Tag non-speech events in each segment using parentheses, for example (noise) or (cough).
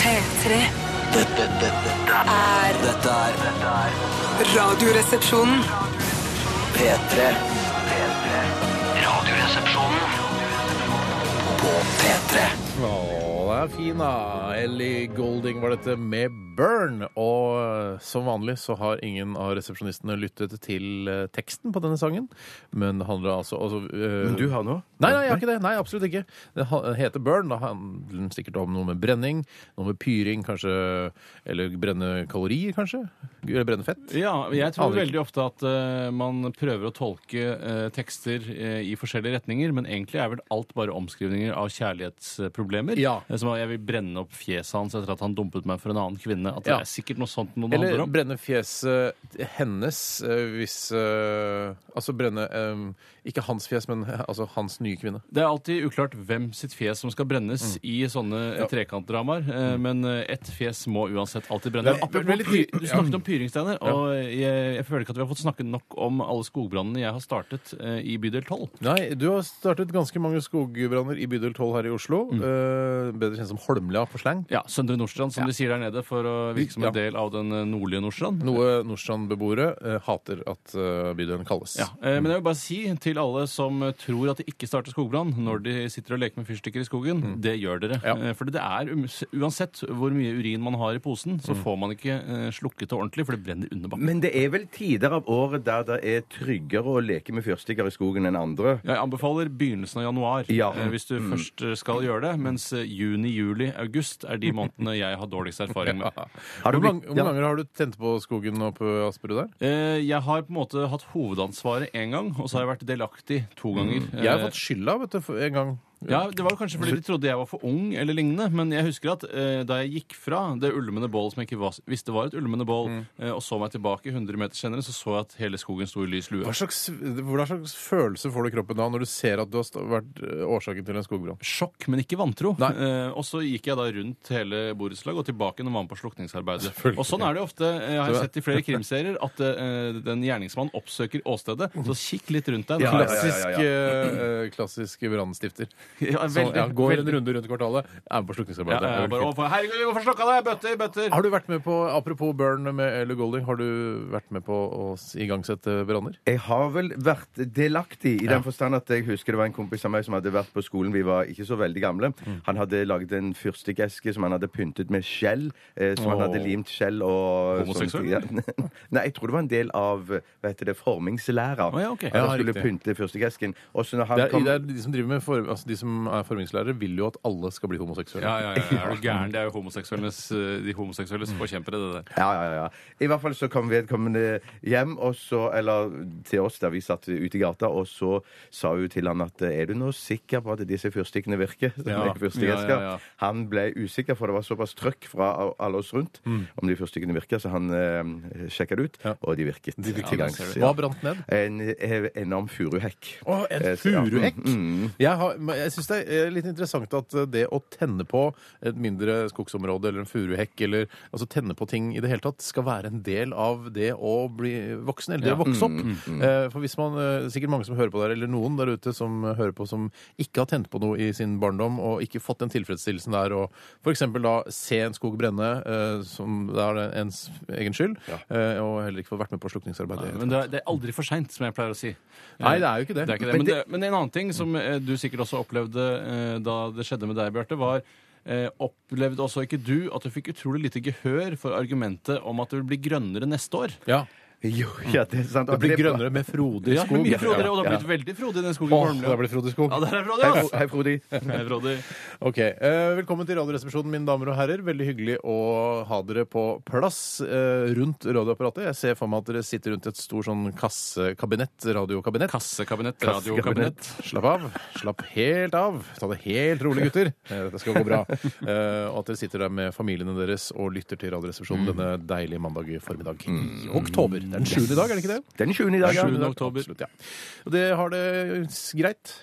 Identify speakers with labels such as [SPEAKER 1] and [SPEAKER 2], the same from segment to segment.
[SPEAKER 1] P3
[SPEAKER 2] Dette, dette, dette,
[SPEAKER 1] er
[SPEAKER 2] dette er dette er
[SPEAKER 1] Radioresepsjonen.
[SPEAKER 2] P3. P3. Radioresepsjonen på P3.
[SPEAKER 3] Å, det er fin, da. Ellie Golding var dette med Burn. Og eh, som vanlig så har ingen av resepsjonistene lyttet til eh, teksten på denne sangen. Men det handler altså, altså eh,
[SPEAKER 4] Men du har nå?
[SPEAKER 3] Nei, nei, jeg har ikke det. Nei, absolutt ikke. Det ha- heter burn. Da handler den sikkert om noe med brenning, noe med pyring, kanskje. Eller brenne kalorier, kanskje. Eller brenne fett.
[SPEAKER 4] Ja, jeg tror
[SPEAKER 3] Aner ikke.
[SPEAKER 4] veldig ofte at eh, man prøver å tolke eh, tekster eh, i forskjellige retninger, men egentlig er vel alt bare omskrivninger av kjærlighetsproblemer.
[SPEAKER 3] Ja.
[SPEAKER 4] Eh, Som at jeg vil brenne opp fjeset hans etter at han dumpet meg for en annen kvinne. At
[SPEAKER 3] Ja.
[SPEAKER 4] det er sikkert noe sånt noe det handler
[SPEAKER 3] Eller
[SPEAKER 4] om.
[SPEAKER 3] brenne fjeset hennes eh, hvis eh, Altså brenne eh, Ikke hans fjes, men eh, altså hans nye kvinne.
[SPEAKER 4] Det er alltid uklart hvem sitt fjes som skal brennes i sånne
[SPEAKER 3] Mm. Ja.
[SPEAKER 4] trekantdramaer, eh, men eh, ett fjes må uansett alltid brenne.
[SPEAKER 3] Det er
[SPEAKER 4] Apropos
[SPEAKER 3] veldig
[SPEAKER 4] py-
[SPEAKER 3] ty-
[SPEAKER 4] du snakket om pyringsteiner, og jeg, jeg føler ikke at vi har fått snakket nok om alle skogbrannene jeg har startet eh, i bydel 12.
[SPEAKER 3] Nei, du har startet ganske mange skogbranner i bydel 12 her i Oslo. eh, bedre kjent som Holmlia på slang.
[SPEAKER 4] Mm. Ja, Søndre Nordstrand, som de sier der nede, for å virke som
[SPEAKER 3] Ja.
[SPEAKER 4] en del av den eh, nordlige Nordstrand.
[SPEAKER 3] Noe Nordstrand-beboere eh, hater at eh, bydelen kalles.
[SPEAKER 4] Ja, eh, Men jeg vil bare si til alle som eh, tror at det ikke starter skogbrann når de sitter og leker med fyrstikker i skogen, det gjør dere.
[SPEAKER 3] Mm. Ja.
[SPEAKER 4] Eh, For det er um- uansett hvor mye urin man har i posen, så
[SPEAKER 3] Mm.
[SPEAKER 4] får man ikke eh, slukket det ordentlig, for det brenner under bakken.
[SPEAKER 5] Men det er vel tider av året der det er tryggere å leke med fyrstikker i skogen enn andre.
[SPEAKER 4] Jeg anbefaler begynnelsen av januar
[SPEAKER 5] Ja.
[SPEAKER 4] eh, hvis
[SPEAKER 3] Mm.
[SPEAKER 4] du først eh, skal gjøre det, mens eh, juni, juli, august er de månedene jeg har dårligst
[SPEAKER 3] (laughs)
[SPEAKER 4] erfaring med.
[SPEAKER 5] Har du
[SPEAKER 3] Hvor, mange,
[SPEAKER 5] blitt-
[SPEAKER 3] hvor mange ganger har du tent på skogen oppe på Asperud der?
[SPEAKER 4] Eh, Jeg har på en måte hatt hovedansvaret én gang, og så har jeg vært delaktig to ganger.
[SPEAKER 3] Mm. Jeg har
[SPEAKER 4] Eh,
[SPEAKER 3] fått skylda vet du, for en gang.
[SPEAKER 4] Ja, Det var jo kanskje fordi de trodde jeg var for ung, eller lignende. Men jeg husker at eh, da jeg gikk fra det ulmende bål som jeg ikke var, visste var et ulmende bål,
[SPEAKER 3] Mm.
[SPEAKER 4] eh, og så meg tilbake 100 meter senere, så så jeg at hele skogen sto i lys lue.
[SPEAKER 3] Hva slags, hva slags følelse får du i kroppen da når du ser at du har st- vært eh, årsaken til en skogbrann?
[SPEAKER 4] Sjokk, men ikke vantro.
[SPEAKER 3] Nei.
[SPEAKER 4] Eh, og så gikk jeg da rundt hele borettslaget og tilbake når man var med på slukningsarbeidet.
[SPEAKER 3] Selvfølgelig.
[SPEAKER 4] Og sånn er det jo ofte. Jeg har
[SPEAKER 3] Så-
[SPEAKER 4] jo sett i flere krimserier at eh, den gjerningsmannen oppsøker åstedet. Så kikk litt rundt deg.
[SPEAKER 5] Ja, ja, ja,
[SPEAKER 3] Klassisk,
[SPEAKER 5] ja, ja.
[SPEAKER 3] eh, eh, klassisk brannstifter.
[SPEAKER 4] Ja,
[SPEAKER 3] Så,
[SPEAKER 4] veldig,
[SPEAKER 3] ja, gå en
[SPEAKER 4] veldig.
[SPEAKER 3] runde rundt kvartalet. Er med på
[SPEAKER 4] Ja,
[SPEAKER 3] slukningsarbeidet.
[SPEAKER 4] ja,
[SPEAKER 3] Det er veldig
[SPEAKER 4] bare, å,
[SPEAKER 3] fint.
[SPEAKER 4] for- Herregud, hvorfor slukka det? Bøtter, bøtter!
[SPEAKER 3] (laughs) har du vært med på, Apropos Burn med Ellie Golding, har du vært med på å s- igangsette branner?
[SPEAKER 5] Jeg har vel vært delaktig i den forstand at jeg husker det var en kompis av meg som hadde vært på skolen. Vi var ikke så veldig gamle.
[SPEAKER 3] Mm.
[SPEAKER 5] Han hadde laget en fyrstikkeske som han hadde pyntet med skjell. Eh, som han hadde
[SPEAKER 3] Åh.
[SPEAKER 5] limt skjell og
[SPEAKER 4] Homoseksuell?
[SPEAKER 5] sånn- ja. (laughs) Nei, jeg tror det var en del av hva heter det, formingslæra.
[SPEAKER 4] Å, ja, ok.
[SPEAKER 5] Han
[SPEAKER 3] Ja,
[SPEAKER 5] skulle
[SPEAKER 3] riktig.
[SPEAKER 5] pynte fyrstikkeesken. Og så når
[SPEAKER 3] Det
[SPEAKER 5] han
[SPEAKER 3] er,
[SPEAKER 5] kom
[SPEAKER 3] det er De som driver med form, altså de som er formingslærere, vil jo at alle skal bli homoseksuelle.
[SPEAKER 4] Ja, ja, ja, ja. Er du gæren? Det er jo homoseksuelles, eh, de homoseksuelles forkjempere, det der.
[SPEAKER 5] Ja, ja, ja. I hvert fall så kom vedkommende hjem og så, eller til oss der vi satt ute i gata, og så sa hun til han at er du nå sikker på at disse fyrstikkene virker? (laughs) Som
[SPEAKER 4] Ja,
[SPEAKER 5] er fyrstikkesker?
[SPEAKER 4] ja, ja, ja.
[SPEAKER 5] Han ble usikker, for det var såpass trøkk fra alle oss rundt
[SPEAKER 3] Mm.
[SPEAKER 5] om de fyrstikkene virker, så han eh, sjekka det ut, og de virket. De
[SPEAKER 4] virket, ser du.
[SPEAKER 3] Hva brant ned?
[SPEAKER 5] En eh, enorm furuhekk.
[SPEAKER 3] Å, en
[SPEAKER 5] Eh, så- ja.
[SPEAKER 3] furuhekk!
[SPEAKER 5] Mm, mm.
[SPEAKER 3] Jeg, har- men jeg syns det er litt interessant at eh, det å tenne på et mindre skogsområde eller en furuhekk, eller altså tenne på ting i det hele tatt, skal være en del av det å bli voksen, eller det å vokse opp. Eh, For hvis man, eh, sikkert mange som hører på der, eller noen der ute som eh, hører på som ikke har tent på noe i sin barndom, og ikke fått den tilfredsstillelsen der, og f.eks. da se en skog brenne, eh, som det er ens egen skyld, eh, og heller ikke få vært med på slukningsarbeidet.
[SPEAKER 4] Men det er, det er aldri for seint, som jeg pleier å si.
[SPEAKER 3] Nei, det er jo ikke det.
[SPEAKER 4] Det er ikke det. Men, det, men en annen ting som eh, du sikkert også opplevde eh, da det skjedde med deg, Bjarte, var eh, Opplevde også ikke du at du fikk utrolig lite gehør for argumentet om at det vil bli grønnere neste år?
[SPEAKER 3] Ja.
[SPEAKER 5] Jo, ja, det er sant.
[SPEAKER 3] Det blir grønnere med frodig
[SPEAKER 4] Ja,
[SPEAKER 3] skog.
[SPEAKER 4] mye frodigere, og det har
[SPEAKER 5] ja.
[SPEAKER 4] blitt veldig frodig i den skogen. på
[SPEAKER 3] Åh,
[SPEAKER 4] Holmlia.
[SPEAKER 3] det blir frodig skog.
[SPEAKER 4] ja, der er Frode,
[SPEAKER 5] Hei,
[SPEAKER 4] ass!
[SPEAKER 5] Fro- Hei,
[SPEAKER 3] (laughs)
[SPEAKER 5] Frodi.
[SPEAKER 4] Hei, Frode.
[SPEAKER 3] Ok, eh, Velkommen til Radioresepsjonen, mine damer og herrer. Veldig hyggelig å ha dere på plass eh, rundt radioapparatet. Jeg ser for meg at dere sitter rundt et stor sånn kassekabinett, radiokabinett.
[SPEAKER 4] Kassekabinett, radiokabinett.
[SPEAKER 3] Slapp av. Slapp helt av. Ta det helt rolig, gutter. Eh, Dette skal gå bra. Eh, og at dere sitter der med familiene deres og lytter til Radioresepsjonen denne deilige mandag formiddag i oktober. Mm. Det er den sjuende i dag, er det ikke det?
[SPEAKER 5] Den 20. i dag, ja.
[SPEAKER 4] Sjuende oktober.
[SPEAKER 3] Absolutt, ja. Og det har det s- greit.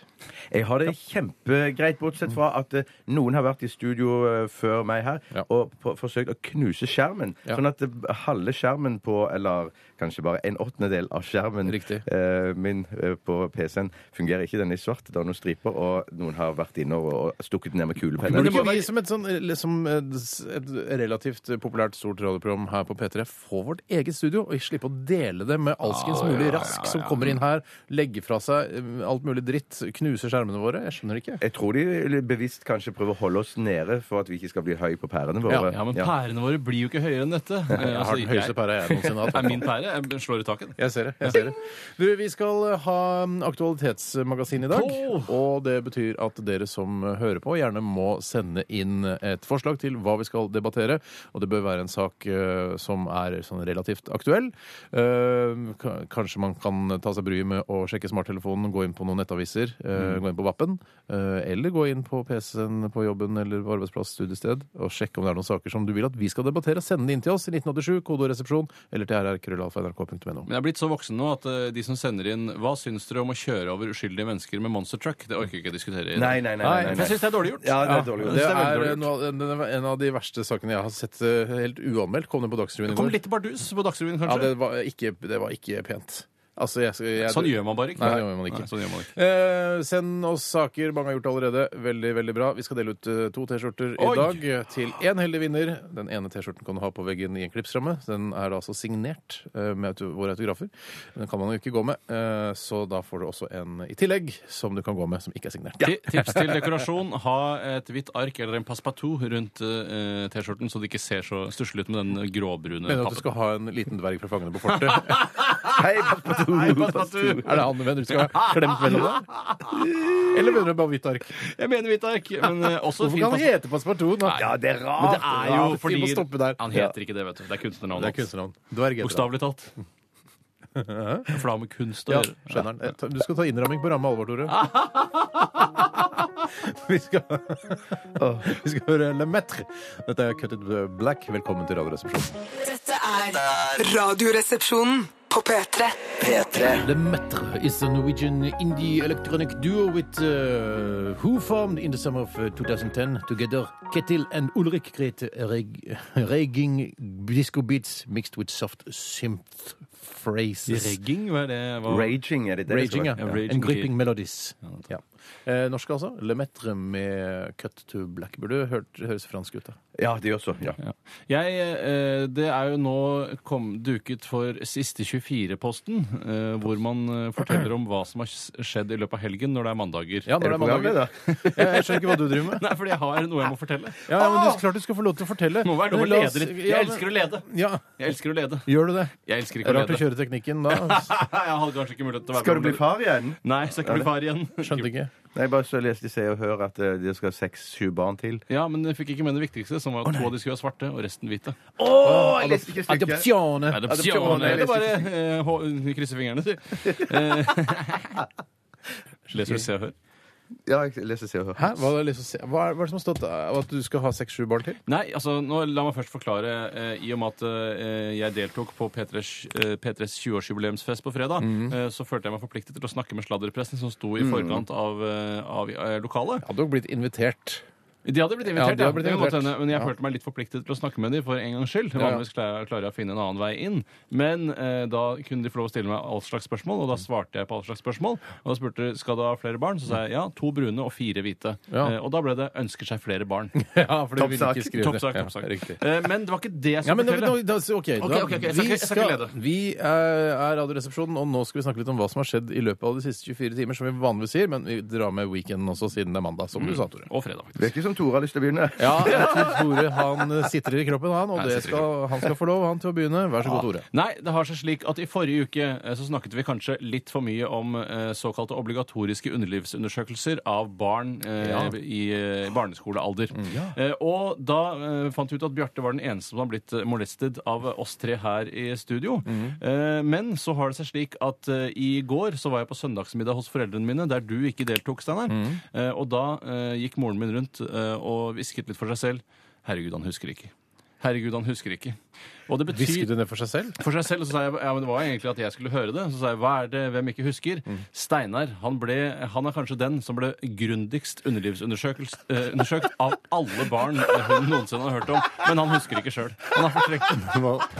[SPEAKER 5] Jeg har det kjempegreit, bortsett fra at eh, noen har vært i studio eh, før meg her
[SPEAKER 3] Ja.
[SPEAKER 5] og på, forsøkt å knuse skjermen.
[SPEAKER 3] Ja.
[SPEAKER 5] Sånn at eh, halve skjermen på, eller kanskje bare en åttendedel av skjermen
[SPEAKER 3] Riktig.
[SPEAKER 5] eh, min eh, på PC-en fungerer ikke. Den er i svart, det er noen striper, og noen har vært inne og, og stukket ned med
[SPEAKER 3] Burde
[SPEAKER 5] kulepenner.
[SPEAKER 3] ikke vi som et, sånn, eller som et s- et relativt eh, populært stort radioprogram her på P3 få vårt eget studio og slippe å dele det med alskens mulig rask som kommer inn her, legger fra seg eh, alt mulig dritt, knuser skjermene våre? Jeg skjønner ikke.
[SPEAKER 5] Jeg tror de eh, bevisst kanskje prøver å holde oss nede for at vi ikke skal bli høy på pærene våre.
[SPEAKER 4] Ja, men pærene våre blir jo ikke høyere enn dette. Eh,
[SPEAKER 3] Jeg
[SPEAKER 4] altså,
[SPEAKER 3] har den høyeste pæra jeg noensinne har (laughs)
[SPEAKER 4] Nei,
[SPEAKER 3] hatt.
[SPEAKER 4] min pære jeg slår i taket.
[SPEAKER 3] Jeg ser det. jeg ser det. Du, Vi skal ha mm, aktualitetsmagasin i dag.
[SPEAKER 4] Åh!
[SPEAKER 3] Og det betyr at dere som eh, hører på, gjerne må sende inn et forslag til hva vi skal debattere. Og det bør være en sak eh, som er sånn relativt aktuell. Eh, ka- Kanskje man kan ta seg bryet med å sjekke smarttelefonen, gå inn på noen nettaviser, eh, gå inn på Vappen, eh, eller gå inn på PC-en på jobben eller på arbeidsplass, studiested, og sjekke om det er noen saker som du vil at vi skal debattere. Send det inn til oss i 1987, kodoresepsjon, eller til rrkrøllalfa.nrk.no.
[SPEAKER 4] Men jeg er blitt så voksen nå at eh, de som sender inn Hva syns dere om å kjøre over uskyldige mennesker med monster truck? Det orker jeg ikke diskutere. i dag.
[SPEAKER 5] Nei, nei, nei. nei, nei,
[SPEAKER 4] For jeg syns det er dårlig gjort.
[SPEAKER 5] Ja, det er dårlig gjort.
[SPEAKER 3] Det
[SPEAKER 4] (laughs)
[SPEAKER 5] Det er veldig
[SPEAKER 3] er
[SPEAKER 5] dårlig gjort.
[SPEAKER 3] noe, av- den- en av de verste sakene jeg har sett eh, helt uanmeldt. Kom den på Dagsrevyen i
[SPEAKER 4] Det kom
[SPEAKER 3] går.
[SPEAKER 4] litt bardus på Dagsrevyen,
[SPEAKER 3] Ja,
[SPEAKER 4] kanskje.
[SPEAKER 3] det var ikke, det var ikke pent. Altså, jeg, jeg,
[SPEAKER 4] sånn gjør man bare ikke.
[SPEAKER 3] Nei, det gjør man ikke.
[SPEAKER 4] Nei, sånn gjør man ikke.
[SPEAKER 3] Eh, send oss saker mange har gjort allerede. Veldig veldig bra. Vi skal dele ut eh, to T-skjorter i
[SPEAKER 4] Oi!
[SPEAKER 3] dag eh, til én heldig vinner. Den ene T-skjorten kan du ha på veggen i en klipsramme. Den er da altså signert eh, med auto våre autografer. Den kan man jo ikke gå med, eh, så da får du også en i tillegg som du kan gå med, som ikke er signert.
[SPEAKER 4] Ti- Tips til dekorasjon. Ha et hvitt ark eller en passepartout rundt eh, T-skjorten, så det ikke ser så stusslig ut med den gråbrune
[SPEAKER 3] Mener du at du
[SPEAKER 4] pappen.
[SPEAKER 3] skal ha en liten dverg fra Fangene på
[SPEAKER 4] (laughs)
[SPEAKER 3] fortet?
[SPEAKER 5] Hei, Passepartout!
[SPEAKER 4] Passepartout!
[SPEAKER 3] (laughs) Er det han du mener du skal ha klemt mellom deg? Eller mener du bare hvitt ark?
[SPEAKER 4] Jeg mener hvitt ark, men
[SPEAKER 3] (laughs)
[SPEAKER 4] eh, også
[SPEAKER 3] Hvorfor
[SPEAKER 4] fin
[SPEAKER 3] kan han
[SPEAKER 4] passepartout.
[SPEAKER 3] hete Passepartout? da?
[SPEAKER 5] Ja, det er rart!
[SPEAKER 4] Men det er jo
[SPEAKER 3] Ja, vi
[SPEAKER 4] fordi
[SPEAKER 3] må stoppe der.
[SPEAKER 4] Han heter ikke det, vet du. Det er kunstnernavnet
[SPEAKER 3] Det er
[SPEAKER 4] hans.
[SPEAKER 3] kunstnernavn. Dverg heter han.
[SPEAKER 4] Bokstavelig talt.
[SPEAKER 3] (laughs)
[SPEAKER 4] For det har med kunst å
[SPEAKER 3] Ja,
[SPEAKER 4] gjøre.
[SPEAKER 3] skjønner den. Ta- Du skal ta innramming på ramme alvor, Tore. Vi skal, (laughs) vi skal høre Le Maître. Dette er Cut It Black. Velkommen til Radioresepsjonen.
[SPEAKER 1] Dette er Radioresepsjonen på P3.
[SPEAKER 2] P3.
[SPEAKER 3] Le Maître is a Norwegian indie electronic duo with uh, who formed in the summer of uh, 2010 together. Ketil and Ulrik create a reg (laughs) raging disco beats mixed with soft synth phrases.
[SPEAKER 4] Regging, hva er det? Hva?
[SPEAKER 5] Raging, er det det? det skal
[SPEAKER 3] Raging, ja.
[SPEAKER 5] være?
[SPEAKER 4] Ja, Raging
[SPEAKER 3] And gripping
[SPEAKER 4] Kid.
[SPEAKER 3] melodies. Ja. Eh, norsk, altså. Le Metre med Cut to Black. Burde hørt, høres fransk ut, da.
[SPEAKER 5] Ja, det gjør så. Ja.
[SPEAKER 4] Ja. Jeg, eh, det er jo nå kom, duket for siste 24-posten, eh, hvor man eh, forteller om hva som har s- skjedd i løpet av helgen når det er mandager.
[SPEAKER 3] Ja, når det er mandager. (laughs) Jeg, jeg skjønner ikke hva du driver med.
[SPEAKER 4] (laughs) Nei, fordi jeg har noe jeg må fortelle.
[SPEAKER 3] Ja, ja, men du, Klart du skal få lov til å fortelle.
[SPEAKER 4] Må være lov å
[SPEAKER 3] Men la oss-
[SPEAKER 4] lede litt.
[SPEAKER 3] ja,
[SPEAKER 4] Jeg elsker å lede.
[SPEAKER 3] men- Ja,
[SPEAKER 4] Jeg elsker å lede.
[SPEAKER 3] gjør du det?
[SPEAKER 4] Jeg elsker ikke å
[SPEAKER 3] Rart å
[SPEAKER 4] lede.
[SPEAKER 3] kjøre teknikken (laughs) da.
[SPEAKER 4] (laughs)
[SPEAKER 3] altså.
[SPEAKER 4] Jeg hadde kanskje ikke mulighet til å være
[SPEAKER 5] Skal du
[SPEAKER 4] med.
[SPEAKER 5] bli far igjen?
[SPEAKER 4] Nei, skal ikke bli far igjen.
[SPEAKER 3] Skjønte ikke.
[SPEAKER 5] Nei, bare så leste i Se og Hør at eh, de skal ha seks-sju barn til.
[SPEAKER 4] Ja, men jeg fikk ikke med det viktigste, som var at to av de skulle være svarte, og resten hvite.
[SPEAKER 5] Oh, jeg leste ikke stykket!
[SPEAKER 3] Adopsjone!
[SPEAKER 4] Adopsjon! Eller bare eh, hå- krysse fingrene,
[SPEAKER 3] (laughs)
[SPEAKER 4] si. Eh, (laughs) Leser du Se og Hør?
[SPEAKER 5] Ja, jeg leste Se og Hør.
[SPEAKER 3] Hæ? Hva er, det liksom, se- hva er hva er det som har stått eh, At du skal ha seks-sju barn til?
[SPEAKER 4] Nei, altså, nå, la meg først forklare. Eh, I og med at eh, jeg deltok på P3s, eh, P3s 20-årsjubileumsfest på fredag, eh, så følte jeg meg forpliktet til å snakke med sladderpressen som sto i forkant av, eh, av eh, lokalet.
[SPEAKER 3] Hadde jo blitt invitert.
[SPEAKER 4] De hadde blitt
[SPEAKER 3] Ja,
[SPEAKER 4] invitert,
[SPEAKER 3] de
[SPEAKER 4] ja.
[SPEAKER 3] hadde blitt
[SPEAKER 4] Det kan godt
[SPEAKER 3] invitert.
[SPEAKER 4] hende, men jeg
[SPEAKER 3] Ja.
[SPEAKER 4] følte meg litt forpliktet til å snakke med dem for en gangs skyld.
[SPEAKER 3] ja.
[SPEAKER 4] Vanligvis klarer, klarer jeg å finne en annen vei inn. Men eh, da kunne de få lov å stille meg all slags spørsmål, og da svarte jeg på all slags spørsmål. Og da spurte de skal du ha flere barn, så sa jeg ja, to brune og fire hvite.
[SPEAKER 3] Ja.
[SPEAKER 4] Eh, og da ble det ønsker seg flere barn.
[SPEAKER 3] (laughs) Ja, for du ville
[SPEAKER 5] Toppsak.
[SPEAKER 3] ikke skrive det.
[SPEAKER 4] Toppsak, toppsak.
[SPEAKER 3] Ja, riktig.
[SPEAKER 4] Eh, men det var ikke det
[SPEAKER 3] Ja,
[SPEAKER 4] jeg skulle
[SPEAKER 3] men nå-
[SPEAKER 4] fortelle.
[SPEAKER 3] nå- da, så- ok, da,
[SPEAKER 4] Ok, ok, ok, jeg skal
[SPEAKER 3] vi,
[SPEAKER 4] ikke- jeg skal ikke
[SPEAKER 3] skal,
[SPEAKER 4] lede.
[SPEAKER 3] vi er, er Radioresepsjonen, og nå skal vi snakke litt om hva som har skjedd i løpet av de siste 24 timer, som vi vanligvis sier, men vi drar med weekenden også, siden det er mandag, som du sa, Tore.
[SPEAKER 4] Og fredag, faktisk.
[SPEAKER 5] Virker som Tore har lyst til å begynne.
[SPEAKER 3] Mm. Ja, jeg tror Tore han eh, sitter i kroppen, han, og
[SPEAKER 4] Nei,
[SPEAKER 3] det
[SPEAKER 4] sitter i
[SPEAKER 3] skal, han skal få lov han til å begynne. Vær så god, Tore.
[SPEAKER 4] Nei, det har seg slik at i forrige uke eh, så snakket vi kanskje litt for mye om eh, såkalte obligatoriske underlivsundersøkelser av barn eh,
[SPEAKER 3] Ja. Mm,
[SPEAKER 4] i eh, barneskolealder. Eh, og da eh, fant vi ut at Bjarte var den eneste som har blitt eh, molestet av oss tre her i studio.
[SPEAKER 3] Mm.
[SPEAKER 4] Eh, men så har det seg slik at eh, i går så var jeg på søndagsmiddag hos foreldrene mine, der du ikke deltok, Steinar.
[SPEAKER 3] Mm.
[SPEAKER 4] Eh, og da eh, gikk moren min rundt eh, og hvisket litt for seg selv. Herregud, han husker ikke. Herregud, han husker ikke. Og det betyr
[SPEAKER 3] Hvisket hun det for seg selv?
[SPEAKER 4] for seg selv, så sa jeg, ja, men Det var jo egentlig at jeg skulle høre det. Så sa jeg hva er det hvem ikke husker? Steinar han, ble, han er kanskje den som ble grundigst underlivsundersøkt eh, undersøkt av alle barn hun noensinne har hørt om. Men han husker ikke sjøl. Han har
[SPEAKER 3] (laughs)
[SPEAKER 4] fortrengt
[SPEAKER 5] (laughs)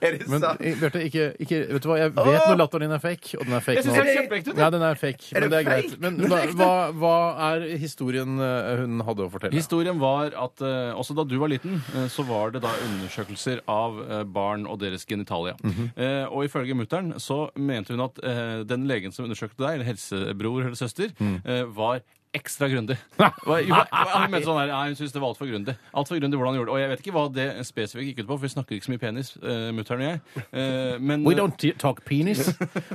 [SPEAKER 5] Er (laughs) det
[SPEAKER 3] Men
[SPEAKER 5] sant?
[SPEAKER 3] i- Bjarte, ikke, ikke Vet du hva, jeg vet når latteren din er fake, og den er fake
[SPEAKER 4] Jeg synes
[SPEAKER 3] nå.
[SPEAKER 4] det er kjempeekte ut,
[SPEAKER 3] Nei, den er fake,
[SPEAKER 5] Er
[SPEAKER 3] men det
[SPEAKER 5] det
[SPEAKER 3] er greit.
[SPEAKER 5] fake?
[SPEAKER 3] Men
[SPEAKER 5] Men det
[SPEAKER 3] hva,
[SPEAKER 5] er ekte.
[SPEAKER 3] hva, hva er historien eh, hun hadde å fortelle?
[SPEAKER 4] Historien var at eh, også da du var liten, eh, så var det da undersøkelser av eh, barn og deres genitalia. eh, og ifølge mutter'n så mente hun at eh, den legen som undersøkte deg, eller helsebror eller søster, eh, var ekstra grundig. Var- jo, Hun mente sånn her, nei, hun syntes det var altfor grundig. Altfor grundig hvordan hun gjorde det. Og jeg vet ikke hva det spesifikt gikk ut på, for vi snakker ikke så mye penis, uh, mutter'n og jeg. Eh, men,
[SPEAKER 3] We don't t- talk penis.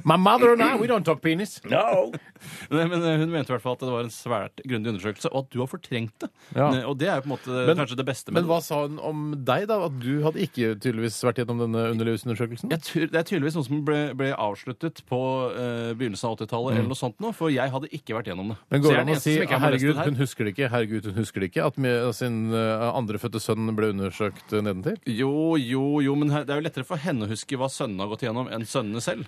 [SPEAKER 3] My mother and I, we don't talk penis.
[SPEAKER 4] (laughs) Nei, men eh, hun mente i hvert fall at det var en svært grundig undersøkelse, og at du har fortrengt det.
[SPEAKER 3] Ja.
[SPEAKER 4] Eh, Og det er jo på en måte
[SPEAKER 3] Men-
[SPEAKER 4] kanskje det beste med
[SPEAKER 3] Men
[SPEAKER 4] det.
[SPEAKER 3] hva sa hun om deg, da? At du hadde ikke tydeligvis vært gjennom denne underlivsundersøkelsen?
[SPEAKER 4] Jeg tror- det er tydeligvis noe som ble, ble avsluttet på eh, begynnelsen av 80-tallet, eller noe sånt nå, for jeg hadde ikke vært gjennom det.
[SPEAKER 3] Mm. Men
[SPEAKER 4] Så
[SPEAKER 3] går
[SPEAKER 4] jeg
[SPEAKER 3] det
[SPEAKER 4] er
[SPEAKER 3] an å
[SPEAKER 4] den eneste
[SPEAKER 3] si
[SPEAKER 4] som ikke er molestet
[SPEAKER 3] herregud,
[SPEAKER 4] her.
[SPEAKER 3] hun husker det ikke, herregud, hun husker det ikke, at med sin eh, andrefødte sønn ble undersøkt eh, nedentil?
[SPEAKER 4] Jo, jo, jo, men her- det er jo lettere for henne å huske hva sønnene har gått igjennom, enn sønnene selv.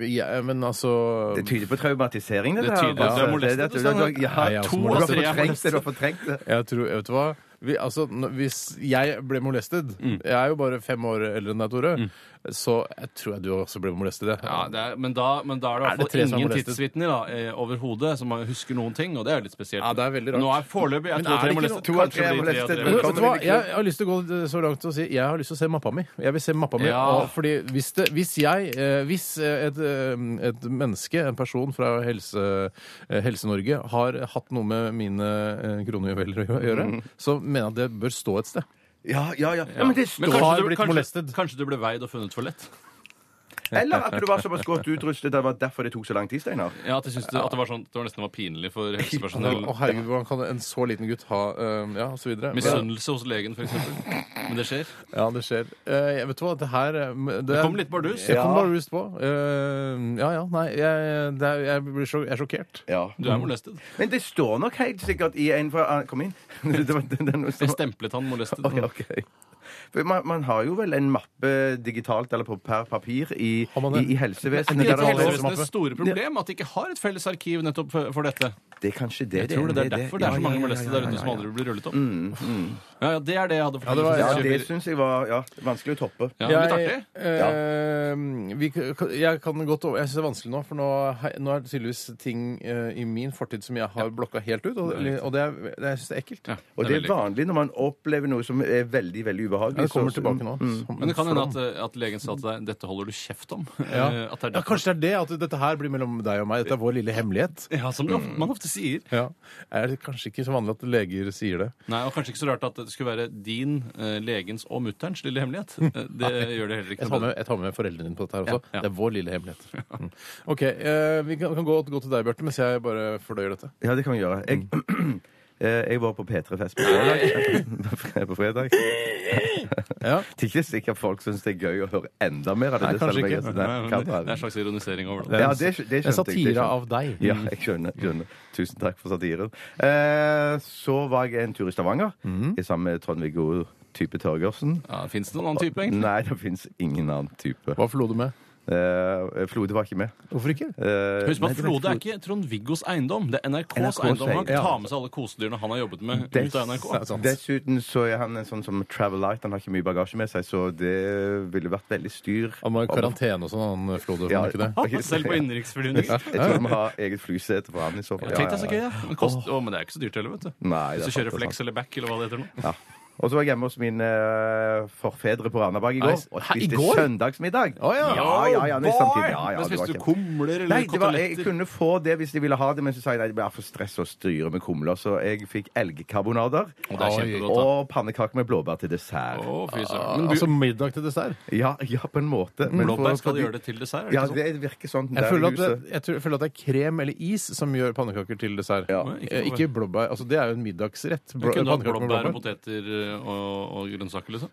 [SPEAKER 3] Ja, men altså
[SPEAKER 5] Det tyder på traumatisering, det
[SPEAKER 4] Det tyder
[SPEAKER 5] Altså,
[SPEAKER 4] på at du er molestet,
[SPEAKER 5] det- det-
[SPEAKER 4] Susanne.
[SPEAKER 5] du- ja,
[SPEAKER 3] Nei, jeg er også
[SPEAKER 5] to
[SPEAKER 3] molestet.
[SPEAKER 5] av tre er molestet. Du har fortrengt det.
[SPEAKER 3] Jeg tror, vet du hva? Vi, altså, n- hvis jeg ble molestet
[SPEAKER 4] Mm.
[SPEAKER 3] Jeg er jo bare fem år eldre enn deg, Tore. Så jeg tror jeg du også ble molestet. jeg.
[SPEAKER 4] Ja, det er, men, da, men da er det i
[SPEAKER 3] Er det
[SPEAKER 4] hvert
[SPEAKER 3] tre
[SPEAKER 4] fall
[SPEAKER 3] som er
[SPEAKER 4] ingen
[SPEAKER 3] molestet?
[SPEAKER 4] tidsvitner da, eh, overhodet som husker noen ting, og det er jo litt spesielt.
[SPEAKER 3] Ja, det er veldig rart.
[SPEAKER 4] Nå er foreløpig jeg
[SPEAKER 3] Men
[SPEAKER 4] tror
[SPEAKER 3] er
[SPEAKER 4] at jeg
[SPEAKER 3] det ikke
[SPEAKER 4] molestet.
[SPEAKER 3] noe-
[SPEAKER 5] to av
[SPEAKER 4] Kanskje
[SPEAKER 5] tre er
[SPEAKER 4] blir tre av
[SPEAKER 5] molestet?
[SPEAKER 3] Men,
[SPEAKER 4] tre.
[SPEAKER 3] vet du hva?
[SPEAKER 5] Velkommen i
[SPEAKER 3] Jeg har lyst til å gå så langt og si jeg har lyst til å se mappa mi. Jeg vil se mappa mi.
[SPEAKER 4] Ja.
[SPEAKER 3] Og fordi hvis, det, hvis jeg eh, Hvis eh, et, eh, et menneske, en person fra Helse, eh, Helse-Norge, har hatt noe med mine eh, kronejuveler å gjøre,
[SPEAKER 4] Mm.
[SPEAKER 3] så mener jeg at det bør stå et sted.
[SPEAKER 5] Ja, ja, ja. ja men det står
[SPEAKER 4] Men kanskje
[SPEAKER 3] har
[SPEAKER 4] du,
[SPEAKER 3] blitt
[SPEAKER 4] kanskje,
[SPEAKER 3] molestet.
[SPEAKER 4] kanskje du ble veid og funnet for lett?
[SPEAKER 5] Eller at du var såpass godt utrustet. Det var derfor det tok så lang tid, Steinar.
[SPEAKER 4] Ja, at, jeg synes det, at det var sånn, det var nesten var pinlig for helsepersonell.
[SPEAKER 3] Å herregud, Hvordan kan en så liten gutt ha eh, Ja, og så videre. Men-
[SPEAKER 4] Misunnelse hos legen, f.eks. Men det skjer.
[SPEAKER 3] Ja, det skjer. Eh, jeg vet du hva, det her eh, m- Det,
[SPEAKER 4] Det kom litt bardus.
[SPEAKER 3] Jeg kom bare rust på. Eh, ja ja, nei, jeg, det er, jeg blir sjok, jeg er sjokkert.
[SPEAKER 5] Ja.
[SPEAKER 4] Du er molestet.
[SPEAKER 5] Men det står nok helt sikkert i en fra ah, Kom inn. (laughs) Det var den, den,
[SPEAKER 4] Jeg stemplet han molestet. Mm.
[SPEAKER 5] Ok, ok. For Man, man har jo vel en mappe digitalt eller på per papir i,
[SPEAKER 3] Har man det?
[SPEAKER 5] i, i helsevesenet.
[SPEAKER 4] Det
[SPEAKER 5] der
[SPEAKER 4] er
[SPEAKER 5] det, er lov-
[SPEAKER 4] helsevesenets store problem at de ikke har et felles arkiv nettopp for- for dette.
[SPEAKER 5] det er kanskje det
[SPEAKER 4] Jeg tror det, det er derfor det er så
[SPEAKER 5] Ja, ja,
[SPEAKER 4] mange
[SPEAKER 5] ja,
[SPEAKER 4] molestede
[SPEAKER 5] ja,
[SPEAKER 4] der ute
[SPEAKER 5] ja,
[SPEAKER 4] som
[SPEAKER 5] ja.
[SPEAKER 4] aldri blir rullet opp. Ja, ja, det er det jeg hadde
[SPEAKER 3] det var-
[SPEAKER 4] fortalt.
[SPEAKER 5] Ja,
[SPEAKER 4] Ja,
[SPEAKER 5] det syns jeg var ja, vanskelig å toppe.
[SPEAKER 4] ja,
[SPEAKER 3] Jeg,
[SPEAKER 4] litt artig.
[SPEAKER 3] eh, vi, k- jeg kan godt over Jeg syns det er vanskelig nå, for nå, he- nå er det tydeligvis ting eh, i min fortid som jeg har blokka helt ut, og, og det, er- det, jeg syns det er ekkelt.
[SPEAKER 4] Ja,
[SPEAKER 5] Og det er
[SPEAKER 4] veldig kult.
[SPEAKER 5] vanlig når man opplever noe som er veldig veldig ubehagelig.
[SPEAKER 3] Ja, det kommer
[SPEAKER 5] så- mm,
[SPEAKER 3] tilbake nå. som
[SPEAKER 4] Men det kan
[SPEAKER 3] en
[SPEAKER 4] hende
[SPEAKER 3] flom.
[SPEAKER 4] at, eh, at legen sa til deg 'dette holder du kjeft om'.
[SPEAKER 3] ja.
[SPEAKER 4] Eh, At
[SPEAKER 3] ja,
[SPEAKER 4] det er derfor.
[SPEAKER 3] Kanskje det er det, at dette her blir mellom deg og meg. Dette er vår lille hemmelighet.
[SPEAKER 4] Ja, som det ofte- man ofte sier.
[SPEAKER 3] Ja. Er det kanskje ikke så vanlig at leger sier det?
[SPEAKER 4] Nei, og Kanskje ikke så rart at det skulle være din, eh, legens og mutterens lille hemmelighet.
[SPEAKER 5] (laughs)
[SPEAKER 4] Eh, Det gjør det heller ikke
[SPEAKER 3] Jeg
[SPEAKER 4] noe
[SPEAKER 3] tar,
[SPEAKER 4] bedre.
[SPEAKER 3] med, jeg tar med foreldrene dine på dette her også.
[SPEAKER 4] Ja, ja.
[SPEAKER 3] Det er vår lille hemmelighet. Mm. (laughs) OK, eh, vi kan, kan gå, gå til deg, Bjarte, mens jeg bare fordøyer dette.
[SPEAKER 5] Ja, det kan vi gjøre. Jeg, (clears throat) Eh, jeg var på P3-fest på fredag. (laughs) på fredag. Det (laughs)
[SPEAKER 3] Ja.
[SPEAKER 5] er ikke sikkert folk syns det er gøy å høre enda mer av det.
[SPEAKER 3] Nei, kanskje
[SPEAKER 5] selv om jeg-
[SPEAKER 3] ikke.
[SPEAKER 5] Nei,
[SPEAKER 4] Nei,
[SPEAKER 5] kan
[SPEAKER 4] Det det er
[SPEAKER 5] være.
[SPEAKER 4] en slags ironisering over det.
[SPEAKER 5] Ja, det, skj- det
[SPEAKER 3] En
[SPEAKER 5] skjønte jeg. det
[SPEAKER 3] satire
[SPEAKER 5] skjønte
[SPEAKER 3] av deg.
[SPEAKER 5] (laughs) Ja, jeg skjønner. skjønner. Tusen takk for satiren. Eh, så var jeg en tur i Stavanger
[SPEAKER 4] Mhm.
[SPEAKER 5] i sammen med Trond-Viggo Type Torgersen.
[SPEAKER 4] Ja, Fins det noen annen type, egentlig?
[SPEAKER 5] Nei, det fins ingen annen type.
[SPEAKER 3] Hva forlo du med?
[SPEAKER 5] Eh, Flode var ikke med.
[SPEAKER 3] Hvorfor ikke?
[SPEAKER 5] Eh,
[SPEAKER 4] Husk på
[SPEAKER 5] nei,
[SPEAKER 4] at
[SPEAKER 5] det var
[SPEAKER 4] Flode er ikke Trond-Viggos eiendom. Det er NRKs,
[SPEAKER 5] NRKs
[SPEAKER 4] eiendom. Han
[SPEAKER 5] eiendom. altså,
[SPEAKER 4] kan ta med seg alle kosedyrene han har jobbet med ut av NRK.
[SPEAKER 3] sant.
[SPEAKER 5] Dessuten så er han en sånn som travel light. Han har ikke mye bagasje med seg, så det ville vært veldig styr.
[SPEAKER 3] Han var i karantene og sånn, han flodde,
[SPEAKER 5] Ja.
[SPEAKER 3] var han ikke det?
[SPEAKER 4] Han var selv på innenriksflyvninger.
[SPEAKER 5] (laughs) Jeg tror
[SPEAKER 4] (laughs)
[SPEAKER 5] vi har eget flysete for han i så fall.
[SPEAKER 4] Tenk deg så gøy, ja. Men, kost, Å, men det er ikke så dyrt heller, vet du.
[SPEAKER 5] Nei,
[SPEAKER 4] Hvis du
[SPEAKER 5] det er sant,
[SPEAKER 4] kjører
[SPEAKER 5] det er
[SPEAKER 4] flex eller back eller hva det heter nå.
[SPEAKER 5] Ja. Og så var jeg hjemme hos mine eh, forfedre på Randaberg i går
[SPEAKER 3] Nei,
[SPEAKER 5] og
[SPEAKER 3] hæ, i
[SPEAKER 5] spiste
[SPEAKER 3] går?
[SPEAKER 5] søndagsmiddag.
[SPEAKER 3] Å, ja.
[SPEAKER 5] ja, ja, ja, men samtidig, ja, ja,
[SPEAKER 4] Men
[SPEAKER 5] det var
[SPEAKER 4] spiste du
[SPEAKER 5] ikke-
[SPEAKER 4] kumler
[SPEAKER 5] Nei,
[SPEAKER 4] eller
[SPEAKER 5] det var, jeg
[SPEAKER 4] koteletter?
[SPEAKER 5] kunne få det hvis de ville ha det, men så sa jeg nei, det er for stress å styre med kumler. Så jeg fikk elgkarbonader
[SPEAKER 4] Å, det er kjempegodt, da.
[SPEAKER 5] og pannekaker med blåbær til dessert.
[SPEAKER 4] Å, fy søren. Men du,
[SPEAKER 3] Altså middag til dessert.
[SPEAKER 5] Ja, ja, på en måte. Men for-
[SPEAKER 4] blåbær skal
[SPEAKER 5] fordi-
[SPEAKER 4] gjøre det til dessert?
[SPEAKER 5] Ja,
[SPEAKER 4] Er det ikke sånn?
[SPEAKER 5] det virker sånn.
[SPEAKER 3] Jeg
[SPEAKER 5] der i
[SPEAKER 3] føler, at
[SPEAKER 5] huset.
[SPEAKER 3] det, jeg, tror, jeg føler at det er krem eller is som gjør pannekaker til dessert.
[SPEAKER 5] Ja.
[SPEAKER 3] Eh, Ikke blåbær. Altså, det er jo en middagsrett.
[SPEAKER 4] Du
[SPEAKER 3] Blå,
[SPEAKER 4] kunne hatt
[SPEAKER 3] pannekaker med blåbær.
[SPEAKER 4] blåbær og poteter eh, og, og grønnsaker, liksom?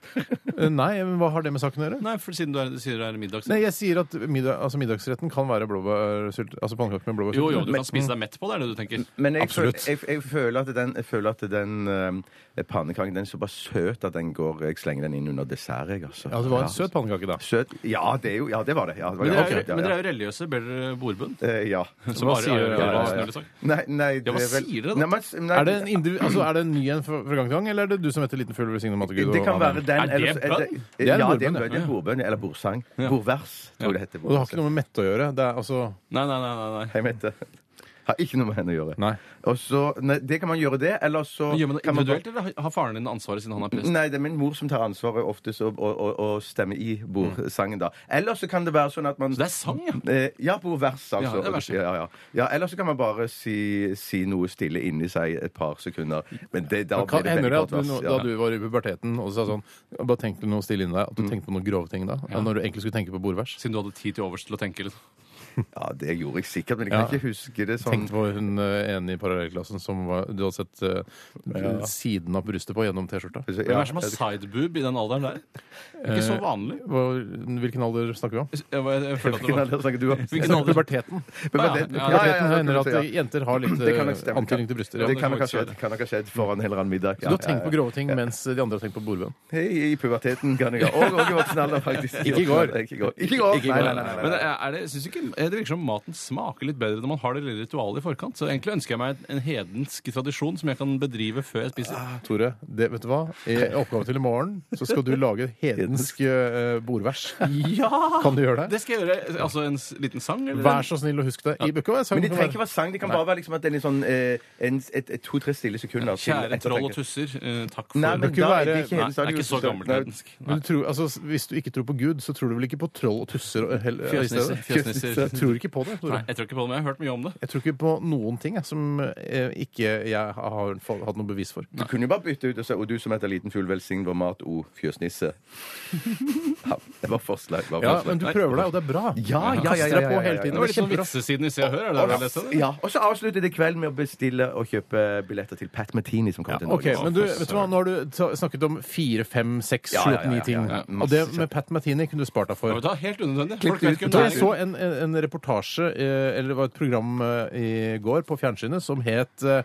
[SPEAKER 3] Eh, Nei, men hva har det med saken å gjøre?
[SPEAKER 4] (laughs) Nei, for siden du er, sier det er middags...
[SPEAKER 3] Nei, jeg sier at middag, altså middagsretten kan være blåbærsylt, altså pannekaker med blåbærsylt.
[SPEAKER 4] Jo, jo, du kan spise deg mett på det, er det du tenker?
[SPEAKER 5] Men jeg, føl,
[SPEAKER 3] Absolutt.
[SPEAKER 5] jeg, jeg føler at den, jeg føler at den eh, pannekaken den er såpass søt at den går, jeg slenger den inn under dessert. Jeg, altså.
[SPEAKER 3] Ja, det var en søt pannekake, da.
[SPEAKER 5] Søt? Ja, det, er jo, ja, det var det. Ja, det var,
[SPEAKER 4] Men
[SPEAKER 5] ja,
[SPEAKER 4] dere er,
[SPEAKER 5] ok, ja,
[SPEAKER 4] men
[SPEAKER 5] ja.
[SPEAKER 4] dere er jo religiøse, ber dere bordbønn?
[SPEAKER 5] Eh, ja.
[SPEAKER 4] Som
[SPEAKER 3] Hva
[SPEAKER 4] bare
[SPEAKER 3] sier dere?
[SPEAKER 4] er- er- er-
[SPEAKER 3] Ja,
[SPEAKER 4] er-
[SPEAKER 3] ja, ja.
[SPEAKER 4] er- er-
[SPEAKER 5] Nei, nei
[SPEAKER 4] liksom. Ja, hva
[SPEAKER 5] det er vel-
[SPEAKER 4] sier dere da?
[SPEAKER 5] Nei, men, nei,
[SPEAKER 3] Er det, en indiv altså, er det en ny en fra, fra gang til gang, eller er det du som heter Liten fugl ved signet om at Gud og
[SPEAKER 5] det kan være
[SPEAKER 3] Amen?
[SPEAKER 5] den
[SPEAKER 4] Er det
[SPEAKER 5] eller-
[SPEAKER 4] bønn?
[SPEAKER 5] Ja,
[SPEAKER 3] Det er en
[SPEAKER 5] det er
[SPEAKER 3] bordbønn,
[SPEAKER 5] en
[SPEAKER 3] ja.
[SPEAKER 5] bønn. det er Bordbønn eller bordsang. Bordvers, tror jeg det heter.
[SPEAKER 3] Og det har ikke noe med mette å gjøre. Det er altså
[SPEAKER 4] Nei, nei, nei. nei, nei.
[SPEAKER 5] Jeg vet det. Har ikke noe med henne å gjøre.
[SPEAKER 3] Nei.
[SPEAKER 5] Og så, nei, det kan man gjøre det, eller så
[SPEAKER 4] Men Gjør man det
[SPEAKER 5] kan
[SPEAKER 4] individuelt, eller har- har faren din ansvaret siden han er prest?
[SPEAKER 5] Nei, det er min mor som tar ansvaret oftest og, og, og, og stemmer i bordsangen, da. Eller så kan det være sånn at man
[SPEAKER 4] Så det er sang, ja?
[SPEAKER 5] Eh, Ja, bordvers,
[SPEAKER 4] Ja, det er
[SPEAKER 5] altså.
[SPEAKER 4] verset.
[SPEAKER 5] Ja, ja. ja, Eller så kan man bare si, si noe stille inni seg et par sekunder. Men det, da
[SPEAKER 3] Kan,
[SPEAKER 5] blir det
[SPEAKER 3] hender
[SPEAKER 5] veldig
[SPEAKER 3] det at
[SPEAKER 5] godt
[SPEAKER 3] du,
[SPEAKER 5] vers.
[SPEAKER 3] nå-
[SPEAKER 5] ja.
[SPEAKER 3] da du var i puberteten og sa sånn Bare tenkte du noe stille inni deg,
[SPEAKER 5] Mm.
[SPEAKER 3] at du tenkte på noen grove ting da? Når du egentlig skulle tenke på bordvers?
[SPEAKER 4] Siden du hadde tid til overs til å tenke liksom? litt.
[SPEAKER 5] Ja, det gjorde jeg sikkert, men jeg
[SPEAKER 3] Ja.
[SPEAKER 5] kan ikke huske det sånn.
[SPEAKER 3] Tenkte på hun eh, ene i parallellklassen som var, du hadde sett eh, siden av brystet på gjennom T-skjorta.
[SPEAKER 4] Hvem er
[SPEAKER 5] Ja,
[SPEAKER 4] Eh, det som har
[SPEAKER 5] jeg-
[SPEAKER 4] sideboob i den alderen der? Det er ikke så vanlig.
[SPEAKER 3] Hva- Hvilken alder snakker vi om?
[SPEAKER 4] Jeg, (laughs) jeg, jeg føler at det
[SPEAKER 5] Hvilken
[SPEAKER 4] var...
[SPEAKER 5] alder snakker du om?
[SPEAKER 4] Hvilken
[SPEAKER 3] Snakker
[SPEAKER 4] alder?
[SPEAKER 3] Puberteten.
[SPEAKER 4] Ja,
[SPEAKER 5] Men det-
[SPEAKER 4] ja,
[SPEAKER 5] ja, ja,
[SPEAKER 3] Puberteten
[SPEAKER 5] ja,
[SPEAKER 3] hender
[SPEAKER 5] det
[SPEAKER 3] at
[SPEAKER 5] kan jeg si, ja.
[SPEAKER 3] jenter har litt
[SPEAKER 5] Det kan nok
[SPEAKER 3] eh,
[SPEAKER 5] stemme.
[SPEAKER 3] antydning til bryster.
[SPEAKER 5] Det
[SPEAKER 3] Ja.
[SPEAKER 5] kan nok ha
[SPEAKER 4] faktisk
[SPEAKER 5] skjedd, kan nok ha skjedd foran en eller annen middag.
[SPEAKER 3] Du
[SPEAKER 5] Ja,
[SPEAKER 3] har tenkt
[SPEAKER 5] ja,
[SPEAKER 3] på grove ting mens de andre har tenkt på bordbønn.
[SPEAKER 5] ja. Hei, I puberteten kan jeg ha Og og i voksen alder, faktisk.
[SPEAKER 3] Ikke i går.
[SPEAKER 5] Ikke i går. Ikke i går.
[SPEAKER 3] Ikke i
[SPEAKER 5] Nei,
[SPEAKER 3] går.
[SPEAKER 5] nei, nei, nei,
[SPEAKER 4] Men eh,
[SPEAKER 5] nei.
[SPEAKER 4] er det, synes ikke, eh, det virker som maten smaker litt bedre når man har det lille ritualet i forkant. Så egentlig ønsker jeg meg en- en hedensk tradisjon som jeg kan bedrive før jeg spiser.
[SPEAKER 5] Ah.
[SPEAKER 3] Tore, det, vet du hva? I oppgave til i morgen så skal du lage hedensk eh, bordvers.
[SPEAKER 4] Ja!
[SPEAKER 3] Kan du gjøre det?
[SPEAKER 4] Det skal jeg gjøre. Altså en s- liten sang? Eller?
[SPEAKER 3] Vær så snill å huske det. I bøker,
[SPEAKER 5] Men de trenger ikke være sang, de kan bare være liksom at det er litt sånn eh, en, et, et, to-tre stille sekunder. til
[SPEAKER 4] Kjære
[SPEAKER 5] ettertanke.
[SPEAKER 4] troll og tusser, eh, takk for
[SPEAKER 5] Nei, men
[SPEAKER 3] Det
[SPEAKER 5] da
[SPEAKER 3] kunne
[SPEAKER 5] er det
[SPEAKER 3] være-
[SPEAKER 5] ikke
[SPEAKER 4] Nei,
[SPEAKER 5] hele
[SPEAKER 4] det er ikke så gammelhedensk.
[SPEAKER 3] men du tror, altså, hvis du ikke tror på Gud, så tror du vel ikke på troll og tusser? og- hell- i
[SPEAKER 4] Fjøsnisser,
[SPEAKER 3] stedet?
[SPEAKER 4] fjøsnisser.
[SPEAKER 3] Jeg tror ikke på det. Tore.
[SPEAKER 4] Nei, jeg tror ikke på det, men jeg har hørt mye om det.
[SPEAKER 3] Jeg tror ikke på noen ting jeg, som eh, ikke jeg har fa- hatt noe bevis for.
[SPEAKER 5] Du kunne jo bare bytte ut og si 'Og du som heter liten fugl, velsign vår mat, o fjøsnisse'. Ja, det var forslag. Det var
[SPEAKER 3] Ja,
[SPEAKER 5] forslag.
[SPEAKER 3] men du prøver deg, og det er bra.
[SPEAKER 5] Ja, ja, ja, ja,
[SPEAKER 3] Kaster deg
[SPEAKER 5] ja,
[SPEAKER 3] på
[SPEAKER 5] ja, ja,
[SPEAKER 3] hele
[SPEAKER 4] Det
[SPEAKER 5] ja.
[SPEAKER 3] tiden.
[SPEAKER 4] var
[SPEAKER 3] Det
[SPEAKER 4] litt
[SPEAKER 3] er
[SPEAKER 4] sånn
[SPEAKER 3] kjempebra.
[SPEAKER 4] vitsesiden i Se og Hør. Er det det jeg leste? eller?
[SPEAKER 5] Ja, og så avslutter det kvelden med å bestille og kjøpe billetter til Pat Martini som kommer til
[SPEAKER 3] Ok,
[SPEAKER 5] Norge.
[SPEAKER 3] men du, vet du hva, Nå har du ta- snakket om fire, fem, seks,
[SPEAKER 5] Ja,
[SPEAKER 3] sju,
[SPEAKER 5] ja,
[SPEAKER 3] åtte, ni
[SPEAKER 5] ja,
[SPEAKER 3] ting.
[SPEAKER 5] ja, ja.
[SPEAKER 3] Og det med Pat Martini kunne du spart deg
[SPEAKER 4] Ja,
[SPEAKER 3] for.
[SPEAKER 4] men da, helt unødvendig.
[SPEAKER 5] Klipp
[SPEAKER 4] Folk vet
[SPEAKER 5] ut.
[SPEAKER 4] ikke om
[SPEAKER 3] Du,
[SPEAKER 4] det
[SPEAKER 3] jeg
[SPEAKER 4] er
[SPEAKER 3] så en, en, en reportasje, eh, eller det var et program eh, i går på fjernsynet, som het eh,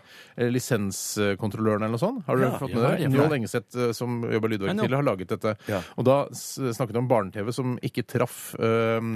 [SPEAKER 3] Lisenskontrolløren eller noe sånt. Har du fått med
[SPEAKER 4] ja,
[SPEAKER 3] det?
[SPEAKER 4] ja.
[SPEAKER 3] Njål Engeseth, eh, som jobber i Lydverket
[SPEAKER 4] Nei, nå.
[SPEAKER 3] tidligere, har laget dette.
[SPEAKER 5] Ja.
[SPEAKER 3] Og da s- snakket de om barne-TV som ikke traff eh,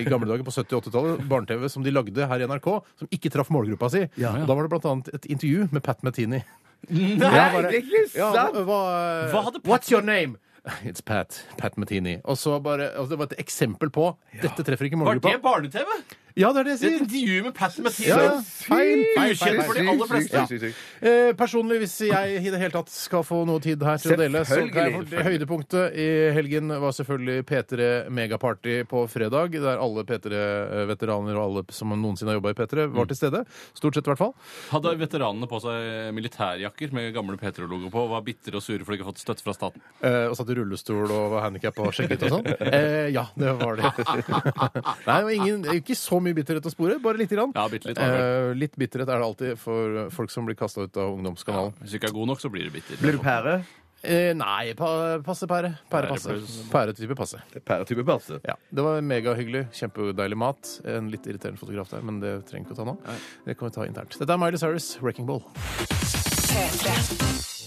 [SPEAKER 3] i gamle dager på 70- og 80-tallet. Barne-TV som de lagde her i NRK, som ikke traff målgruppa si.
[SPEAKER 4] ja.
[SPEAKER 3] Og da var det blant annet et intervju med Pat Metini.
[SPEAKER 5] Nei, det er ikke
[SPEAKER 3] Ja,
[SPEAKER 5] sant!
[SPEAKER 3] hva, eh,
[SPEAKER 4] Hva hadde Pat-
[SPEAKER 3] What's your name? (laughs) It's Pat. Pat Metini. Og så bare, altså det var et eksempel på Dette treffer ikke
[SPEAKER 4] Var
[SPEAKER 3] målgruppa.
[SPEAKER 4] det barne-TV?
[SPEAKER 3] Ja, det er det jeg
[SPEAKER 4] Det er Et
[SPEAKER 3] sier.
[SPEAKER 4] intervju med Pat
[SPEAKER 3] Ja, ja.
[SPEAKER 4] Mathisen.
[SPEAKER 3] Feil, feil, feil,
[SPEAKER 4] Ukjent for de
[SPEAKER 3] feil.
[SPEAKER 4] aller fleste.
[SPEAKER 5] Sykt, sykt, sykt.
[SPEAKER 3] Eh, personlig, hvis jeg i det hele tatt skal få noe tid her til å dele, så kan jeg
[SPEAKER 5] Selvfølgelig.
[SPEAKER 3] Høydepunktet i helgen var selvfølgelig P3 Megaparty på fredag, der alle P3-veteraner og alle som noensinne har jobba i P3,
[SPEAKER 4] Mm.
[SPEAKER 3] var til stede. Stort sett, i hvert fall.
[SPEAKER 4] Hadde veteranene på seg militærjakker med gamle Petro-logo på og var bitre og sure for de ikke har fått støtte fra staten?
[SPEAKER 3] Eh, og satt i rullestol og var handikappa og sjekket og sånn.
[SPEAKER 4] (laughs)
[SPEAKER 3] Eh, ja, det var det. (laughs) Nei, og ingen, ikke så mye bitterhet å spore, bare lite grann.
[SPEAKER 4] Ja, bitte litt var det
[SPEAKER 3] eh, litt bitterhet er det alltid for folk som blir kasta ut av ungdomskanalen.
[SPEAKER 4] Hvis du ikke er god nok, så blir du bitter.
[SPEAKER 5] Blir du pære?
[SPEAKER 3] Eh, nei, pa, passe pære. Pære passe.
[SPEAKER 4] pluss.
[SPEAKER 3] Pæretype passe.
[SPEAKER 5] Pæretype pølse.
[SPEAKER 3] Ja, Det var megahyggelig. Kjempedeilig mat. En litt irriterende fotograf der, men det trenger vi ikke å ta nå. Det kan vi ta internt. Dette er Miley Cyrus, 'Wrecking Ball'.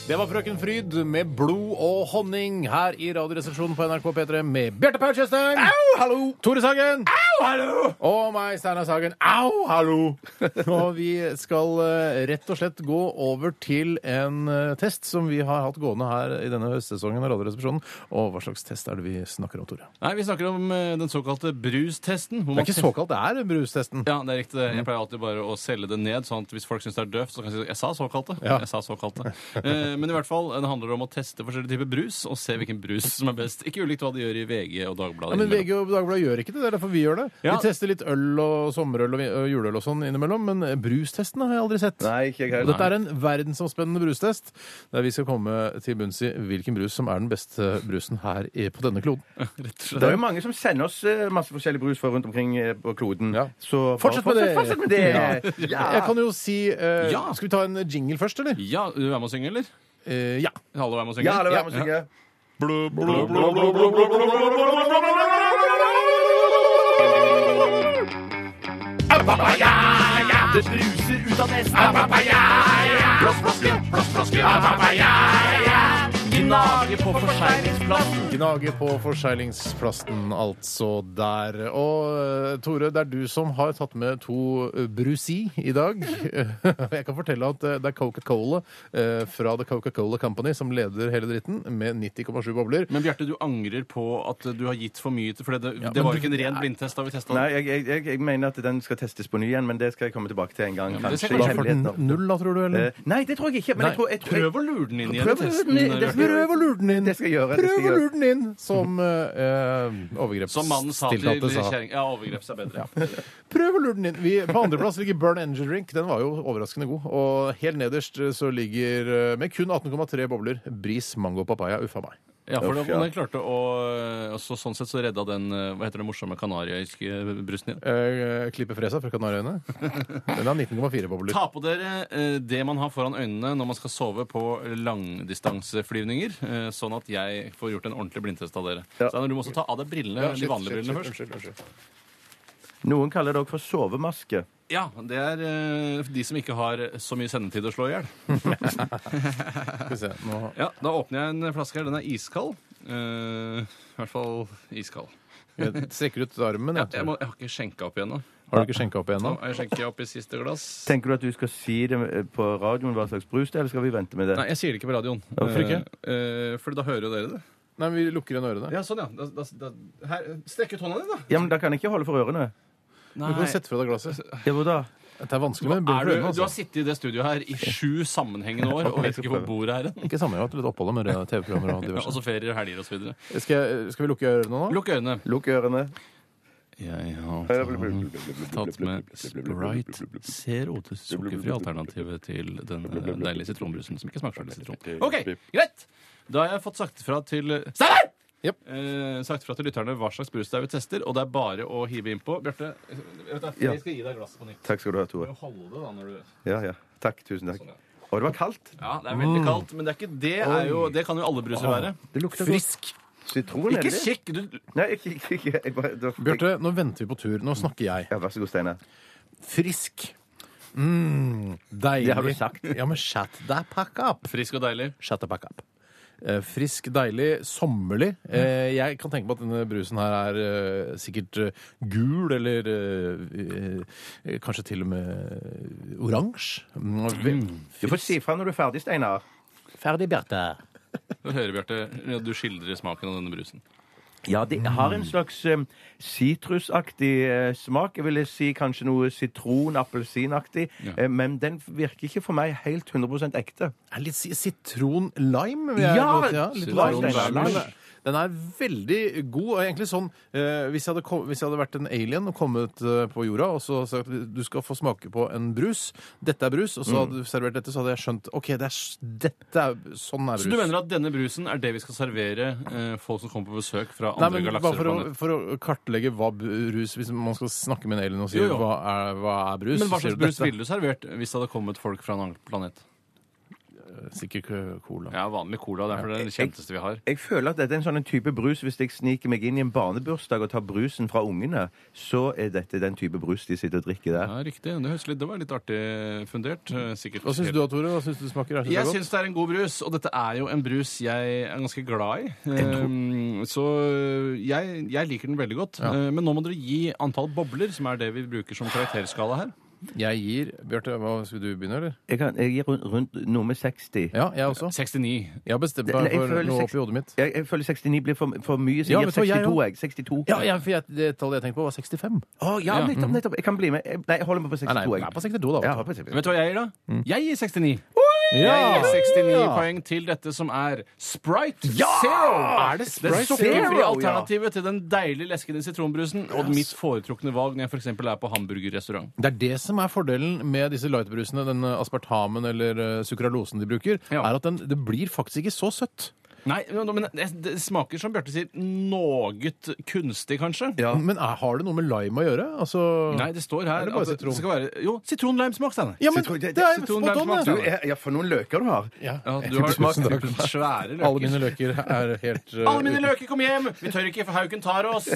[SPEAKER 3] Det var Frøken Fryd med blod og honning her i Radioresepsjonen på NRK P3 med Bjarte Paul Tjøstheim. Au, hallo! Tore Sagen. Au, hallo! Og meg, Steinar Sagen. Au, hallo! (laughs) og vi skal eh, rett og slett gå over til en eh, test som vi har hatt gående her i denne høstsesongen av Radioresepsjonen. Og hva slags test er det vi snakker om, Tore?
[SPEAKER 4] Nei, vi snakker om eh, den såkalte brustesten. hvor
[SPEAKER 3] Det
[SPEAKER 4] man-
[SPEAKER 3] er ikke såkalt det er brustesten.
[SPEAKER 4] Ja, det er riktig. Jeg pleier alltid bare å selge det ned, sånn at hvis folk syns det er døvt, så kan de si jeg sa såkalte.
[SPEAKER 3] Ja.
[SPEAKER 4] Jeg sa såkalte. Eh, Men i hvert fall, det handler om å teste forskjellige typer brus, og se hvilken brus som er best. Ikke ulikt hva de gjør i VG og Dagbladet.
[SPEAKER 3] Ja, men
[SPEAKER 4] innimellom.
[SPEAKER 3] VG og Dagbladet gjør ikke det. Det er derfor vi gjør det.
[SPEAKER 4] Ja.
[SPEAKER 3] Vi tester litt øl og sommerøl og vi- og juleøl og sånn innimellom, men eh, brustesten har jeg aldri sett.
[SPEAKER 5] Nei, ikke jeg
[SPEAKER 3] Og
[SPEAKER 5] heller.
[SPEAKER 3] dette er en verdensomspennende brustest, der vi skal komme til bunns i hvilken brus som er den beste brusen her i- på denne kloden.
[SPEAKER 4] Rett og
[SPEAKER 5] Det er
[SPEAKER 4] slett.
[SPEAKER 5] jo mange som sender oss eh, masse forskjellig brus fra rundt omkring eh, på kloden.
[SPEAKER 3] Ja.
[SPEAKER 5] Så bare
[SPEAKER 3] Fortsett med det!
[SPEAKER 5] Fortsett med det.
[SPEAKER 3] Jeg kan jo si eh,
[SPEAKER 4] Ja.
[SPEAKER 3] Skal vi ta en jingle først, eller?
[SPEAKER 4] Ja, du er med å synge, eller?
[SPEAKER 3] Eh, ja.
[SPEAKER 4] Alle være med og synge?
[SPEAKER 5] Ja, alle vær med å synge.
[SPEAKER 4] Det bruser ut av nesten. Plastflaske, plastflaske. Gnage på forseglingsplassen.
[SPEAKER 3] Gnage på forseglingsplasten, altså der. Og eh, Tore, det er du som har tatt med to eh, brusi i dag. (laughs) Jeg kan fortelle at eh, det er Coca-Cola eh, fra The Coca-Cola Company som leder hele dritten, med 90,7 bobler.
[SPEAKER 4] Men Bjarte, du angrer på at du har gitt for mye til For det, det
[SPEAKER 3] men
[SPEAKER 4] var
[SPEAKER 3] du-
[SPEAKER 4] jo ikke en ren blindtest da vi testa
[SPEAKER 5] Nei,
[SPEAKER 4] den.
[SPEAKER 5] jeg, jeg, jeg, jeg mener at den skal testes på ny igjen, men det skal jeg komme tilbake til en gang.
[SPEAKER 4] men det
[SPEAKER 5] kanskje
[SPEAKER 4] skal
[SPEAKER 5] i
[SPEAKER 4] kanskje
[SPEAKER 3] Får den
[SPEAKER 5] hemmeligheten.
[SPEAKER 3] null, da, tror du? eller?
[SPEAKER 5] Eh, Nei, det tror jeg ikke. Men
[SPEAKER 3] Nei,
[SPEAKER 5] jeg tror, jeg tror jeg,
[SPEAKER 4] Prøv å lure den inn igjen i testen.
[SPEAKER 5] Prøv å lure den
[SPEAKER 4] eh,
[SPEAKER 5] inn, det skal
[SPEAKER 4] Bjarte.
[SPEAKER 3] Prøv å lure den inn!
[SPEAKER 5] Det skal jeg gjøre, det skal
[SPEAKER 3] Prøv
[SPEAKER 5] jeg
[SPEAKER 3] å
[SPEAKER 5] gjøre.
[SPEAKER 3] lure den inn, som eh, overgreps-
[SPEAKER 4] Som mannen sa til
[SPEAKER 3] tiltalte sa.
[SPEAKER 4] kjerringa. Ja, overgreps er bedre.
[SPEAKER 3] Prøv å lure den inn. Vi, på andreplass ligger Burn Engine Drink. Den var jo overraskende god. Og helt nederst eh, så ligger, eh, med kun 18,3 bobler, Bris mango papaya. Uffa meg.
[SPEAKER 4] Ja, for
[SPEAKER 5] Uff,
[SPEAKER 4] det,
[SPEAKER 5] ja.
[SPEAKER 4] den klarte å altså, Sånn sett så redda den eh, hva heter det morsomme kanariøyske eh, brusten din.
[SPEAKER 3] Uh, Klippe fresa fra Kanariøyene. Den har 19,4 bobler.
[SPEAKER 4] Ta på dere eh, det man har foran øynene når man skal sove på langdistanseflyvninger, eh, sånn at jeg får gjort en ordentlig blindtest av dere.
[SPEAKER 5] Ja.
[SPEAKER 4] Så du må også ta av deg brillene,
[SPEAKER 3] Ja, shit,
[SPEAKER 4] de vanlige
[SPEAKER 3] shit,
[SPEAKER 4] brillene
[SPEAKER 3] shit,
[SPEAKER 4] først.
[SPEAKER 3] unnskyld, unnskyld.
[SPEAKER 5] noen kaller det også for sovemaske.
[SPEAKER 4] Ja, det er eh, de som ikke har så mye sendetid å slå i hjel.
[SPEAKER 3] Skal vi se. Nå
[SPEAKER 4] Ja, da åpner jeg en flaske her. Den er iskald. Eh, I hvert fall iskald.
[SPEAKER 3] jeg strekker ut armen.
[SPEAKER 4] Ja,
[SPEAKER 3] jeg
[SPEAKER 4] jeg,
[SPEAKER 3] tror.
[SPEAKER 4] må, jeg har ikke skjenka opp igjen nå.
[SPEAKER 3] Har du ikke skjenka opp
[SPEAKER 4] Nå
[SPEAKER 3] ennå?
[SPEAKER 4] har jeg skjenket opp i siste glass.
[SPEAKER 5] Tenker du at du skal si det eh, på radioen hva slags brus det er, eller skal vi vente med det?
[SPEAKER 4] Nei, jeg sier det ikke på radioen.
[SPEAKER 5] Hvorfor ikke?
[SPEAKER 4] Eh, eh, for da hører jo dere det.
[SPEAKER 3] Nei, vi lukker igjen ørene.
[SPEAKER 4] Ja, sånn, ja. Da, da, da, her, strekk ut hånda di, da.
[SPEAKER 5] Ja, men Da kan jeg ikke holde for ørene.
[SPEAKER 3] Du kan sette fra deg glasset.
[SPEAKER 5] Ja, hvor da?
[SPEAKER 3] Det er vanskelig med
[SPEAKER 4] Er
[SPEAKER 3] briller for
[SPEAKER 4] du,
[SPEAKER 3] øynene.
[SPEAKER 4] du
[SPEAKER 3] Altså.
[SPEAKER 4] har sittet i det studioet her i sju sammenhengende år
[SPEAKER 3] (laughs)
[SPEAKER 4] og vet ikke hvor bordet er hen.
[SPEAKER 3] Ikke samme, jeg har hatt litt opphold med TV-programmer
[SPEAKER 4] (laughs)
[SPEAKER 3] og diverse.
[SPEAKER 4] Altså ferier, helger osv.
[SPEAKER 3] Skal, jeg- skal vi lukke ørene nå?
[SPEAKER 4] altså- Lukk øynene.
[SPEAKER 5] Lukk ørene.
[SPEAKER 4] Jeg har tatt med Sprite Zero til sukkerfri alternativet til den eh, deilige sitronbrusen som ikke smaker så veldig sitron. OK, greit! Da har jeg fått sagt fra til Steinar!
[SPEAKER 3] Jep.
[SPEAKER 4] Eh, sagt fra til lytterne hva slags brus det er vi tester, og det er bare å hive innpå. Bjarte, jeg vet da,
[SPEAKER 5] Ja.
[SPEAKER 4] jeg skal gi deg glasset på nytt.
[SPEAKER 5] Takk skal du ha,
[SPEAKER 4] Du
[SPEAKER 5] Tore.
[SPEAKER 4] må holde det da når du
[SPEAKER 5] Ja, ja. Takk. Tusen takk.
[SPEAKER 4] Sånn, ja.
[SPEAKER 5] Og det var kaldt.
[SPEAKER 4] Ja, det er veldig kaldt, men det, er ikke, det, er jo, det kan jo alle bruser være.
[SPEAKER 5] Mm. Ah, Det lukta
[SPEAKER 3] Frisk.
[SPEAKER 5] godt. Sitron, er
[SPEAKER 4] Ikke
[SPEAKER 5] det?
[SPEAKER 4] kikk! Du,
[SPEAKER 5] Nei, ikke, ikke, ikke. Jeg bare, det var-
[SPEAKER 3] Bjarte, nå venter vi på tur. Nå snakker jeg.
[SPEAKER 5] Ja, vær så god, Steinar.
[SPEAKER 3] Frisk. Mm, deilig.
[SPEAKER 5] Det har du sagt.
[SPEAKER 3] Ja, men shut the pack up.
[SPEAKER 4] frisk og deilig.
[SPEAKER 3] Shut the pack up. Eh, Frisk, deilig, sommerlig. Eh, Jeg kan tenke på at denne brusen her er eh, sikkert eh, gul, eller eh, eh, kanskje til og med eh, oransje. Mm, og ve-
[SPEAKER 5] Du får si fra når du er ferdig, Steinar.
[SPEAKER 3] Ferdig, Bjarte.
[SPEAKER 4] Du hører, Bjarte, ja, du skildrer smaken av denne brusen.
[SPEAKER 5] Ja, det har en slags eh, sitrusaktig eh, smak. Jeg ville si kanskje noe sitron-appelsinaktig.
[SPEAKER 4] Ja.
[SPEAKER 5] eh, men den virker ikke for meg helt 100 ekte.
[SPEAKER 3] Er litt si- sitron-lime? vil jeg
[SPEAKER 5] Ja,
[SPEAKER 3] godt- ja, litt
[SPEAKER 5] sitron-
[SPEAKER 3] lime.
[SPEAKER 5] lime.
[SPEAKER 3] Men det- Den er veldig god. og egentlig sånn, eh, hvis, jeg hadde kom, hvis jeg hadde vært en alien og kommet eh, på jorda og så sagt du skal få smake på en brus, dette er brus, og så hadde du servert dette, så hadde jeg skjønt OK, det er, s- dette er, sånn er brus.
[SPEAKER 4] Så du mener at denne brusen er det vi skal servere eh, folk som kommer på besøk fra
[SPEAKER 3] Nei,
[SPEAKER 4] andre
[SPEAKER 3] men bare
[SPEAKER 4] galakser?
[SPEAKER 3] for
[SPEAKER 4] og
[SPEAKER 3] å,
[SPEAKER 4] planeter?
[SPEAKER 3] for å kartlegge hva brus Hvis man skal snakke med en alien og si
[SPEAKER 4] Jo, jo.
[SPEAKER 3] Hva, er, hva er brus,
[SPEAKER 4] Men hva
[SPEAKER 3] så sier
[SPEAKER 4] slags
[SPEAKER 3] du
[SPEAKER 4] brus
[SPEAKER 3] dette.
[SPEAKER 4] ville du servert hvis det hadde kommet folk fra en annen planet?
[SPEAKER 3] Sikkert eh, cola.
[SPEAKER 4] Ja, vanlig cola. Det er for det er det kjenteste vi har.
[SPEAKER 5] Jeg føler at dette er en sånn type brus Hvis jeg sniker meg inn i en barnebursdag og tar brusen fra ungene, så er dette den type brus de sitter og drikker der.
[SPEAKER 4] Ja, riktig. Det, høres litt, det var litt artig fundert. eh, Sikkert.
[SPEAKER 3] Hva syns du, Tore? Hva syns du smaker? Er det
[SPEAKER 4] Jeg
[SPEAKER 3] godt?
[SPEAKER 4] syns det er en god brus, og dette er jo en brus jeg er ganske glad i. Ehm, Så jeg, jeg liker den veldig godt. Eh, Men nå må dere gi antall bobler, som er det vi bruker som karakterskala her.
[SPEAKER 3] Jeg gir Bjarte, hva skal du begynne, eller?
[SPEAKER 5] Jeg, kan, jeg gir rundt, rundt nummer 60.
[SPEAKER 3] Ja, jeg også.
[SPEAKER 4] 69.
[SPEAKER 3] Jeg har bestemt
[SPEAKER 5] Det-
[SPEAKER 3] meg
[SPEAKER 5] nei, jeg
[SPEAKER 3] for
[SPEAKER 5] føler
[SPEAKER 3] noe
[SPEAKER 5] seks-
[SPEAKER 3] oppi hodet mitt.
[SPEAKER 5] Jeg, jeg føler 69 blir for, for mye, så
[SPEAKER 3] Ja,
[SPEAKER 5] jeg gir
[SPEAKER 3] vet du hva, jeg
[SPEAKER 5] 62. Jeg, 62.
[SPEAKER 3] Ja, ja, for jeg, Det tallet jeg tenkte på, var 65.
[SPEAKER 5] Å, ja,
[SPEAKER 4] Ja.
[SPEAKER 5] nettopp, nettopp. Jeg kan bli med. Jeg- Nei, jeg holder meg på 62.
[SPEAKER 3] Nei, nei,
[SPEAKER 5] jeg.
[SPEAKER 3] jeg er på 62, da.
[SPEAKER 5] Ja, jeg
[SPEAKER 3] vet
[SPEAKER 5] holder på 62.
[SPEAKER 4] Vet du hva jeg gir, da?
[SPEAKER 3] Mm.
[SPEAKER 4] Jeg gir 69. Jeg
[SPEAKER 3] Ja!
[SPEAKER 4] gir 69
[SPEAKER 3] Ja.
[SPEAKER 4] poeng til dette som er Sprite Zero! Er det
[SPEAKER 3] Sprite
[SPEAKER 5] Zero,
[SPEAKER 4] sukkerfrie
[SPEAKER 5] ja?
[SPEAKER 4] alternativet til den deilig leskende sitronbrusen og mitt foretrukne valg når jeg f.eks. er på hamburgerrestaurant.
[SPEAKER 3] du. Det er det som er fordelen med disse lightbrusene, den eh, aspartamen eller eh, sukralosen de bruker,
[SPEAKER 4] Ja.
[SPEAKER 3] er at den, det blir faktisk ikke så søtt.
[SPEAKER 4] Nei, men men det, det smaker, som Bjarte sier, noe kunstig, kanskje.
[SPEAKER 3] Men er, har det noe med lime å gjøre? Altså,
[SPEAKER 4] Nei, det står her
[SPEAKER 3] Er det bare
[SPEAKER 4] at det
[SPEAKER 3] sitron?
[SPEAKER 4] skal være Jo, sitronlimesmak, Steinar.
[SPEAKER 3] Ja, men
[SPEAKER 5] Sitron-
[SPEAKER 3] det
[SPEAKER 5] det-
[SPEAKER 3] er
[SPEAKER 4] sitron-
[SPEAKER 3] spot on,
[SPEAKER 4] lime-
[SPEAKER 5] Du,
[SPEAKER 3] det! altså.
[SPEAKER 5] jeg, ja, for noen løker du har.
[SPEAKER 3] Ja.
[SPEAKER 4] Ja, (laughs) du har
[SPEAKER 3] Tusen takk.
[SPEAKER 4] svære løker.
[SPEAKER 3] Alle mine løker er helt uh,
[SPEAKER 4] Alle mine løker, kom hjem! Vi tør ikke, for hauken tar (laughs) oss.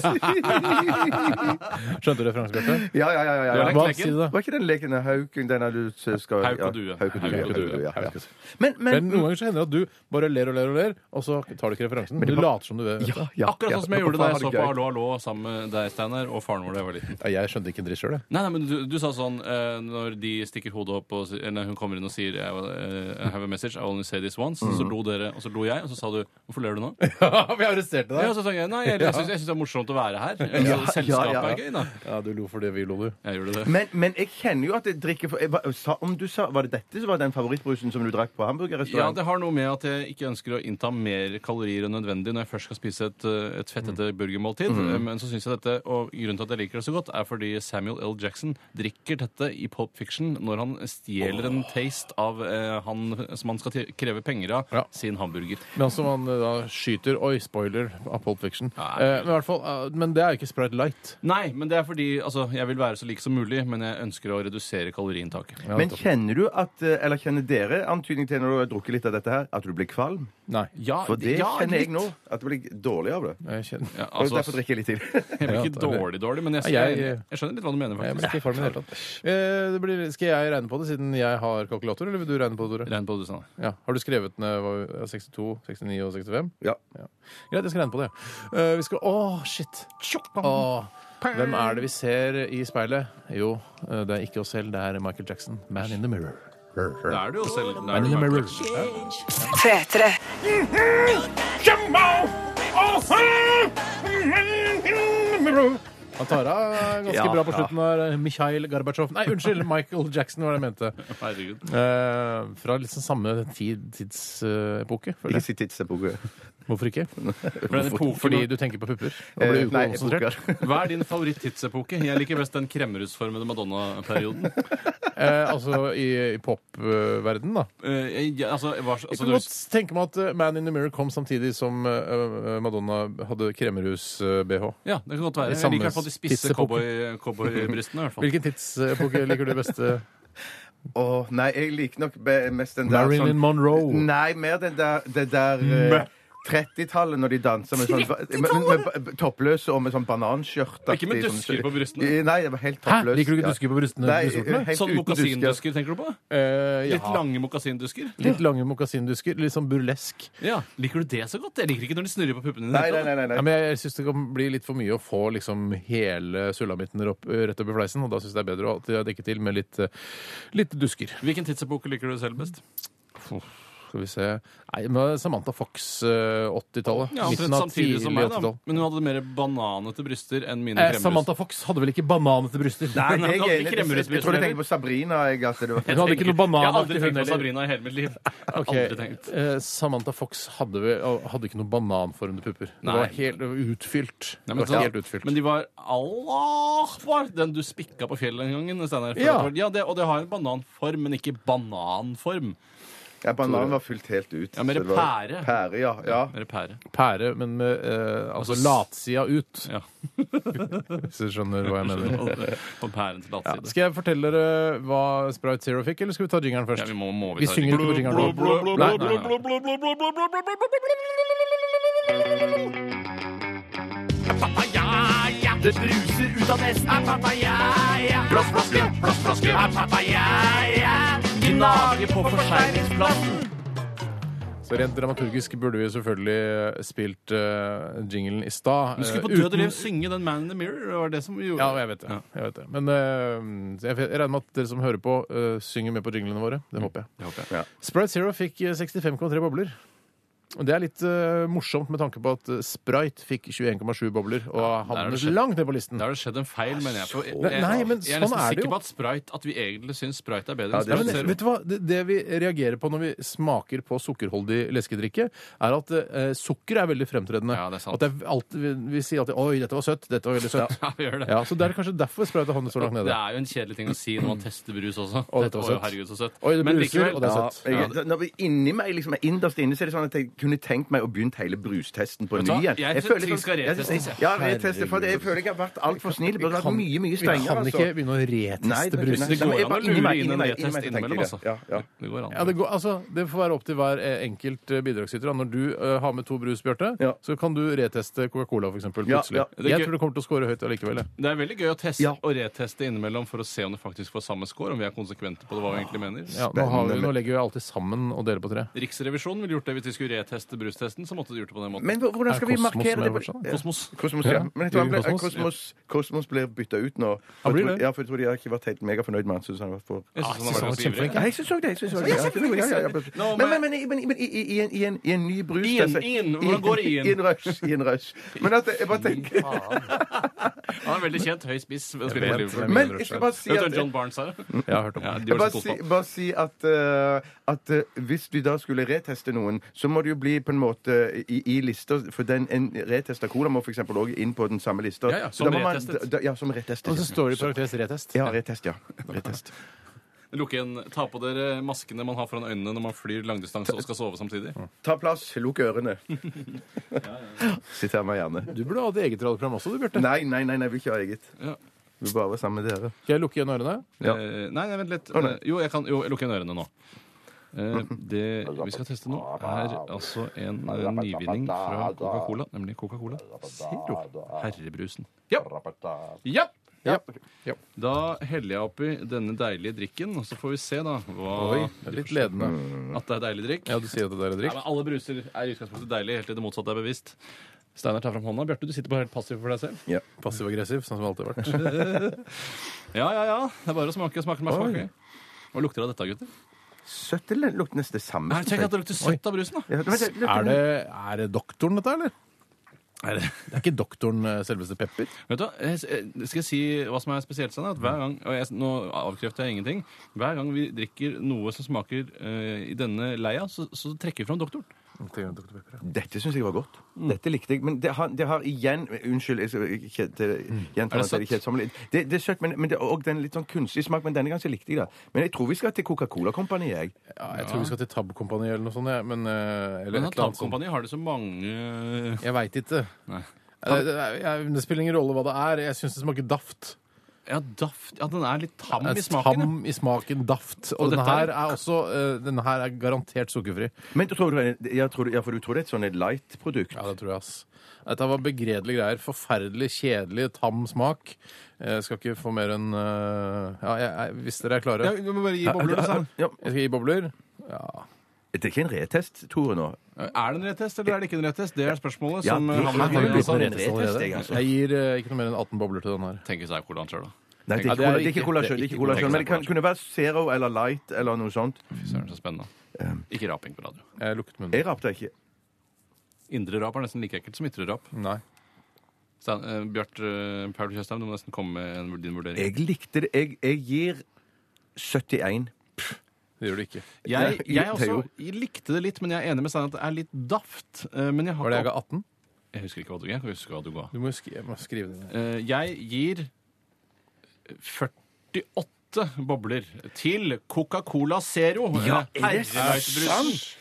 [SPEAKER 3] Skjønte du referansen, Bjarte?
[SPEAKER 5] (laughs) Ja, ja, ja. ja,
[SPEAKER 4] Du har
[SPEAKER 5] ja.
[SPEAKER 4] lekt
[SPEAKER 3] Hva
[SPEAKER 4] leken.
[SPEAKER 3] sier du da?
[SPEAKER 5] Var ikke den leken der hauken den er du skal
[SPEAKER 4] Hauk og due.
[SPEAKER 5] Ja, hauk og due.
[SPEAKER 4] Hauk og due,
[SPEAKER 5] ja, ja.
[SPEAKER 3] hauk og due.
[SPEAKER 5] Men,
[SPEAKER 3] Men
[SPEAKER 5] men,
[SPEAKER 3] noen ganger så hender det at du bare ler og ler og ler, og så tar du ikke referansen. Men du later som du vet
[SPEAKER 5] ja,
[SPEAKER 3] det.
[SPEAKER 5] ja,
[SPEAKER 4] Akkurat
[SPEAKER 5] ja.
[SPEAKER 4] sånn som jeg gjorde da jeg så
[SPEAKER 5] Pappa
[SPEAKER 4] på
[SPEAKER 5] har det
[SPEAKER 4] Hallo, hallo sammen med deg, Steinar, og faren vår da jeg var liten.
[SPEAKER 3] Ja, jeg skjønte ikke en dritt
[SPEAKER 4] (laughs)
[SPEAKER 3] sjøl, jeg.
[SPEAKER 4] Nei, nei, men du, du sa sånn eh, når de stikker hodet opp og sier- eller hun kommer inn og sier I, eh, I have a message, I only say this once.
[SPEAKER 5] Mm.
[SPEAKER 4] Så lo dere, og så lo jeg, og så sa du Hvorfor ler du nå?
[SPEAKER 3] Vi arresterte
[SPEAKER 4] Ja, så sa jeg, Nei, jeg, jeg syns jeg syns det er morsomt å være her.
[SPEAKER 5] Ja,
[SPEAKER 4] Altså,
[SPEAKER 5] ja,
[SPEAKER 4] Selskapet
[SPEAKER 5] ja.
[SPEAKER 4] er gøy, da.
[SPEAKER 3] Ja, du lo fordi vi lo, du.
[SPEAKER 4] Jeg gjorde det.
[SPEAKER 5] gøy. Men, men jeg kjenner jo at jeg drikker for, jeg, var- sa, Om du sa, Var det dette som var den favorittbrusen som du drakk på
[SPEAKER 4] Ja,
[SPEAKER 5] hamburgerrestaurant?
[SPEAKER 4] det har noe med at jeg ikke ønsker å innta mer kalorier enn nødvendig når jeg først skal spise et, eh, et fettete
[SPEAKER 3] Mm.
[SPEAKER 4] burgermåltid.
[SPEAKER 3] Mm-hmm.
[SPEAKER 4] Eh, Men så syns jeg dette, og grunnen til at jeg liker det så godt, er fordi Samuel L. Jackson drikker dette i Pulp Fiction når han stjeler en taste av eh, han som han skal te- kreve penger av,
[SPEAKER 3] Ja.
[SPEAKER 4] sin hamburger.
[SPEAKER 3] Men altså, man eh, da skyter Oi, spoiler av Pulp Fiction.
[SPEAKER 4] Nei.
[SPEAKER 3] Eh, men, i hvert fall, eh, men det er jo ikke Sprite Light.
[SPEAKER 4] Nei, men det er fordi altså, jeg vil være så lik som mulig, men jeg ønsker å redusere kaloriinntaket.
[SPEAKER 5] Men kjenner du at, eh, eller kjenner dere antydning til når du har drukket litt av dette her, at du blir kvalm?
[SPEAKER 3] Nei.
[SPEAKER 4] Ja,
[SPEAKER 5] For det
[SPEAKER 4] ja,
[SPEAKER 5] kjenner jeg
[SPEAKER 4] litt.
[SPEAKER 5] nå. At det blir dårlig av det.
[SPEAKER 3] Jeg kjenner
[SPEAKER 4] Ja,
[SPEAKER 5] Og
[SPEAKER 4] altså,
[SPEAKER 5] derfor drikker jeg litt til.
[SPEAKER 4] (laughs) jeg blir ikke
[SPEAKER 3] Ja, det er
[SPEAKER 4] dårlig dårlig, men jeg,
[SPEAKER 3] Nei,
[SPEAKER 4] jeg,
[SPEAKER 3] jeg-
[SPEAKER 4] skjønner litt hva du mener,
[SPEAKER 3] jeg blir
[SPEAKER 4] faktisk.
[SPEAKER 3] ikke i form i det hele tatt. Eh, det blir, skal jeg regne på det, siden jeg har kalkulator, eller vil du regne på det, Tore?
[SPEAKER 4] Regn på det, Sanne.
[SPEAKER 3] Ja. Har du skrevet ned hva- 62, 69 og 65?
[SPEAKER 5] (laughs) Ja.
[SPEAKER 3] Ja. Greit, jeg skal regne på det. Eh, vi skal Å, shit! Åh. Hvem er det vi ser i speilet? Jo, eh, det er ikke oss selv, det er Michael Jackson. Man in the mirror.
[SPEAKER 4] Da er du jo selv da er
[SPEAKER 3] Man
[SPEAKER 4] du
[SPEAKER 3] in the
[SPEAKER 4] Michael
[SPEAKER 3] mirror.
[SPEAKER 1] P3.
[SPEAKER 3] Han tar av ganske
[SPEAKER 5] Ja,
[SPEAKER 3] bra på
[SPEAKER 5] ja.
[SPEAKER 3] slutten av Mikhail Gorbatsjov. Nei, unnskyld, Michael Jackson var det jeg mente.
[SPEAKER 4] Herregud.
[SPEAKER 3] Eh, fra liksom samme tid, tidsepoke, føler
[SPEAKER 5] Ikke
[SPEAKER 3] jeg.
[SPEAKER 5] sitt tidsepoke.
[SPEAKER 3] Hvorfor ikke?
[SPEAKER 4] For den epoken-
[SPEAKER 3] Fordi du tenker på pupper. Da blir
[SPEAKER 5] Eh,
[SPEAKER 3] du
[SPEAKER 5] Nei,
[SPEAKER 3] ukonsentrert.
[SPEAKER 5] epoker.
[SPEAKER 4] Hva er din favoritt-tidsepoke? Jeg liker best den kremmerhusformede Madonna-perioden.
[SPEAKER 3] Eh, altså i, i popverdenen, da.
[SPEAKER 4] Eh, jeg- jeg- altså, hva,
[SPEAKER 3] Jeg
[SPEAKER 4] altså,
[SPEAKER 3] kan
[SPEAKER 4] du,
[SPEAKER 3] godt tenke meg at eh, Man in the Mirror kom samtidig som eh, Madonna hadde eh, kremmerhus-BH.
[SPEAKER 4] ja, det kan godt være.
[SPEAKER 3] I
[SPEAKER 4] Jeg
[SPEAKER 3] samme
[SPEAKER 4] liker i hvert fall de spisse
[SPEAKER 3] tidsepoke.
[SPEAKER 4] cowboy- cowboybrystene. i hvert fall.
[SPEAKER 3] Hvilken tidsepoke liker du best? eh?
[SPEAKER 5] Åh, nei, jeg liker nok be- mest den der
[SPEAKER 3] Marilyn
[SPEAKER 5] sånn,
[SPEAKER 3] Monroe.
[SPEAKER 5] Nei, mer den der, det der eh, 30-tallet når de danser med sånn med, med, med toppløse og med sånn bananskjørt.
[SPEAKER 4] Ikke med dusker på brystene?
[SPEAKER 5] Eh, Nei, jeg var helt
[SPEAKER 3] Hæ?
[SPEAKER 5] toppløs.
[SPEAKER 3] Liker du ikke dusker på brystene?
[SPEAKER 5] Nei,
[SPEAKER 3] brystvortene?
[SPEAKER 5] helt
[SPEAKER 4] Sånn
[SPEAKER 5] uten dusker.
[SPEAKER 4] mokasindusker, tenker du på?
[SPEAKER 3] Eh,
[SPEAKER 4] Litt
[SPEAKER 3] ja.
[SPEAKER 4] lange mokasindusker?
[SPEAKER 3] Litt lange mokasindusker. Litt sånn burlesk.
[SPEAKER 4] Ja. Liker du det så godt? Jeg liker ikke når de snurrer på puppene dine.
[SPEAKER 5] Nei, nei, nei. nei,
[SPEAKER 3] Ja,
[SPEAKER 5] nei.
[SPEAKER 3] men jeg, jeg syns det kan bli litt for mye å få liksom hele sulamitten opp, rett opp i fleisen, og da syns jeg det er bedre å dekke til med litt, eh, litt dusker.
[SPEAKER 4] Hvilken tidsepoke liker du selv best?
[SPEAKER 3] Skal vi se Nei, men Samantha Fox, eh, 80-tallet.
[SPEAKER 4] Ja, omtrent
[SPEAKER 3] Midten av
[SPEAKER 4] samtidig som
[SPEAKER 3] tidlig
[SPEAKER 4] meg, da.
[SPEAKER 3] 80-tall.
[SPEAKER 4] Men hun hadde mer bananete bryster enn mine
[SPEAKER 3] Eh,
[SPEAKER 4] kremmerhus.
[SPEAKER 3] Samantha Fox hadde vel ikke bananete bryster?
[SPEAKER 4] Nei, nei,
[SPEAKER 5] Jeg,
[SPEAKER 4] hun hadde
[SPEAKER 5] er
[SPEAKER 4] ikke
[SPEAKER 5] enig. jeg,
[SPEAKER 4] kremmerhus-
[SPEAKER 5] tror du tenker på Sabrina. Jeg, altså, det var.
[SPEAKER 3] Hun hadde ikke noe
[SPEAKER 4] Jeg har
[SPEAKER 3] bananaktig
[SPEAKER 4] aldri
[SPEAKER 3] hund
[SPEAKER 4] tenkt på
[SPEAKER 3] heller.
[SPEAKER 4] Sabrina i hele mitt liv.
[SPEAKER 3] Ok,
[SPEAKER 4] Aldri tenkt.
[SPEAKER 3] eh, Samantha Fox hadde, vel- hadde ikke noen bananformede pupper. Det
[SPEAKER 4] Nei.
[SPEAKER 3] var helt det var utfylt.
[SPEAKER 4] Nei, men, sånn
[SPEAKER 3] det var helt
[SPEAKER 4] ja,
[SPEAKER 3] utfylt.
[SPEAKER 4] men de var Allah var den du spikka på fjellet den gangen. Steinar. For
[SPEAKER 3] Ja.
[SPEAKER 4] at det var- ja det, og det har en bananform, men ikke bananform.
[SPEAKER 5] Ja, bananen var fylt helt ut.
[SPEAKER 4] Ja, mer
[SPEAKER 5] så det var-
[SPEAKER 4] pære.
[SPEAKER 5] Pære, ja. ja.
[SPEAKER 4] Eller pære.
[SPEAKER 3] Pære, men med eh, altså,
[SPEAKER 4] Altså, s-
[SPEAKER 3] latsida ut,
[SPEAKER 4] Ja. (laughs)
[SPEAKER 3] hvis du skjønner hva jeg mener.
[SPEAKER 4] På pærens
[SPEAKER 3] Ja.
[SPEAKER 4] latside.
[SPEAKER 3] Skal jeg fortelle dere hva Sprite Zero fikk, eller skal vi ta jingeren først?
[SPEAKER 4] Ja, vi må- må
[SPEAKER 3] vi
[SPEAKER 4] vi ta
[SPEAKER 3] synger ikke på jingeren.
[SPEAKER 4] jingeren. Blå, blå, blå,
[SPEAKER 3] Nei,
[SPEAKER 4] blå,
[SPEAKER 3] nei, nei.
[SPEAKER 2] Det bruser ut av nesten Er papaya Blåsflaske, blåsflaske Er papaya Gnager på forsegningsplassen
[SPEAKER 3] Så rent dramaturgisk burde vi selvfølgelig spilt eh, jinglen i stad.
[SPEAKER 4] Du skulle på
[SPEAKER 3] eh,
[SPEAKER 4] død og
[SPEAKER 3] uten-
[SPEAKER 4] liv synge den Man in the Mirror. Det var det som gjorde
[SPEAKER 3] Ja, jeg vet det.
[SPEAKER 4] Ja.
[SPEAKER 3] Jeg vet det. Men eh, jeg jeg regner med at dere som hører på, eh, synger med på jinglene våre. Det håper jeg.
[SPEAKER 4] Det håper jeg.
[SPEAKER 3] Sprite Zero fikk eh, 65,3 bobler. Og Det er litt eh, morsomt med tanke på at eh, Sprite fikk 21,7 bobler og
[SPEAKER 4] er det
[SPEAKER 3] havnet
[SPEAKER 4] skjedd.
[SPEAKER 3] langt ned på listen.
[SPEAKER 4] Da har det skjedd en feil, mener jeg. For jeg,
[SPEAKER 3] Nei, nei, men
[SPEAKER 4] jeg er
[SPEAKER 3] sånn er
[SPEAKER 4] nesten
[SPEAKER 3] det
[SPEAKER 4] sikker
[SPEAKER 3] jo.
[SPEAKER 4] på at, sprite, at vi egentlig syns sprite er bedre enn
[SPEAKER 5] Ja, det er
[SPEAKER 3] Nei,
[SPEAKER 4] Sprite
[SPEAKER 3] men,
[SPEAKER 4] Zero.
[SPEAKER 3] vet du hva? Det, det vi reagerer på når vi smaker på sukkerholdig leskedrikke, er at eh, sukker er veldig fremtredende.
[SPEAKER 4] Ja, det er sant.
[SPEAKER 3] At det er alt, vi, vi sier alltid 'oi, dette var søtt', 'dette var veldig søtt'.
[SPEAKER 4] (laughs) Ja, vi gjør det.
[SPEAKER 3] Ja, så Det er kanskje derfor Sprite har havnet så langt
[SPEAKER 4] Det
[SPEAKER 3] nede.
[SPEAKER 4] er jo en kjedelig ting å si når man tester brus også.
[SPEAKER 3] Mm. Å, dette var
[SPEAKER 4] Oi,
[SPEAKER 3] søtt.
[SPEAKER 4] herregud, så søtt.
[SPEAKER 3] Oi, det
[SPEAKER 4] Men
[SPEAKER 3] bruser,
[SPEAKER 4] likevel-
[SPEAKER 3] og det er søtt.
[SPEAKER 5] Jeg, når vi, inni meg, liksom, innerst inne, så er det sånn at jeg kunne tenkt meg å begynne hele brustesten på
[SPEAKER 4] Vet
[SPEAKER 5] ny
[SPEAKER 4] du hva?
[SPEAKER 5] igjen.
[SPEAKER 4] Jeg
[SPEAKER 5] føler- liksom-
[SPEAKER 4] synes vi skal retestes.
[SPEAKER 5] Ja, retestes, for jeg føler jeg har vært altfor snill. Burde vært mye, mye
[SPEAKER 3] Vi
[SPEAKER 5] strengere.
[SPEAKER 3] kan ikke
[SPEAKER 5] altså.
[SPEAKER 3] begynne å
[SPEAKER 5] Nei,
[SPEAKER 3] reteste
[SPEAKER 5] det-
[SPEAKER 3] brusen.
[SPEAKER 4] Det
[SPEAKER 5] Nei,
[SPEAKER 4] går
[SPEAKER 5] men
[SPEAKER 4] an
[SPEAKER 5] jeg
[SPEAKER 4] å
[SPEAKER 5] bare- inni
[SPEAKER 4] lure inn en
[SPEAKER 5] meg, inni meg, inni meg,
[SPEAKER 4] retest
[SPEAKER 5] tenker
[SPEAKER 4] innimellom,
[SPEAKER 5] jeg.
[SPEAKER 4] altså.
[SPEAKER 5] Ja, ja.
[SPEAKER 4] Det går an.
[SPEAKER 3] Ja, det, går, altså, det får være opp til hver eh, enkelt eh, bidragsyter. da. Når du eh, har med to brus, Bjarte,
[SPEAKER 5] Ja.
[SPEAKER 3] så kan du reteste Coca-Cola for eksempel,
[SPEAKER 5] Ja,
[SPEAKER 3] plutselig.
[SPEAKER 5] ja.
[SPEAKER 4] Det er
[SPEAKER 3] Jeg
[SPEAKER 4] gøy.
[SPEAKER 3] tror du kommer til å score høyt allikevel. jeg.
[SPEAKER 4] Det er veldig gøy å teste
[SPEAKER 5] Ja.
[SPEAKER 4] og reteste innimellom for å se om det faktisk får samme score, om vi er konsekvente på det, hva vi egentlig mener.
[SPEAKER 3] Ja, nå, har vi, nå legger vi alltid sammen og deler på tre.
[SPEAKER 4] Riksrevisjonen ville gjort det hvis de skulle reteste brustesten, så måtte de gjort det på den måten.
[SPEAKER 5] Men hvor- hvordan skal
[SPEAKER 3] Er
[SPEAKER 5] vi
[SPEAKER 3] Kosmos
[SPEAKER 5] markere
[SPEAKER 3] med
[SPEAKER 5] det?
[SPEAKER 3] fortsatt, da?
[SPEAKER 4] Kosmos.
[SPEAKER 5] Kosmos,
[SPEAKER 3] Ja.
[SPEAKER 5] ja. Men jeg tror han ble,
[SPEAKER 3] Kosmos.
[SPEAKER 5] Kosmos, Kosmos blir bytta ut nå.
[SPEAKER 3] Han blir
[SPEAKER 5] Jeg tror-
[SPEAKER 3] det.
[SPEAKER 5] Ja, for jeg tror de har ikke vært helt megafornøyd med han. Synes han har vært for...
[SPEAKER 4] Jeg synes han har vært
[SPEAKER 3] synes han var
[SPEAKER 4] ganske ivrig.
[SPEAKER 5] Ja, jeg syns òg det. Jeg synes også det.
[SPEAKER 4] Ja, selvfølgelig,
[SPEAKER 5] Ja, ja, ja, ja.
[SPEAKER 4] Nå,
[SPEAKER 5] Men, men, men, i- men, i- men i, i, i, en, i, en, i en ny brus
[SPEAKER 4] I en-
[SPEAKER 5] altså,
[SPEAKER 4] i en, hvordan går det i en?
[SPEAKER 5] I en rush. I en rush. Men at jeg bare tenker
[SPEAKER 4] Han er veldig kjent, høy spiss. spiller for
[SPEAKER 3] vet,
[SPEAKER 4] Liverpool.
[SPEAKER 3] men-
[SPEAKER 5] Men jeg skal bare si
[SPEAKER 4] Vet du hvem
[SPEAKER 5] at
[SPEAKER 4] John Barnes er?
[SPEAKER 3] Jeg har hørt om
[SPEAKER 4] Ja,
[SPEAKER 3] det.
[SPEAKER 4] de var
[SPEAKER 5] jeg bare
[SPEAKER 4] så
[SPEAKER 5] si,
[SPEAKER 4] koselig.
[SPEAKER 5] bare si at, eh, at eh, hvis du da skulle reteste noen, så må det jo bli på en måte i, i lister For den, en retest av cola må f.eks. òg inn på den samme lista.
[SPEAKER 4] Ja, ja,
[SPEAKER 5] Så
[SPEAKER 4] som
[SPEAKER 5] da må man-
[SPEAKER 4] retestet.
[SPEAKER 5] da- Ja, som retestet.
[SPEAKER 3] Og så står det i parentes retest.
[SPEAKER 5] Ja, retest, ja. Retest.
[SPEAKER 4] Lukke igjen, Ta på dere maskene man har foran øynene når man flyr langdistanse og skal sove samtidig.
[SPEAKER 5] Ta plass, lukk
[SPEAKER 4] (laughs)
[SPEAKER 5] ørene. Sitt her med gjerne.
[SPEAKER 3] Du burde ha et eget radioprogram også, du, Bjarte.
[SPEAKER 5] Nei, nei, nei, nei, vi vil ikke ha eget.
[SPEAKER 4] Ja.
[SPEAKER 5] Vi vil bare være sammen med dere.
[SPEAKER 3] Skal jeg lukke igjen ørene?
[SPEAKER 5] Ja.
[SPEAKER 4] Eh, nei, nei, vent litt.
[SPEAKER 5] Å, nei.
[SPEAKER 4] Eh, jo, jeg kan jo, jeg lukker igjen ørene nå. Eh,
[SPEAKER 3] Mhm.
[SPEAKER 4] det vi skal teste nå, er altså en eh, nyvinning fra Coca-Cola, nemlig Coca-Cola Zero. Herrebrusen. Ja. Ja.
[SPEAKER 3] Ja. Ja.
[SPEAKER 4] Da heller jeg oppi denne deilige drikken, og så får vi se da hva
[SPEAKER 3] Oi, det er litt ledende.
[SPEAKER 4] At det er deilig drikk.
[SPEAKER 3] Ja, du sier at det der er
[SPEAKER 4] Nei,
[SPEAKER 3] drikk.
[SPEAKER 4] men alle bruser er i utgangspunktet deilig, helt til det motsatte er bevisst. Steinar tar fram hånda. Bjarte, du sitter bare helt passiv for deg selv.
[SPEAKER 3] Passiv-aggressiv, sånn som jeg alltid har
[SPEAKER 4] (laughs)
[SPEAKER 3] vært.
[SPEAKER 4] Ja, ja, ja. Det er bare å smake. Smaker meg smaker. Hva lukter det av dette, gutter?
[SPEAKER 5] Søtt eller lukter nesten det samme?
[SPEAKER 4] Nei, Tenk at det lukter søtt av brusen, da.
[SPEAKER 5] Ja, men det-
[SPEAKER 3] Er det, er det doktoren, dette, eller?
[SPEAKER 4] Er det?
[SPEAKER 3] Det er ikke doktoren eh, selveste Pepper.
[SPEAKER 4] Vet du, hva, jeg jeg- skal jeg si hva som er spesielt, Steinar? At hver gang, og jeg, nå avkrefter jeg ingenting, hver gang vi drikker noe som smaker eh, i denne leia, så, så trekker vi fram doktoren.
[SPEAKER 5] Dette syns jeg var godt. Dette likte jeg. Men det har, det har igjen Unnskyld, jeg skal ikke det- gjenta
[SPEAKER 4] Er det
[SPEAKER 5] at det ikke er kjedsommelig. Det, det er søtt, men, men det er òg den litt sånn kunstig smak. Men denne gangen så likte jeg det. Men jeg tror vi skal til Coca-Cola-kompaniet, jeg.
[SPEAKER 3] Ja, jeg tror vi skal til Tab-kompani eller noe sånt. jeg, Men, eh, eller
[SPEAKER 4] Men
[SPEAKER 3] et eller annet sånt.
[SPEAKER 4] Tabkompani har det så mange eh,
[SPEAKER 3] Jeg veit ikke. Eh,
[SPEAKER 4] Nei.
[SPEAKER 3] Det, det, jeg, det spiller ingen rolle hva det er. Jeg syns det smaker daft.
[SPEAKER 4] Ja, daft Ja, den er litt tam i
[SPEAKER 3] Det er
[SPEAKER 4] smaken. ja.
[SPEAKER 3] Tam i smaken daft. Og,
[SPEAKER 4] Og
[SPEAKER 3] denne
[SPEAKER 4] dette
[SPEAKER 3] her
[SPEAKER 4] er-
[SPEAKER 3] er også eh, Denne her er garantert sukkerfri.
[SPEAKER 5] Men tror du, ja, tror du, ja, for du tror det er et sånn et light-produkt?
[SPEAKER 3] Ja, det tror jeg, ass. Dette var begredelige greier. Forferdelig kjedelig, tam smak. Jeg skal ikke få mer enn eh, Ja, jeg, jeg, hvis dere er klare.
[SPEAKER 4] vi må bare gi bobler, altså. da.
[SPEAKER 5] Ja.
[SPEAKER 3] Jeg skal gi bobler. Ja.
[SPEAKER 5] Det er ikke en retest, Tore, nå?
[SPEAKER 4] Er det en retest, eller er det ikke en retest? Det er spørsmålet
[SPEAKER 5] Ja,
[SPEAKER 4] som
[SPEAKER 5] det
[SPEAKER 4] eh,
[SPEAKER 5] er-
[SPEAKER 4] havner
[SPEAKER 5] det er-
[SPEAKER 4] i
[SPEAKER 5] det er-
[SPEAKER 4] Kristiansand.
[SPEAKER 5] retest, jeg, altså.
[SPEAKER 3] Jeg gir eh, ikke noe mer enn 18 bobler til den her.
[SPEAKER 4] Tenk hvis det er colaen sjøl, da.
[SPEAKER 5] Nei, det er
[SPEAKER 3] Ja,
[SPEAKER 5] ikke
[SPEAKER 3] det er
[SPEAKER 5] cola- det er
[SPEAKER 3] ikke-
[SPEAKER 5] ikke cola
[SPEAKER 3] det er
[SPEAKER 5] sjøl.
[SPEAKER 3] ikke
[SPEAKER 5] Ikke cola
[SPEAKER 4] cola
[SPEAKER 5] sjøl, men det kan,
[SPEAKER 4] sjøl.
[SPEAKER 5] kunne være Zero eller Light eller noe sånt.
[SPEAKER 4] Fy søren, så spennende. Ikke raping på radio.
[SPEAKER 3] Jeg lukket munnen.
[SPEAKER 5] Jeg rapte ikke.
[SPEAKER 4] Indre rap er nesten like ekkelt som ytre rap.
[SPEAKER 3] Nei.
[SPEAKER 4] Stein, eh, Bjart eh, Paul Tjøstheim, du må nesten komme med en, din vurdering.
[SPEAKER 5] Jeg likte det. Jeg, jeg gir 71.
[SPEAKER 3] Det gjør du ikke.
[SPEAKER 4] Jeg,
[SPEAKER 5] Ja,
[SPEAKER 4] jeg
[SPEAKER 5] jo.
[SPEAKER 4] også jeg likte det litt, men jeg er enig med Stein at det er litt daft. eh, Men jeg
[SPEAKER 3] Var
[SPEAKER 4] har
[SPEAKER 3] det jeg
[SPEAKER 4] ikke
[SPEAKER 3] ga 18?
[SPEAKER 4] Jeg husker ikke hva du ga. Jeg kan huske hva du ga.
[SPEAKER 3] Du må jo skrive, jeg må skrive det ned.
[SPEAKER 4] Eh, Jeg gir 48 bobler til Coca-Cola Zero. Ja,
[SPEAKER 5] er det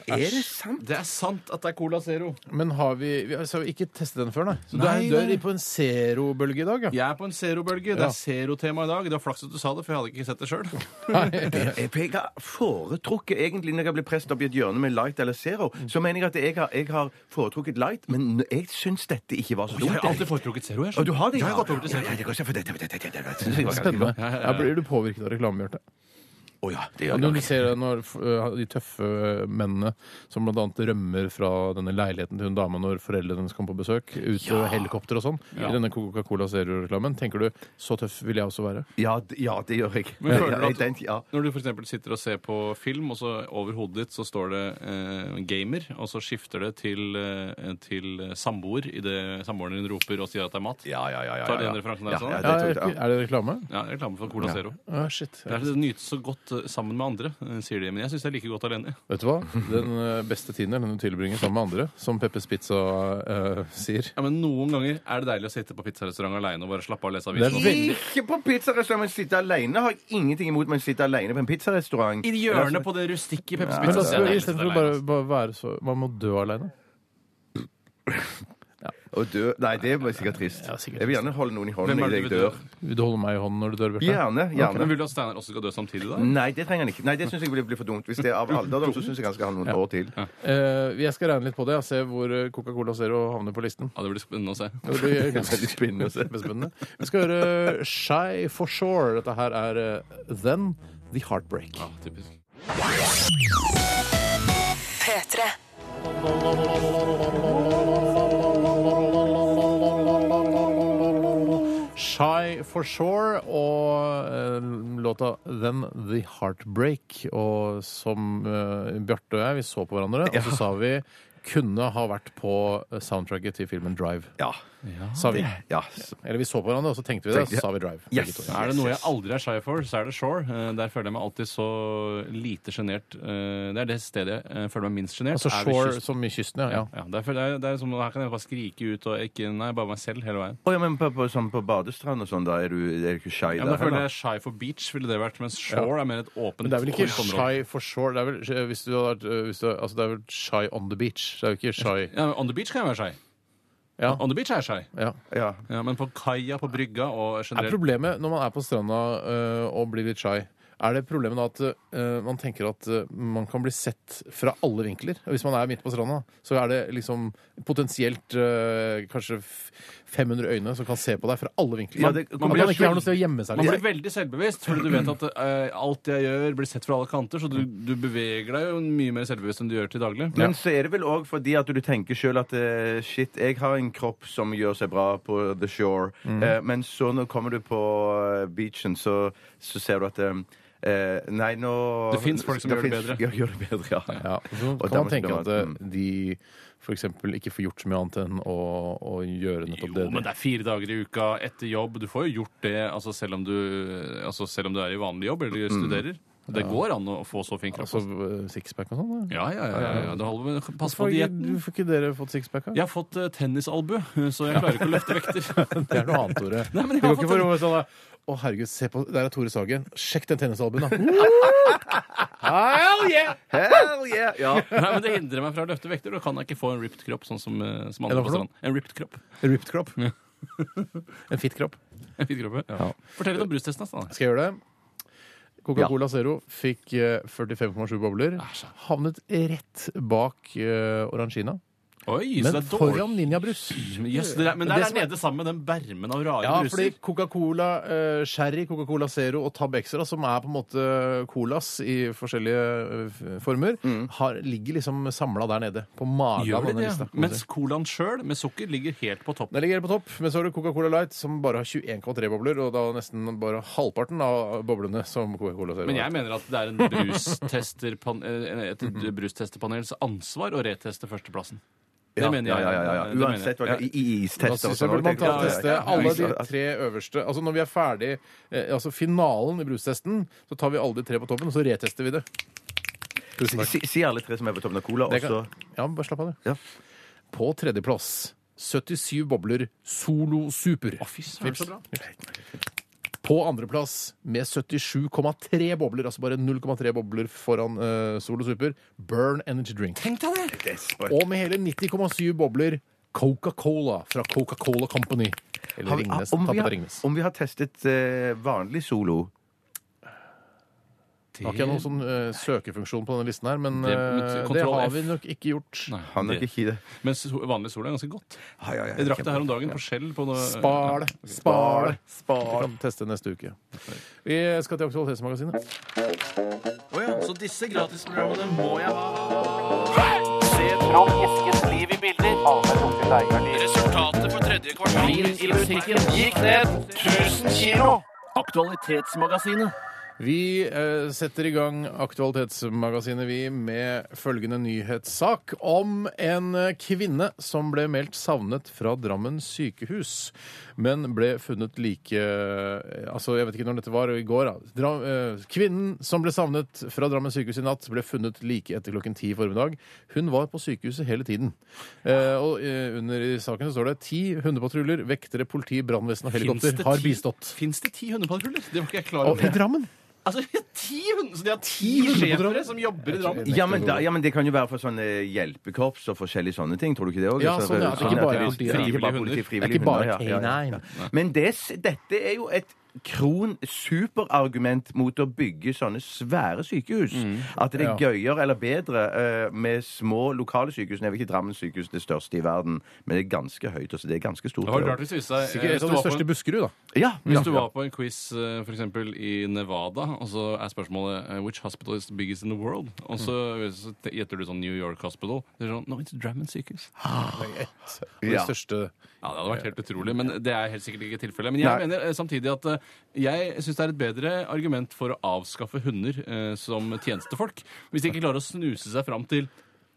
[SPEAKER 5] Er det sant?
[SPEAKER 4] Det er sant at det er Cola Zero.
[SPEAKER 3] Men har vi Vi har så har vi ikke testet den før, nei. Så du
[SPEAKER 4] Nei,
[SPEAKER 3] er, du
[SPEAKER 4] nei.
[SPEAKER 3] er på en zero-bølge i dag, ja?
[SPEAKER 4] Jeg er på en zero-bølge. Det
[SPEAKER 3] Ja.
[SPEAKER 4] er zero-tema i dag. Det var flaks at du sa det, for jeg hadde ikke sett det sjøl.
[SPEAKER 3] (laughs)
[SPEAKER 5] Jeg Eh, jeg har foretrukket egentlig når jeg blir presset opp i et hjørne med light eller zero,
[SPEAKER 4] Mm.
[SPEAKER 5] så mener jeg at jeg har, jeg har foretrukket light, men n- jeg syns dette ikke var så dumt. jeg.
[SPEAKER 4] foretrukket zero.
[SPEAKER 5] Og du har det?
[SPEAKER 4] Jeg har gått over til
[SPEAKER 5] Ja,
[SPEAKER 4] zero.
[SPEAKER 5] ja, det går seg for dette, dette, dette, dette, dette, synes jeg var ganske
[SPEAKER 3] Spennende.
[SPEAKER 5] bra.
[SPEAKER 4] Ja, ja, ja.
[SPEAKER 3] Ja, blir du påvirket av reklame, Bjarte?
[SPEAKER 5] Å ja, det gjør
[SPEAKER 3] Ja,
[SPEAKER 5] jeg
[SPEAKER 3] Når du
[SPEAKER 5] nok.
[SPEAKER 3] ser det, når øh, de tøffe mennene som bl.a. rømmer fra denne leiligheten til hun dama når foreldrene hennes kommer på besøk, ut og helikopter og sånn,
[SPEAKER 4] Ja.
[SPEAKER 3] i denne Coca-Cola Zero-reklamen, tenker du så tøff vil jeg også være?
[SPEAKER 5] Ja, d- ja, det gjør jeg.
[SPEAKER 4] Men føler du
[SPEAKER 5] Ja,
[SPEAKER 4] at-
[SPEAKER 5] den- ja.
[SPEAKER 4] Når du for eksempel sitter og ser på film, og så over hodet ditt så står det eh, 'gamer', og så skifter det til, eh, til samboer idet samboeren din roper og sier at det er mat.
[SPEAKER 5] Ja, ja, ja. ja,
[SPEAKER 4] Tar du
[SPEAKER 5] ja.
[SPEAKER 4] den referansen der,
[SPEAKER 5] Ja,
[SPEAKER 4] sånn?
[SPEAKER 5] ja, det
[SPEAKER 3] Ja,
[SPEAKER 5] tror jeg,
[SPEAKER 3] er det reklame?
[SPEAKER 4] Ja, reklame for Cola Zero.
[SPEAKER 3] Å, shit.
[SPEAKER 4] Det er det nytes så godt godt sammen med andre, eh, sier de. Men jeg syns det er like godt alene.
[SPEAKER 3] Vet du hva? Den eh, beste tiden er den du tilbringer sammen med andre, som Peppes Pizza eh, sier.
[SPEAKER 4] Ja, Men noen ganger er det deilig å sitte på pizzarestaurant aleine og bare slappe av og lese
[SPEAKER 3] Det er
[SPEAKER 4] avisen.
[SPEAKER 3] veldig-
[SPEAKER 5] Ikke på pizzarestaurant, men sitte alene har jeg ingenting imot. Men sitte alene på en pizzarestaurant
[SPEAKER 4] I hjørnet på det rustikke Peppes
[SPEAKER 3] Men da
[SPEAKER 4] Pizza.
[SPEAKER 3] skal vi istedenfor bare, bare være så Man må dø aleine.
[SPEAKER 5] og dø Nei, det var sikkert trist.
[SPEAKER 3] Ja, sikkert
[SPEAKER 5] Jeg vil gjerne holde noen i hånden
[SPEAKER 4] Hvem er det
[SPEAKER 5] idet
[SPEAKER 4] du
[SPEAKER 5] jeg
[SPEAKER 4] vil
[SPEAKER 5] dør.
[SPEAKER 4] dø?
[SPEAKER 3] Vil du holde meg i hånden når du dør, Bjarte?
[SPEAKER 5] Gjerne. gjerne.
[SPEAKER 4] Men vil du at Steinar også skal dø samtidig, da?
[SPEAKER 5] Nei, det trenger han ikke. Nei, det syns jeg blir, blir for dumt. Hvis det er av alderdom, så syns jeg han skal ha noen år til.
[SPEAKER 3] Eh, jeg skal regne litt på det og se hvor eh, Coca-Cola Zero havner på listen.
[SPEAKER 4] Ja, Det blir spennende å se.
[SPEAKER 3] Det
[SPEAKER 5] (laughs)
[SPEAKER 3] blir
[SPEAKER 4] (laughs)
[SPEAKER 3] ganske
[SPEAKER 5] Veldig spennende å se.
[SPEAKER 3] spennende. Vi skal høre Shy for Shore. Dette her er eh, Then The Heartbreak.
[SPEAKER 4] Ja, typisk.
[SPEAKER 1] P3.
[SPEAKER 3] Shy for Shore og eh, låta Then The Heartbreak. Og som eh, Bjarte og jeg, vi så på hverandre, og så sa vi kunne ha vært på soundtracket til filmen Drive.
[SPEAKER 5] Ja.
[SPEAKER 3] Sa vi.
[SPEAKER 5] ja. s-
[SPEAKER 3] Eller vi så på hverandre, og så tenkte vi det, og
[SPEAKER 5] Tenkte-
[SPEAKER 3] så sa vi Drive.
[SPEAKER 5] Yes.
[SPEAKER 3] begge to.
[SPEAKER 4] Er det noe jeg aldri er shy for, så er det Shore. Eh, Der føler jeg meg alltid så lite sjenert. Eh, Det er det stedet jeg eh, føler meg minst sjenert.
[SPEAKER 3] Altså
[SPEAKER 4] er ved
[SPEAKER 3] Shore
[SPEAKER 4] kysten.
[SPEAKER 3] som i kysten, ja. ja.
[SPEAKER 4] Ja, der føler jeg, det er som, her kan jeg bare skrike ut og ikke Nei, bare meg selv hele veien.
[SPEAKER 5] Å ja, men på, på, sånn på badestrand og sånn, da er du, er du ikke shy
[SPEAKER 4] Ja, men da føler jeg shy for beach, ville det vært. Mens shore er mer et åpent
[SPEAKER 3] Men det er vel ikke
[SPEAKER 4] åpent område.
[SPEAKER 3] shy for shore? Det er vel, eh, hvis du hadde vært, eh, hvis du, altså det er vel shy on the beach. Det er jo ikke shy
[SPEAKER 4] Ja, men On the beach kan jeg være shy.
[SPEAKER 3] Ja.
[SPEAKER 4] On the beach er jeg shy.
[SPEAKER 3] ja.
[SPEAKER 5] Ja.
[SPEAKER 4] Ja, men på kaia, på brygga og
[SPEAKER 3] Er
[SPEAKER 4] generelt
[SPEAKER 3] problemet når man er på stranda eh, og blir litt shy er det problemet da at eh, man tenker at eh, man kan bli sett fra alle vinkler? Og Hvis man er midt på stranda, så er det liksom potensielt eh, kanskje f- 500 øyne som kan se på deg fra alle vinkler.
[SPEAKER 5] Ja,
[SPEAKER 3] Man,
[SPEAKER 5] det-
[SPEAKER 3] man,
[SPEAKER 5] man
[SPEAKER 4] blir
[SPEAKER 3] ikke har
[SPEAKER 4] skyld-
[SPEAKER 3] noe sted å gjemme seg.
[SPEAKER 4] Man blir
[SPEAKER 3] Liksom.
[SPEAKER 4] veldig selvbevisst, fordi du vet at eh, alt jeg gjør, blir sett fra alle kanter. Så du, du beveger deg jo mye mer selvbevisst enn du gjør til daglig.
[SPEAKER 5] Men så er det vel òg fordi at du tenker sjøl at eh, shit, jeg har en kropp som gjør seg bra på the shore,
[SPEAKER 4] Mhm.
[SPEAKER 5] Eh, men så når kommer du på eh, beachen, så, så ser du at eh, eh, Nei, nå
[SPEAKER 4] Det finnes folk som
[SPEAKER 5] det
[SPEAKER 4] gjør det
[SPEAKER 5] finnes-
[SPEAKER 4] bedre.
[SPEAKER 5] Ja, gjør det bedre, ja.
[SPEAKER 3] Ja, så
[SPEAKER 5] Og
[SPEAKER 3] kan
[SPEAKER 5] da-
[SPEAKER 3] man tenke at eh,
[SPEAKER 5] mm.
[SPEAKER 3] de f.eks. ikke får gjort så mye annet enn å, å gjøre nettopp
[SPEAKER 4] Jo,
[SPEAKER 3] det.
[SPEAKER 4] men det er fire dager i uka etter jobb. Du får jo gjort det altså selv, om du, altså selv om du er i vanlig jobb eller studerer. Det går an å få så fin kropp.
[SPEAKER 3] Mm. Altså eh, sixpack og sånn? da?
[SPEAKER 4] Ja, ja, ja. ja, ja. Det holder med. Pass på
[SPEAKER 3] Hvorfor har
[SPEAKER 4] dietten.
[SPEAKER 3] ikke, hvorfor ikke dere fått sixpack? da?
[SPEAKER 4] Jeg har fått eh, tennisalbue, så jeg klarer ikke å løfte vekter.
[SPEAKER 3] (laughs) Det er noe annet, Tore.
[SPEAKER 4] (laughs) Nei, men
[SPEAKER 3] det
[SPEAKER 4] jeg
[SPEAKER 3] går
[SPEAKER 4] har
[SPEAKER 3] ikke
[SPEAKER 4] fått
[SPEAKER 3] for å sånn da, Å, herregud, se på Der er Tore Sagen. Sjekk den tennisalbuen, da. Hell yeah!
[SPEAKER 5] Hell yeah! Ja.
[SPEAKER 4] Nei, men Det hindrer meg fra å løfte vekter. Da kan jeg ikke få en ripped kropp. sånn som, eh, som
[SPEAKER 3] Er
[SPEAKER 4] andre
[SPEAKER 3] det
[SPEAKER 4] på
[SPEAKER 3] for noe?
[SPEAKER 4] stranden. En ripped
[SPEAKER 3] (laughs)
[SPEAKER 4] kropp.
[SPEAKER 3] Ripped kropp. En fit kropp.
[SPEAKER 4] En fin kropp, ja. Fortell litt om brustesten. da, Steinar.
[SPEAKER 3] Skal jeg gjøre det? Coca-Cola Zero fikk eh, 45,7 bobler. Havnet rett bak eh, Orangina.
[SPEAKER 4] Oi, så
[SPEAKER 3] Men
[SPEAKER 4] det er dårlig.
[SPEAKER 3] foran Ninja Brus.
[SPEAKER 4] Yes, det er, men
[SPEAKER 3] Det
[SPEAKER 4] der er
[SPEAKER 3] som er-
[SPEAKER 4] nede sammen med den bermen av rare
[SPEAKER 3] Ja,
[SPEAKER 4] bruser.
[SPEAKER 3] fordi Coca-Cola, eh, Sherry, Coca-Cola Zero og Tab Extra, som er på en måte Colas i forskjellige eh, f- former, har, ligger liksom samla der nede. På magen
[SPEAKER 4] Gjør
[SPEAKER 3] av
[SPEAKER 4] det
[SPEAKER 3] denne
[SPEAKER 4] det?
[SPEAKER 3] lista. kan man si.
[SPEAKER 4] Mens colaen sjøl med sukker ligger helt på toppen.
[SPEAKER 3] Den ligger helt på topp, men så har du Coca-Cola Light, som bare har 21,3 bobler, og da nesten bare halvparten av boblene som Coca-Cola Zero
[SPEAKER 4] Men
[SPEAKER 3] har.
[SPEAKER 4] jeg mener at det er en brustesterpan- eh, et
[SPEAKER 5] Mhm.
[SPEAKER 4] brustesterpanels ansvar å reteste førsteplassen. Det
[SPEAKER 5] Ja,
[SPEAKER 4] mener jeg.
[SPEAKER 5] Ja, ja, ja, ja.
[SPEAKER 4] Det mener jeg.
[SPEAKER 5] Uansett hva det er. I- i-
[SPEAKER 3] Da
[SPEAKER 5] Istester og
[SPEAKER 3] synes jeg
[SPEAKER 5] sånn.
[SPEAKER 3] burde man ta og
[SPEAKER 5] Ja, ja,
[SPEAKER 3] teste
[SPEAKER 5] ja, ja.
[SPEAKER 3] alle de
[SPEAKER 5] Is-
[SPEAKER 3] tre øverste. Altså Når vi er ferdig eh, altså finalen i brustesten, så tar vi alle de tre på toppen, og så retester vi det. Tusen takk.
[SPEAKER 5] Si, si alle tre som er på toppen av cola, og
[SPEAKER 3] Det
[SPEAKER 5] så
[SPEAKER 3] kan, ja, bare slapp av, du.
[SPEAKER 5] Ja.
[SPEAKER 3] På tredjeplass 77 bobler Solo Super.
[SPEAKER 4] Å, fy søren, så bra.
[SPEAKER 3] På andreplass med 77,3 bobler, altså bare 0,3 bobler foran eh, Solo Super, Burn Energy Drink.
[SPEAKER 4] Tenk deg det!
[SPEAKER 3] Og med hele 90,7 bobler Coca-Cola fra Coca-Cola Company. Eller
[SPEAKER 5] Har vi-
[SPEAKER 3] Ringnes.
[SPEAKER 5] om, vi
[SPEAKER 3] Tappa
[SPEAKER 5] har,
[SPEAKER 3] Ringnes.
[SPEAKER 5] om vi har testet eh, vanlig Solo
[SPEAKER 3] Har ikke jeg noen sånn eh, søkefunksjon på denne listen her, men
[SPEAKER 4] Det-
[SPEAKER 3] eh,
[SPEAKER 4] men
[SPEAKER 3] det
[SPEAKER 4] Ctrl
[SPEAKER 3] har
[SPEAKER 4] F.
[SPEAKER 3] vi nok ikke gjort.
[SPEAKER 4] Nei,
[SPEAKER 5] Han er
[SPEAKER 4] det-
[SPEAKER 5] nok ikke i det.
[SPEAKER 4] Men so- vanlig sol er ganske godt.
[SPEAKER 5] Ja, ja, ja,
[SPEAKER 4] Jeg drakk det her om
[SPEAKER 5] kjempe-
[SPEAKER 4] dagen på skjell på noe
[SPEAKER 3] Spar det, spar det. Vi
[SPEAKER 5] Spar.
[SPEAKER 3] kan teste neste uke. Vi skal til Aktualitetsmagasinet.
[SPEAKER 4] Så disse gratisprogrammene må jeg ha. Se fram Eskens liv i bilder. Resultatet på tredje kvartal. Vin i butikken gikk ned 1000 kilo. Aktualitetsmagasinet.
[SPEAKER 3] Vi eh, setter i gang Aktualitetsmagasinet vi med følgende nyhetssak om en eh, kvinne som ble meldt savnet fra Drammen sykehus, men ble funnet like eh, Altså, jeg vet ikke når dette var, i går, da. Dra, eh, kvinnen som ble savnet fra Drammen sykehus i natt, ble funnet like etter klokken ti i formiddag. Hun var på sykehuset hele tiden. Eh, og eh, under i saken så står det ti hundepatruljer, vektere, politi, brannvesen og helikopter har bistått.
[SPEAKER 4] Fins det ti hundepatruljer? Det var ikke jeg klar
[SPEAKER 3] Og i
[SPEAKER 4] over.
[SPEAKER 3] Drammen!
[SPEAKER 4] Altså, ti hunder, så de har ti
[SPEAKER 3] hundepatruljer?
[SPEAKER 4] sjefere som jobber i Drammen?
[SPEAKER 5] Ja men, da, ja, men det kan jo være for sånne hjelpekorps og forskjellige sånne ting. Tror du ikke det òg?
[SPEAKER 3] Ja, sånn, ja, at det ikke bare er politi,
[SPEAKER 5] Ikke
[SPEAKER 4] frivillige
[SPEAKER 5] bare politi,
[SPEAKER 4] hunder.
[SPEAKER 3] Det er
[SPEAKER 5] frivillige
[SPEAKER 3] ikke bare
[SPEAKER 5] hunder, ja, ja, ja.
[SPEAKER 3] K9.
[SPEAKER 5] Men det, dette er jo et kron-superargument mot å bygge sånne svære sykehus. At det er
[SPEAKER 3] Ja.
[SPEAKER 5] gøyere eller bedre eh, med små lokale sykehus. Nå er vel ikke Drammen sykehus det største i verden, men det er ganske høyt. Altså, det er ganske stort.
[SPEAKER 4] Det var rart hvis det viste seg eh,
[SPEAKER 3] Sikkert
[SPEAKER 4] hvis
[SPEAKER 3] et
[SPEAKER 4] du
[SPEAKER 3] av de
[SPEAKER 4] var på en-
[SPEAKER 3] største i Buskerud, da.
[SPEAKER 5] Ja,
[SPEAKER 4] Hvis
[SPEAKER 5] ja,
[SPEAKER 4] du
[SPEAKER 5] ja.
[SPEAKER 4] var på en quiz f.eks. i Nevada, og så er spørsmålet eh, Which hospital is the biggest in the world? Og så så
[SPEAKER 5] Mm.
[SPEAKER 4] te- gjetter du sånn New York Hospital. Det er sånn, no, it's Drammen sykehus.
[SPEAKER 3] Det
[SPEAKER 5] Ja.
[SPEAKER 3] største
[SPEAKER 4] Ja, Det hadde vært helt utrolig, men det er helt sikkert ikke tilfellet. Men jeg
[SPEAKER 5] Nei.
[SPEAKER 4] mener eh, samtidig at eh, jeg syns det er et bedre argument for å avskaffe hunder eh, som tjenestefolk. Hvis de ikke klarer å snuse seg fram til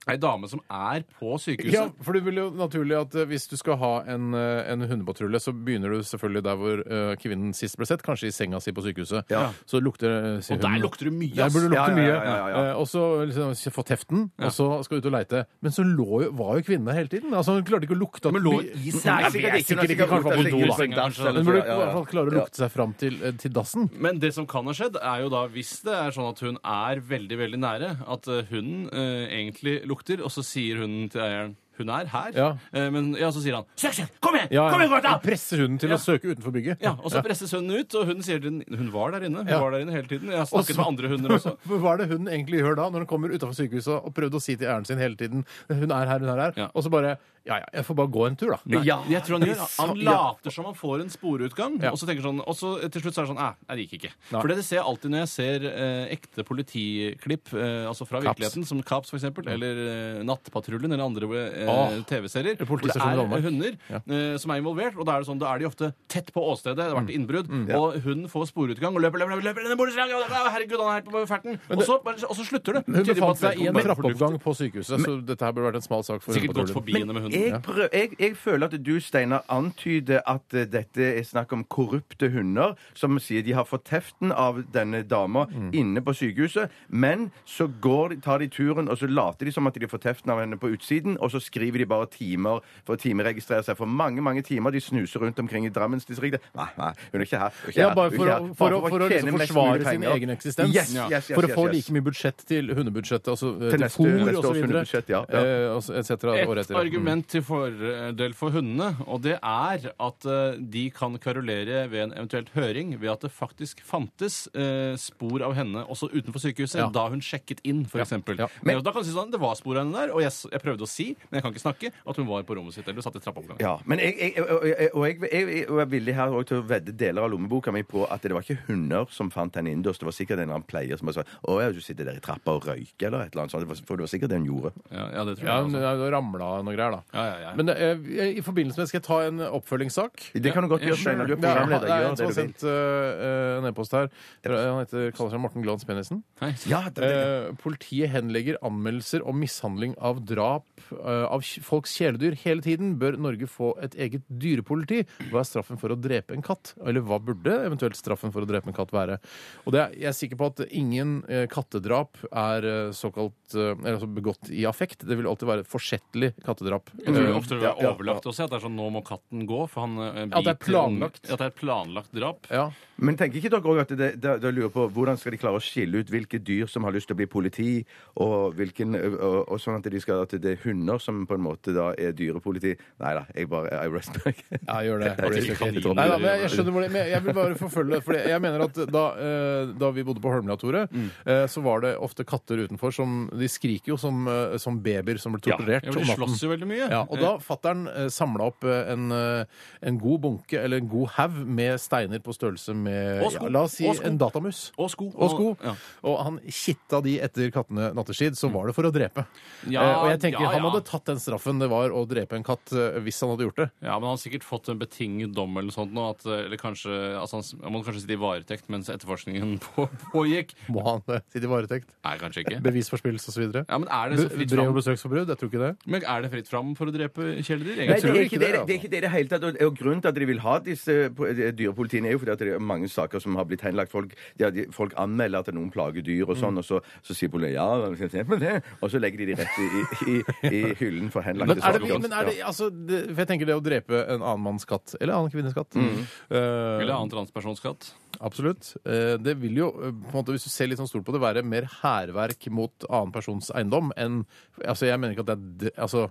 [SPEAKER 4] ei dame som er på sykehuset.
[SPEAKER 3] Ja, for det vil jo naturlig at eh, hvis du skal ha en, eh, en hundepatrulje, så begynner du selvfølgelig der hvor eh, kvinnen sist ble sett, kanskje i senga si på sykehuset.
[SPEAKER 5] Ja.
[SPEAKER 3] Så lukter eh,
[SPEAKER 4] Og der lukter det mye,
[SPEAKER 3] Der
[SPEAKER 4] ass.
[SPEAKER 3] burde det
[SPEAKER 5] Ja,
[SPEAKER 3] lukte
[SPEAKER 5] ja,
[SPEAKER 3] mye.
[SPEAKER 5] ja, ja, ja.
[SPEAKER 3] Eh, Og så liksom, fått heften, og så skal du ut og leite. Men så lå jo, var jo kvinnen der hele tiden. Altså, Hun klarte ikke å lukte at
[SPEAKER 4] Men lå i senga?
[SPEAKER 5] Nei, sikkert ikke.
[SPEAKER 3] Kanskje var
[SPEAKER 5] Hun har sikkert
[SPEAKER 3] på
[SPEAKER 5] lukta
[SPEAKER 3] do, da.
[SPEAKER 5] seg ut på en dass eller
[SPEAKER 3] Hun burde i
[SPEAKER 5] noe. Ja, ja,
[SPEAKER 3] hvert
[SPEAKER 5] ja.
[SPEAKER 3] fall klare å lukte seg fram til, eh, til dassen.
[SPEAKER 4] Men det som kan ha skjedd, er jo da hvis det er sånn at hun er veldig veldig nære, at eh, hunden eh, egentlig lukter, og så sier hunden til eieren hun er her,
[SPEAKER 3] Ja.
[SPEAKER 4] Eh, men ja, så sier han Søk, søk! Kom igjen!
[SPEAKER 3] Ja,
[SPEAKER 4] Kom igjen,
[SPEAKER 3] ja.
[SPEAKER 4] gutta!
[SPEAKER 3] Presser hunden til
[SPEAKER 4] Ja.
[SPEAKER 3] å søke utenfor bygget.
[SPEAKER 4] Ja, og så presses hunden ut, og hunden sier til den Hun var der inne. Hun
[SPEAKER 3] Ja.
[SPEAKER 4] var der inne hele tiden. Jeg har
[SPEAKER 3] Og
[SPEAKER 4] snakket
[SPEAKER 3] så-
[SPEAKER 4] med andre hunder også.
[SPEAKER 3] (laughs) Hva er det hun egentlig gjør da, når hun kommer utenfor sykehuset og prøvde å si til æren sin hele tiden Hun er her, hun er her.
[SPEAKER 4] Ja.
[SPEAKER 3] Og så bare Ja, ja, jeg får bare gå en tur, da.
[SPEAKER 4] Nei, jeg tror han, gjør, han
[SPEAKER 3] Ja.
[SPEAKER 4] later som han får en sporeutgang,
[SPEAKER 3] Ja.
[SPEAKER 4] og så tenker sånn, og så til slutt så er det sånn Æ, det gikk ikke. For det ser jeg alltid når jeg ser eh, ekte politiklipp, eh, altså fra
[SPEAKER 3] Kaps.
[SPEAKER 4] virkeligheten, som Kaps for eksempel, eller eh, Nattpatruljen eller andre eh,
[SPEAKER 3] Åh.
[SPEAKER 4] TV-serier, hvor det
[SPEAKER 3] Politistasjonen
[SPEAKER 4] er
[SPEAKER 3] i Danmark.
[SPEAKER 4] hunder eh, som er involvert, og da er det sånn, da er de ofte tett på åstedet, det har vært innbrudd, og hunden får sporeutgang og løper, løper, løper, løper, løper, løper, løper herregud, han er helt på ferten, og så, bare- og så slutter det.
[SPEAKER 3] Hun
[SPEAKER 4] Tyder på
[SPEAKER 3] befant
[SPEAKER 4] at
[SPEAKER 3] seg i en
[SPEAKER 4] vedkommende-
[SPEAKER 3] trappeoppgang på sykehuset, så dette her burde vært en smal sak for
[SPEAKER 4] Sikkert gått
[SPEAKER 3] hundepatruljen.
[SPEAKER 4] forbi henne med hunden.
[SPEAKER 5] Jeg, prøv, jeg, jeg føler at du, Steinar, antyder at eh, dette er snakk om korrupte hunder som sier de har fått teften av denne dama
[SPEAKER 3] Mm.
[SPEAKER 5] inne på sykehuset, men så går, de- tar de turen, og så later de som at de får teften av henne på utsiden, og så skriver de bare timer for å timeregistrere seg for mange, mange timer. De snuser rundt omkring i Drammensdistriktet. Nei, nei, hun er ikke her. Hun er ikke
[SPEAKER 3] Ja,
[SPEAKER 5] her,
[SPEAKER 3] bare
[SPEAKER 5] hun er
[SPEAKER 3] for
[SPEAKER 5] ikke
[SPEAKER 3] å,
[SPEAKER 5] her.
[SPEAKER 3] for å, for å
[SPEAKER 5] tjene
[SPEAKER 3] liksom
[SPEAKER 5] mest mulig
[SPEAKER 3] forsvare sin
[SPEAKER 5] penger.
[SPEAKER 3] egen eksistens.
[SPEAKER 5] Yes, yes, yes,
[SPEAKER 3] for å få
[SPEAKER 5] yes, yes.
[SPEAKER 3] like mye budsjett til hundebudsjettet, altså eh,
[SPEAKER 5] Til
[SPEAKER 3] til
[SPEAKER 5] neste-
[SPEAKER 3] fôr
[SPEAKER 5] neste års
[SPEAKER 3] osv.
[SPEAKER 5] hundebudsjett, ja, ja.
[SPEAKER 3] Eh, Etc. året
[SPEAKER 4] Et
[SPEAKER 3] etter. Mm.
[SPEAKER 4] argument til fordel for hundene, og det er at eh, de kan karolere ved en eventuelt høring ved at det faktisk fantes eh, spor av henne også utenfor sykehuset
[SPEAKER 3] Ja.
[SPEAKER 4] da hun sjekket inn,
[SPEAKER 3] Ja.
[SPEAKER 4] f.eks.
[SPEAKER 3] Ja.
[SPEAKER 4] Men Da kan du si sånn, det var spor av henne der, og jeg, s- jeg prøvde å si, men jeg kan ikke snakke, at hun var på rommet sitt eller satt i trappeoppgangen.
[SPEAKER 5] Ja, men jeg, jeg, og jeg, og jeg, jeg, og jeg er villig her også til å vedde deler av lommeboka mi på at det var ikke hunder som fant henne innendørs. Det var sikkert en eller annen pleier som bare sa 'Å ja, du sitter der i trappa og røyker', eller et eller annet sånt. Det var- For det var sikkert det hun gjorde.
[SPEAKER 4] Ja, ja, det tror
[SPEAKER 3] Ja,
[SPEAKER 4] jeg
[SPEAKER 3] hun
[SPEAKER 4] også.
[SPEAKER 3] hun ramla noe greier, da.
[SPEAKER 4] Ja, ja, ja.
[SPEAKER 3] Men eh, i forbindelse med skal jeg ta en oppfølgingssak.
[SPEAKER 5] Det kan du godt
[SPEAKER 4] Ja,
[SPEAKER 5] gjøre,
[SPEAKER 4] sure.
[SPEAKER 5] Steinar. Du er
[SPEAKER 3] Det er, det
[SPEAKER 5] programleder.
[SPEAKER 3] er
[SPEAKER 5] Gjør
[SPEAKER 3] en
[SPEAKER 5] det
[SPEAKER 3] som har
[SPEAKER 5] du vil.
[SPEAKER 3] sendt øh, øh, en e-post her. Han heter, kaller seg Morten Glans Penisen.
[SPEAKER 4] Hei.
[SPEAKER 5] Ja, det, det.
[SPEAKER 3] Eh, politiet henlegger anmeldelser om mishandling av drap eh, av kj- folks kjæledyr hele tiden. Bør Norge få et eget dyrepoliti? Hva er straffen for å drepe en katt? Eller hva burde eventuelt straffen for å drepe en katt være? Og det er, Jeg er sikker på at ingen eh, kattedrap er eh, såkalt eh, eller altså begått i affekt. Det vil alltid være forsettlig kattedrap.
[SPEAKER 4] Jeg tror det
[SPEAKER 3] Eh,
[SPEAKER 4] ofte
[SPEAKER 5] ja,
[SPEAKER 4] er
[SPEAKER 5] ja.
[SPEAKER 4] overlagt også, at det er sånn nå må katten gå, for han eh,
[SPEAKER 3] At det er
[SPEAKER 4] biter ungen-
[SPEAKER 3] planlagt.
[SPEAKER 4] At det er et planlagt drap.
[SPEAKER 3] Eh, ja.
[SPEAKER 5] Men tenker ikke dere òg at det, det, det lurer på hvordan skal de klare å skille ut hvilke dyr som har lyst til å bli politi, og, hvilken, og, og, og sånn at, de skal, at det er hunder som på en måte da er dyrepoliti? Nei da, jeg bare I rest back.
[SPEAKER 3] Ja, gjør det.
[SPEAKER 5] Jeg
[SPEAKER 4] tror ikke kaniner-
[SPEAKER 3] Nei, da, men jeg, jeg skjønner hvor det Men jeg vil bare forfølge det. For jeg mener at da, eh, da vi bodde på Holmlia, Tore,
[SPEAKER 4] Mm.
[SPEAKER 3] eh, så var det ofte katter utenfor som De skriker jo som, eh, som babyer som blir torturert
[SPEAKER 4] Ja, for de slåss jo veldig mye.
[SPEAKER 3] Ja, og da fattern eh, samla opp eh, en, eh, en god bunke, eller en god haug, med steiner på størrelse med
[SPEAKER 4] Og sko.
[SPEAKER 3] ja, La oss si
[SPEAKER 4] Og sko.
[SPEAKER 3] en datamus.
[SPEAKER 4] Og sko.
[SPEAKER 3] Og, sko.
[SPEAKER 4] Ja.
[SPEAKER 3] og han kitta de etter kattene natteskid, så var det for å drepe.
[SPEAKER 4] Ja,
[SPEAKER 3] Eh, og jeg tenker,
[SPEAKER 4] ja,
[SPEAKER 3] han
[SPEAKER 4] ja.
[SPEAKER 3] hadde tatt tatt den straffen det var å drepe en katt eh, hvis han hadde gjort det.
[SPEAKER 4] Ja, men han har sikkert fått en betinget dom eller noe sånt nå. At, eller kanskje, altså han, s- han må kanskje sitte i varetekt mens etterforskningen (laughs) på, pågikk.
[SPEAKER 3] Må han eh, sitte i varetekt?
[SPEAKER 4] Nei, kanskje ikke.
[SPEAKER 3] Bevisforspillelse osv.
[SPEAKER 4] Ja, men er det så fritt
[SPEAKER 3] Brev- og
[SPEAKER 4] fram?
[SPEAKER 3] besøksforbud? Jeg tror ikke det.
[SPEAKER 4] Men er det fritt fram for å drepe kjæledyr?
[SPEAKER 5] Nei,
[SPEAKER 4] egentlig?
[SPEAKER 5] det
[SPEAKER 3] tror
[SPEAKER 5] er
[SPEAKER 3] ikke
[SPEAKER 5] ikke det
[SPEAKER 3] det,
[SPEAKER 5] det er ikke det i det hele tatt. og- Og grunnen til at de vil ha disse po- eh, dyrepolitiene, er jo fordi at det er mange saker som har blitt henlagt. Folk, ja, de, folk anmelder at noen plager dyr og sånn, og så, så sier politiet ja, hvem skal se på det? og så legger de de rett i, i, i hyllen for henlagte
[SPEAKER 3] Men er
[SPEAKER 5] saker.
[SPEAKER 3] det, men er det, altså, det, for jeg tenker det å drepe en annen manns katt, eller en annen kvinnes katt eh,
[SPEAKER 4] Mm. Eller annen transpersonskatt?
[SPEAKER 3] Absolutt. Eh, Det vil jo, eh, på en måte, hvis du ser litt sånn stort på det, være mer hærverk mot annen persons eiendom enn Altså, jeg mener ikke at det er d- Altså,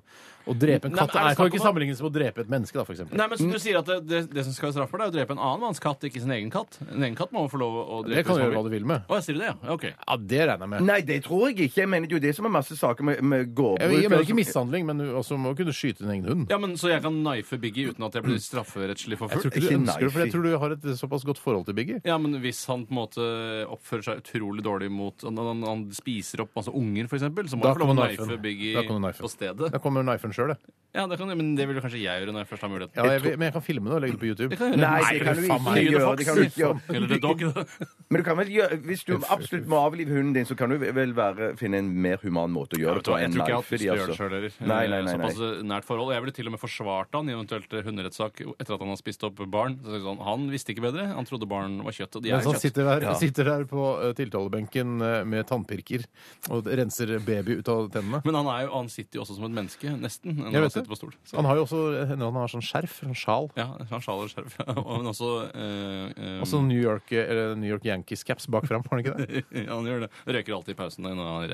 [SPEAKER 3] å drepe en
[SPEAKER 4] Nei, men
[SPEAKER 3] katt
[SPEAKER 4] er det
[SPEAKER 3] er, kan jo ikke
[SPEAKER 4] snakk om-
[SPEAKER 3] sammenlignes med å drepe et menneske, da, for eksempel.
[SPEAKER 4] Nei, men som du sier at det, det, det som skal være straffer, det er å drepe en annen manns katt, ikke sin egen katt. En egen katt må jo få lov å drepe.
[SPEAKER 3] Det kan
[SPEAKER 4] hvis
[SPEAKER 3] du
[SPEAKER 4] man
[SPEAKER 3] gjøre hva du vil med.
[SPEAKER 4] Å, jeg sier det, ja. Ok.
[SPEAKER 3] Ja, det regner jeg med.
[SPEAKER 5] Nei, det tror jeg ikke. Jeg mener det er jo det som er masse saker med, med
[SPEAKER 3] Jeg,
[SPEAKER 5] gårdbruk.
[SPEAKER 3] jeg mener ikke mishandling, men du også må kunne skyte din egen hund.
[SPEAKER 4] Ja, men Så jeg kan knife Biggie uten at jeg blir strafferettslig
[SPEAKER 3] Jeg tror
[SPEAKER 4] forfulgt?
[SPEAKER 3] ikke du
[SPEAKER 5] Ikke
[SPEAKER 3] ønsker det, for jeg
[SPEAKER 5] knife.
[SPEAKER 3] tror du har et såpass godt forhold til Biggie.
[SPEAKER 4] Ja, men hvis han på en måte oppfører seg utrolig dårlig mot Han, han, han spiser opp masse unger, for eksempel, så må
[SPEAKER 3] Da
[SPEAKER 4] han få lov å
[SPEAKER 3] kommer
[SPEAKER 4] knife
[SPEAKER 3] knifen. Da
[SPEAKER 4] Biggie
[SPEAKER 3] kommer knifen.
[SPEAKER 4] på stedet.
[SPEAKER 3] Da kommer knifen sjøl, jeg.
[SPEAKER 4] Ja, det kan, jeg, Men det vil jo kanskje jeg gjøre når jeg først har muligheten.
[SPEAKER 3] Ja, jeg. vil- Men jeg kan filme det og legge det på YouTube.
[SPEAKER 4] kan jeg gjøre.
[SPEAKER 5] Nei, det kan du
[SPEAKER 3] faen
[SPEAKER 5] ikke
[SPEAKER 3] meg.
[SPEAKER 5] gjøre. Det kan du ikke
[SPEAKER 3] liksom-
[SPEAKER 5] gjøre.
[SPEAKER 4] Eller The Dog. da.
[SPEAKER 5] (laughs) Men du kan vel gjøre, hvis du absolutt må avlive hunden din, så kan du vel være, finne en mer human måte å gjøre
[SPEAKER 4] Jeg
[SPEAKER 5] det på.
[SPEAKER 4] tror jeg
[SPEAKER 5] enn
[SPEAKER 4] tror ikke jeg
[SPEAKER 5] knife, altså-
[SPEAKER 4] hadde lyst til å gjøre det sjøl heller.
[SPEAKER 5] Nei, nei, nei, nei.
[SPEAKER 4] Såpass eh, nært forhold. Jeg ville til og med forsvart han i eventuelt eh, hunderettssak etter at han har spist opp barn. Så, er det sånn, han visste ikke bedre. Han trodde barn var kjøtt, og de er
[SPEAKER 3] Mens han
[SPEAKER 4] jo kjøtt.
[SPEAKER 3] Altså, sitter der, sitter der på eh, tiltalebenken eh, med tannpirker og renser baby ut av tennene.
[SPEAKER 4] Men han, er jo, han sitter jo også som et menneske, nesten. Når
[SPEAKER 3] Jeg
[SPEAKER 4] han
[SPEAKER 3] vet
[SPEAKER 4] sitter
[SPEAKER 3] det.
[SPEAKER 4] på stol. Så-
[SPEAKER 3] Han har jo også hender han har sånn skjerf, sånn sjal.
[SPEAKER 4] Ja, han sjaler skjerf. ja. (laughs) Og- Men også eh, eh,
[SPEAKER 3] Og sånn New York, eller New York Yankees-caps bak fram, har han ikke det?
[SPEAKER 4] (laughs) ja, han gjør det. Røyker alltid i pausen når han er i (laughs)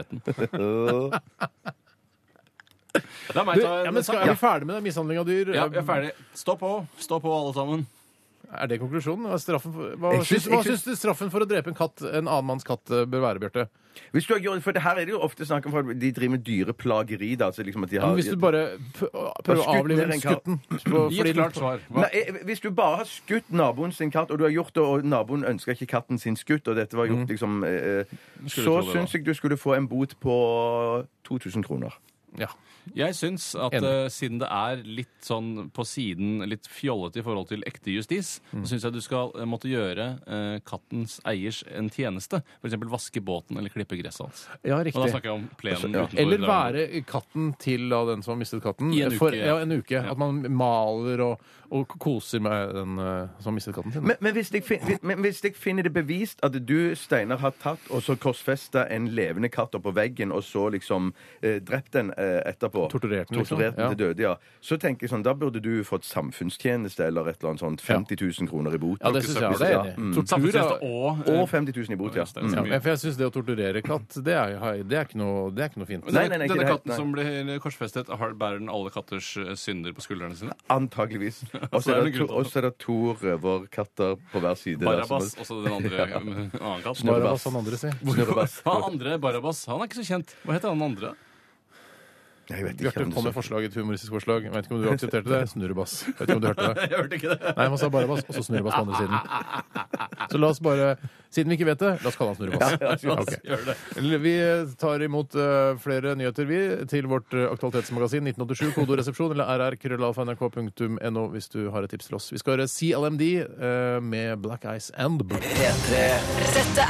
[SPEAKER 4] retten. La
[SPEAKER 3] Du,
[SPEAKER 4] meg ta en
[SPEAKER 3] ja, men skal,
[SPEAKER 4] sak.
[SPEAKER 3] er vi ferdig med den mishandling av dyr?
[SPEAKER 4] Ja, vi er ferdig. Stå på, stå på alle sammen.
[SPEAKER 3] Er det konklusjonen? Hva, er straffen for, hva,
[SPEAKER 5] Jeg syns-
[SPEAKER 3] syns, hva
[SPEAKER 5] jeg syns-
[SPEAKER 3] syns du straffen for å drepe en katt, en annen manns katt, eh, bør være, Bjarte?
[SPEAKER 5] Hvis du har gjort, for det her er det jo ofte snakk om at de driver med dyreplageri. Da, altså liksom at de
[SPEAKER 3] Ja,
[SPEAKER 5] har,
[SPEAKER 3] men hvis du bare p- prøver å
[SPEAKER 5] skutt
[SPEAKER 3] avlive
[SPEAKER 5] ned
[SPEAKER 3] den
[SPEAKER 5] en katt.
[SPEAKER 3] skutten på,
[SPEAKER 4] Gi
[SPEAKER 3] fordi den-
[SPEAKER 4] et klart svar. Hva?
[SPEAKER 5] Nei, eh, hvis du bare har skutt naboen sin katt, og du har gjort det, og naboen ønska ikke katten sin skutt, og dette var gjort liksom eh, eh,
[SPEAKER 4] tro
[SPEAKER 5] Så
[SPEAKER 4] det, da.
[SPEAKER 5] syns jeg du skulle få en bot på 2000 kroner.
[SPEAKER 3] Ja.
[SPEAKER 4] Jeg syns at
[SPEAKER 3] Enig.
[SPEAKER 4] eh, siden det er litt sånn på siden, litt fjollete i forhold til ekte justis,
[SPEAKER 5] Mm.
[SPEAKER 4] så syns jeg du skal eh, måtte gjøre eh, kattens eiers en tjeneste. F.eks. vaske båten eller klippe gresset hans.
[SPEAKER 3] ja,
[SPEAKER 4] Og da
[SPEAKER 3] riktig.
[SPEAKER 4] snakker jeg om plenen
[SPEAKER 5] Altså, Ja.
[SPEAKER 4] utenfor.
[SPEAKER 3] Eller
[SPEAKER 4] der.
[SPEAKER 3] være katten til da, den som har mistet katten.
[SPEAKER 4] I en uke,
[SPEAKER 3] For,
[SPEAKER 4] ja.
[SPEAKER 3] ja, en uke. At man maler og, og koser med den eh, som har mistet katten sin.
[SPEAKER 5] Men, men, hvis jeg fin, hvis- men hvis jeg finner det bevist at du, Steinar, har tatt og så korsfesta en levende katt oppå veggen, og så liksom eh, drept den eh, etterpå
[SPEAKER 3] Torturert den, liksom.
[SPEAKER 5] Torturert den til
[SPEAKER 3] Ja.
[SPEAKER 5] døde, ja. Så tenker jeg sånn, da burde du fått samfunnstjeneste eller et eller annet sånt. 50 000 kroner i bot.
[SPEAKER 3] ja, det syns jeg. Det er enig. i. Tortur er-
[SPEAKER 4] Samfunnstjeneste Mm. og eh,
[SPEAKER 5] altså. Og 50 000 i bot, ja.
[SPEAKER 4] det er så
[SPEAKER 3] Ja,
[SPEAKER 4] mye.
[SPEAKER 3] men for jeg syns det å torturere katt, det er, det er, ikke, noe, det er ikke noe fint.
[SPEAKER 5] Nei, nei, nei, ikke
[SPEAKER 4] Denne
[SPEAKER 5] det helt,
[SPEAKER 4] katten
[SPEAKER 5] nei.
[SPEAKER 4] som blir korsfestet, har, bærer den alle katters eh, synder på skuldrene sine?
[SPEAKER 3] (laughs)
[SPEAKER 5] Antageligvis. Og
[SPEAKER 4] Så
[SPEAKER 5] så
[SPEAKER 4] er
[SPEAKER 5] er
[SPEAKER 4] det
[SPEAKER 5] det
[SPEAKER 4] grunn
[SPEAKER 5] to,
[SPEAKER 4] til at-
[SPEAKER 5] og så er det to røverkatter på hver side. der,
[SPEAKER 4] Barabas,
[SPEAKER 5] som-
[SPEAKER 4] også den
[SPEAKER 3] (laughs)
[SPEAKER 4] andre eh, annen katt.
[SPEAKER 3] Bare hva sånn andre sier.
[SPEAKER 4] (laughs)
[SPEAKER 5] Snurrebass.
[SPEAKER 4] Han andre Barabas, han er ikke så kjent. Hva heter han andre?
[SPEAKER 5] Jeg vet ikke
[SPEAKER 3] Bjarte
[SPEAKER 5] om det
[SPEAKER 3] kom med
[SPEAKER 5] så-
[SPEAKER 3] forslag, et humoristisk forslag. Jeg vet ikke om du aksepterte
[SPEAKER 4] (laughs)
[SPEAKER 3] det? Snurrebass. Jeg vet ikke om du hørte det?
[SPEAKER 4] Jeg hørte ikke det.
[SPEAKER 3] Nei, man sa bare bass, og så snurrebass på andre siden. Så la oss bare, siden vi ikke vet det, la oss kalle han snurrebass. Ok.
[SPEAKER 4] Gjør det.
[SPEAKER 3] Vi tar imot eh, flere nyheter, vi, til vårt eh, aktualitetsmagasin 1987, kodoresepsjon eller rr.krøllalfa.nrk.no hvis du har et tips til oss. Vi skal høre CLMD eh, med Black Eyes and Blue.
[SPEAKER 1] Dette er, dette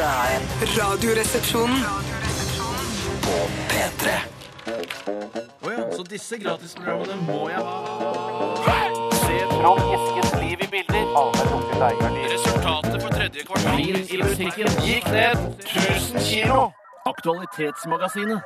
[SPEAKER 1] er Radioresepsjonen.
[SPEAKER 4] Så disse gratisprogrammene må jeg ha. Resultatet på tredje kvartal i musikken gikk ned 1000 kilo. Aktualitetsmagasinet.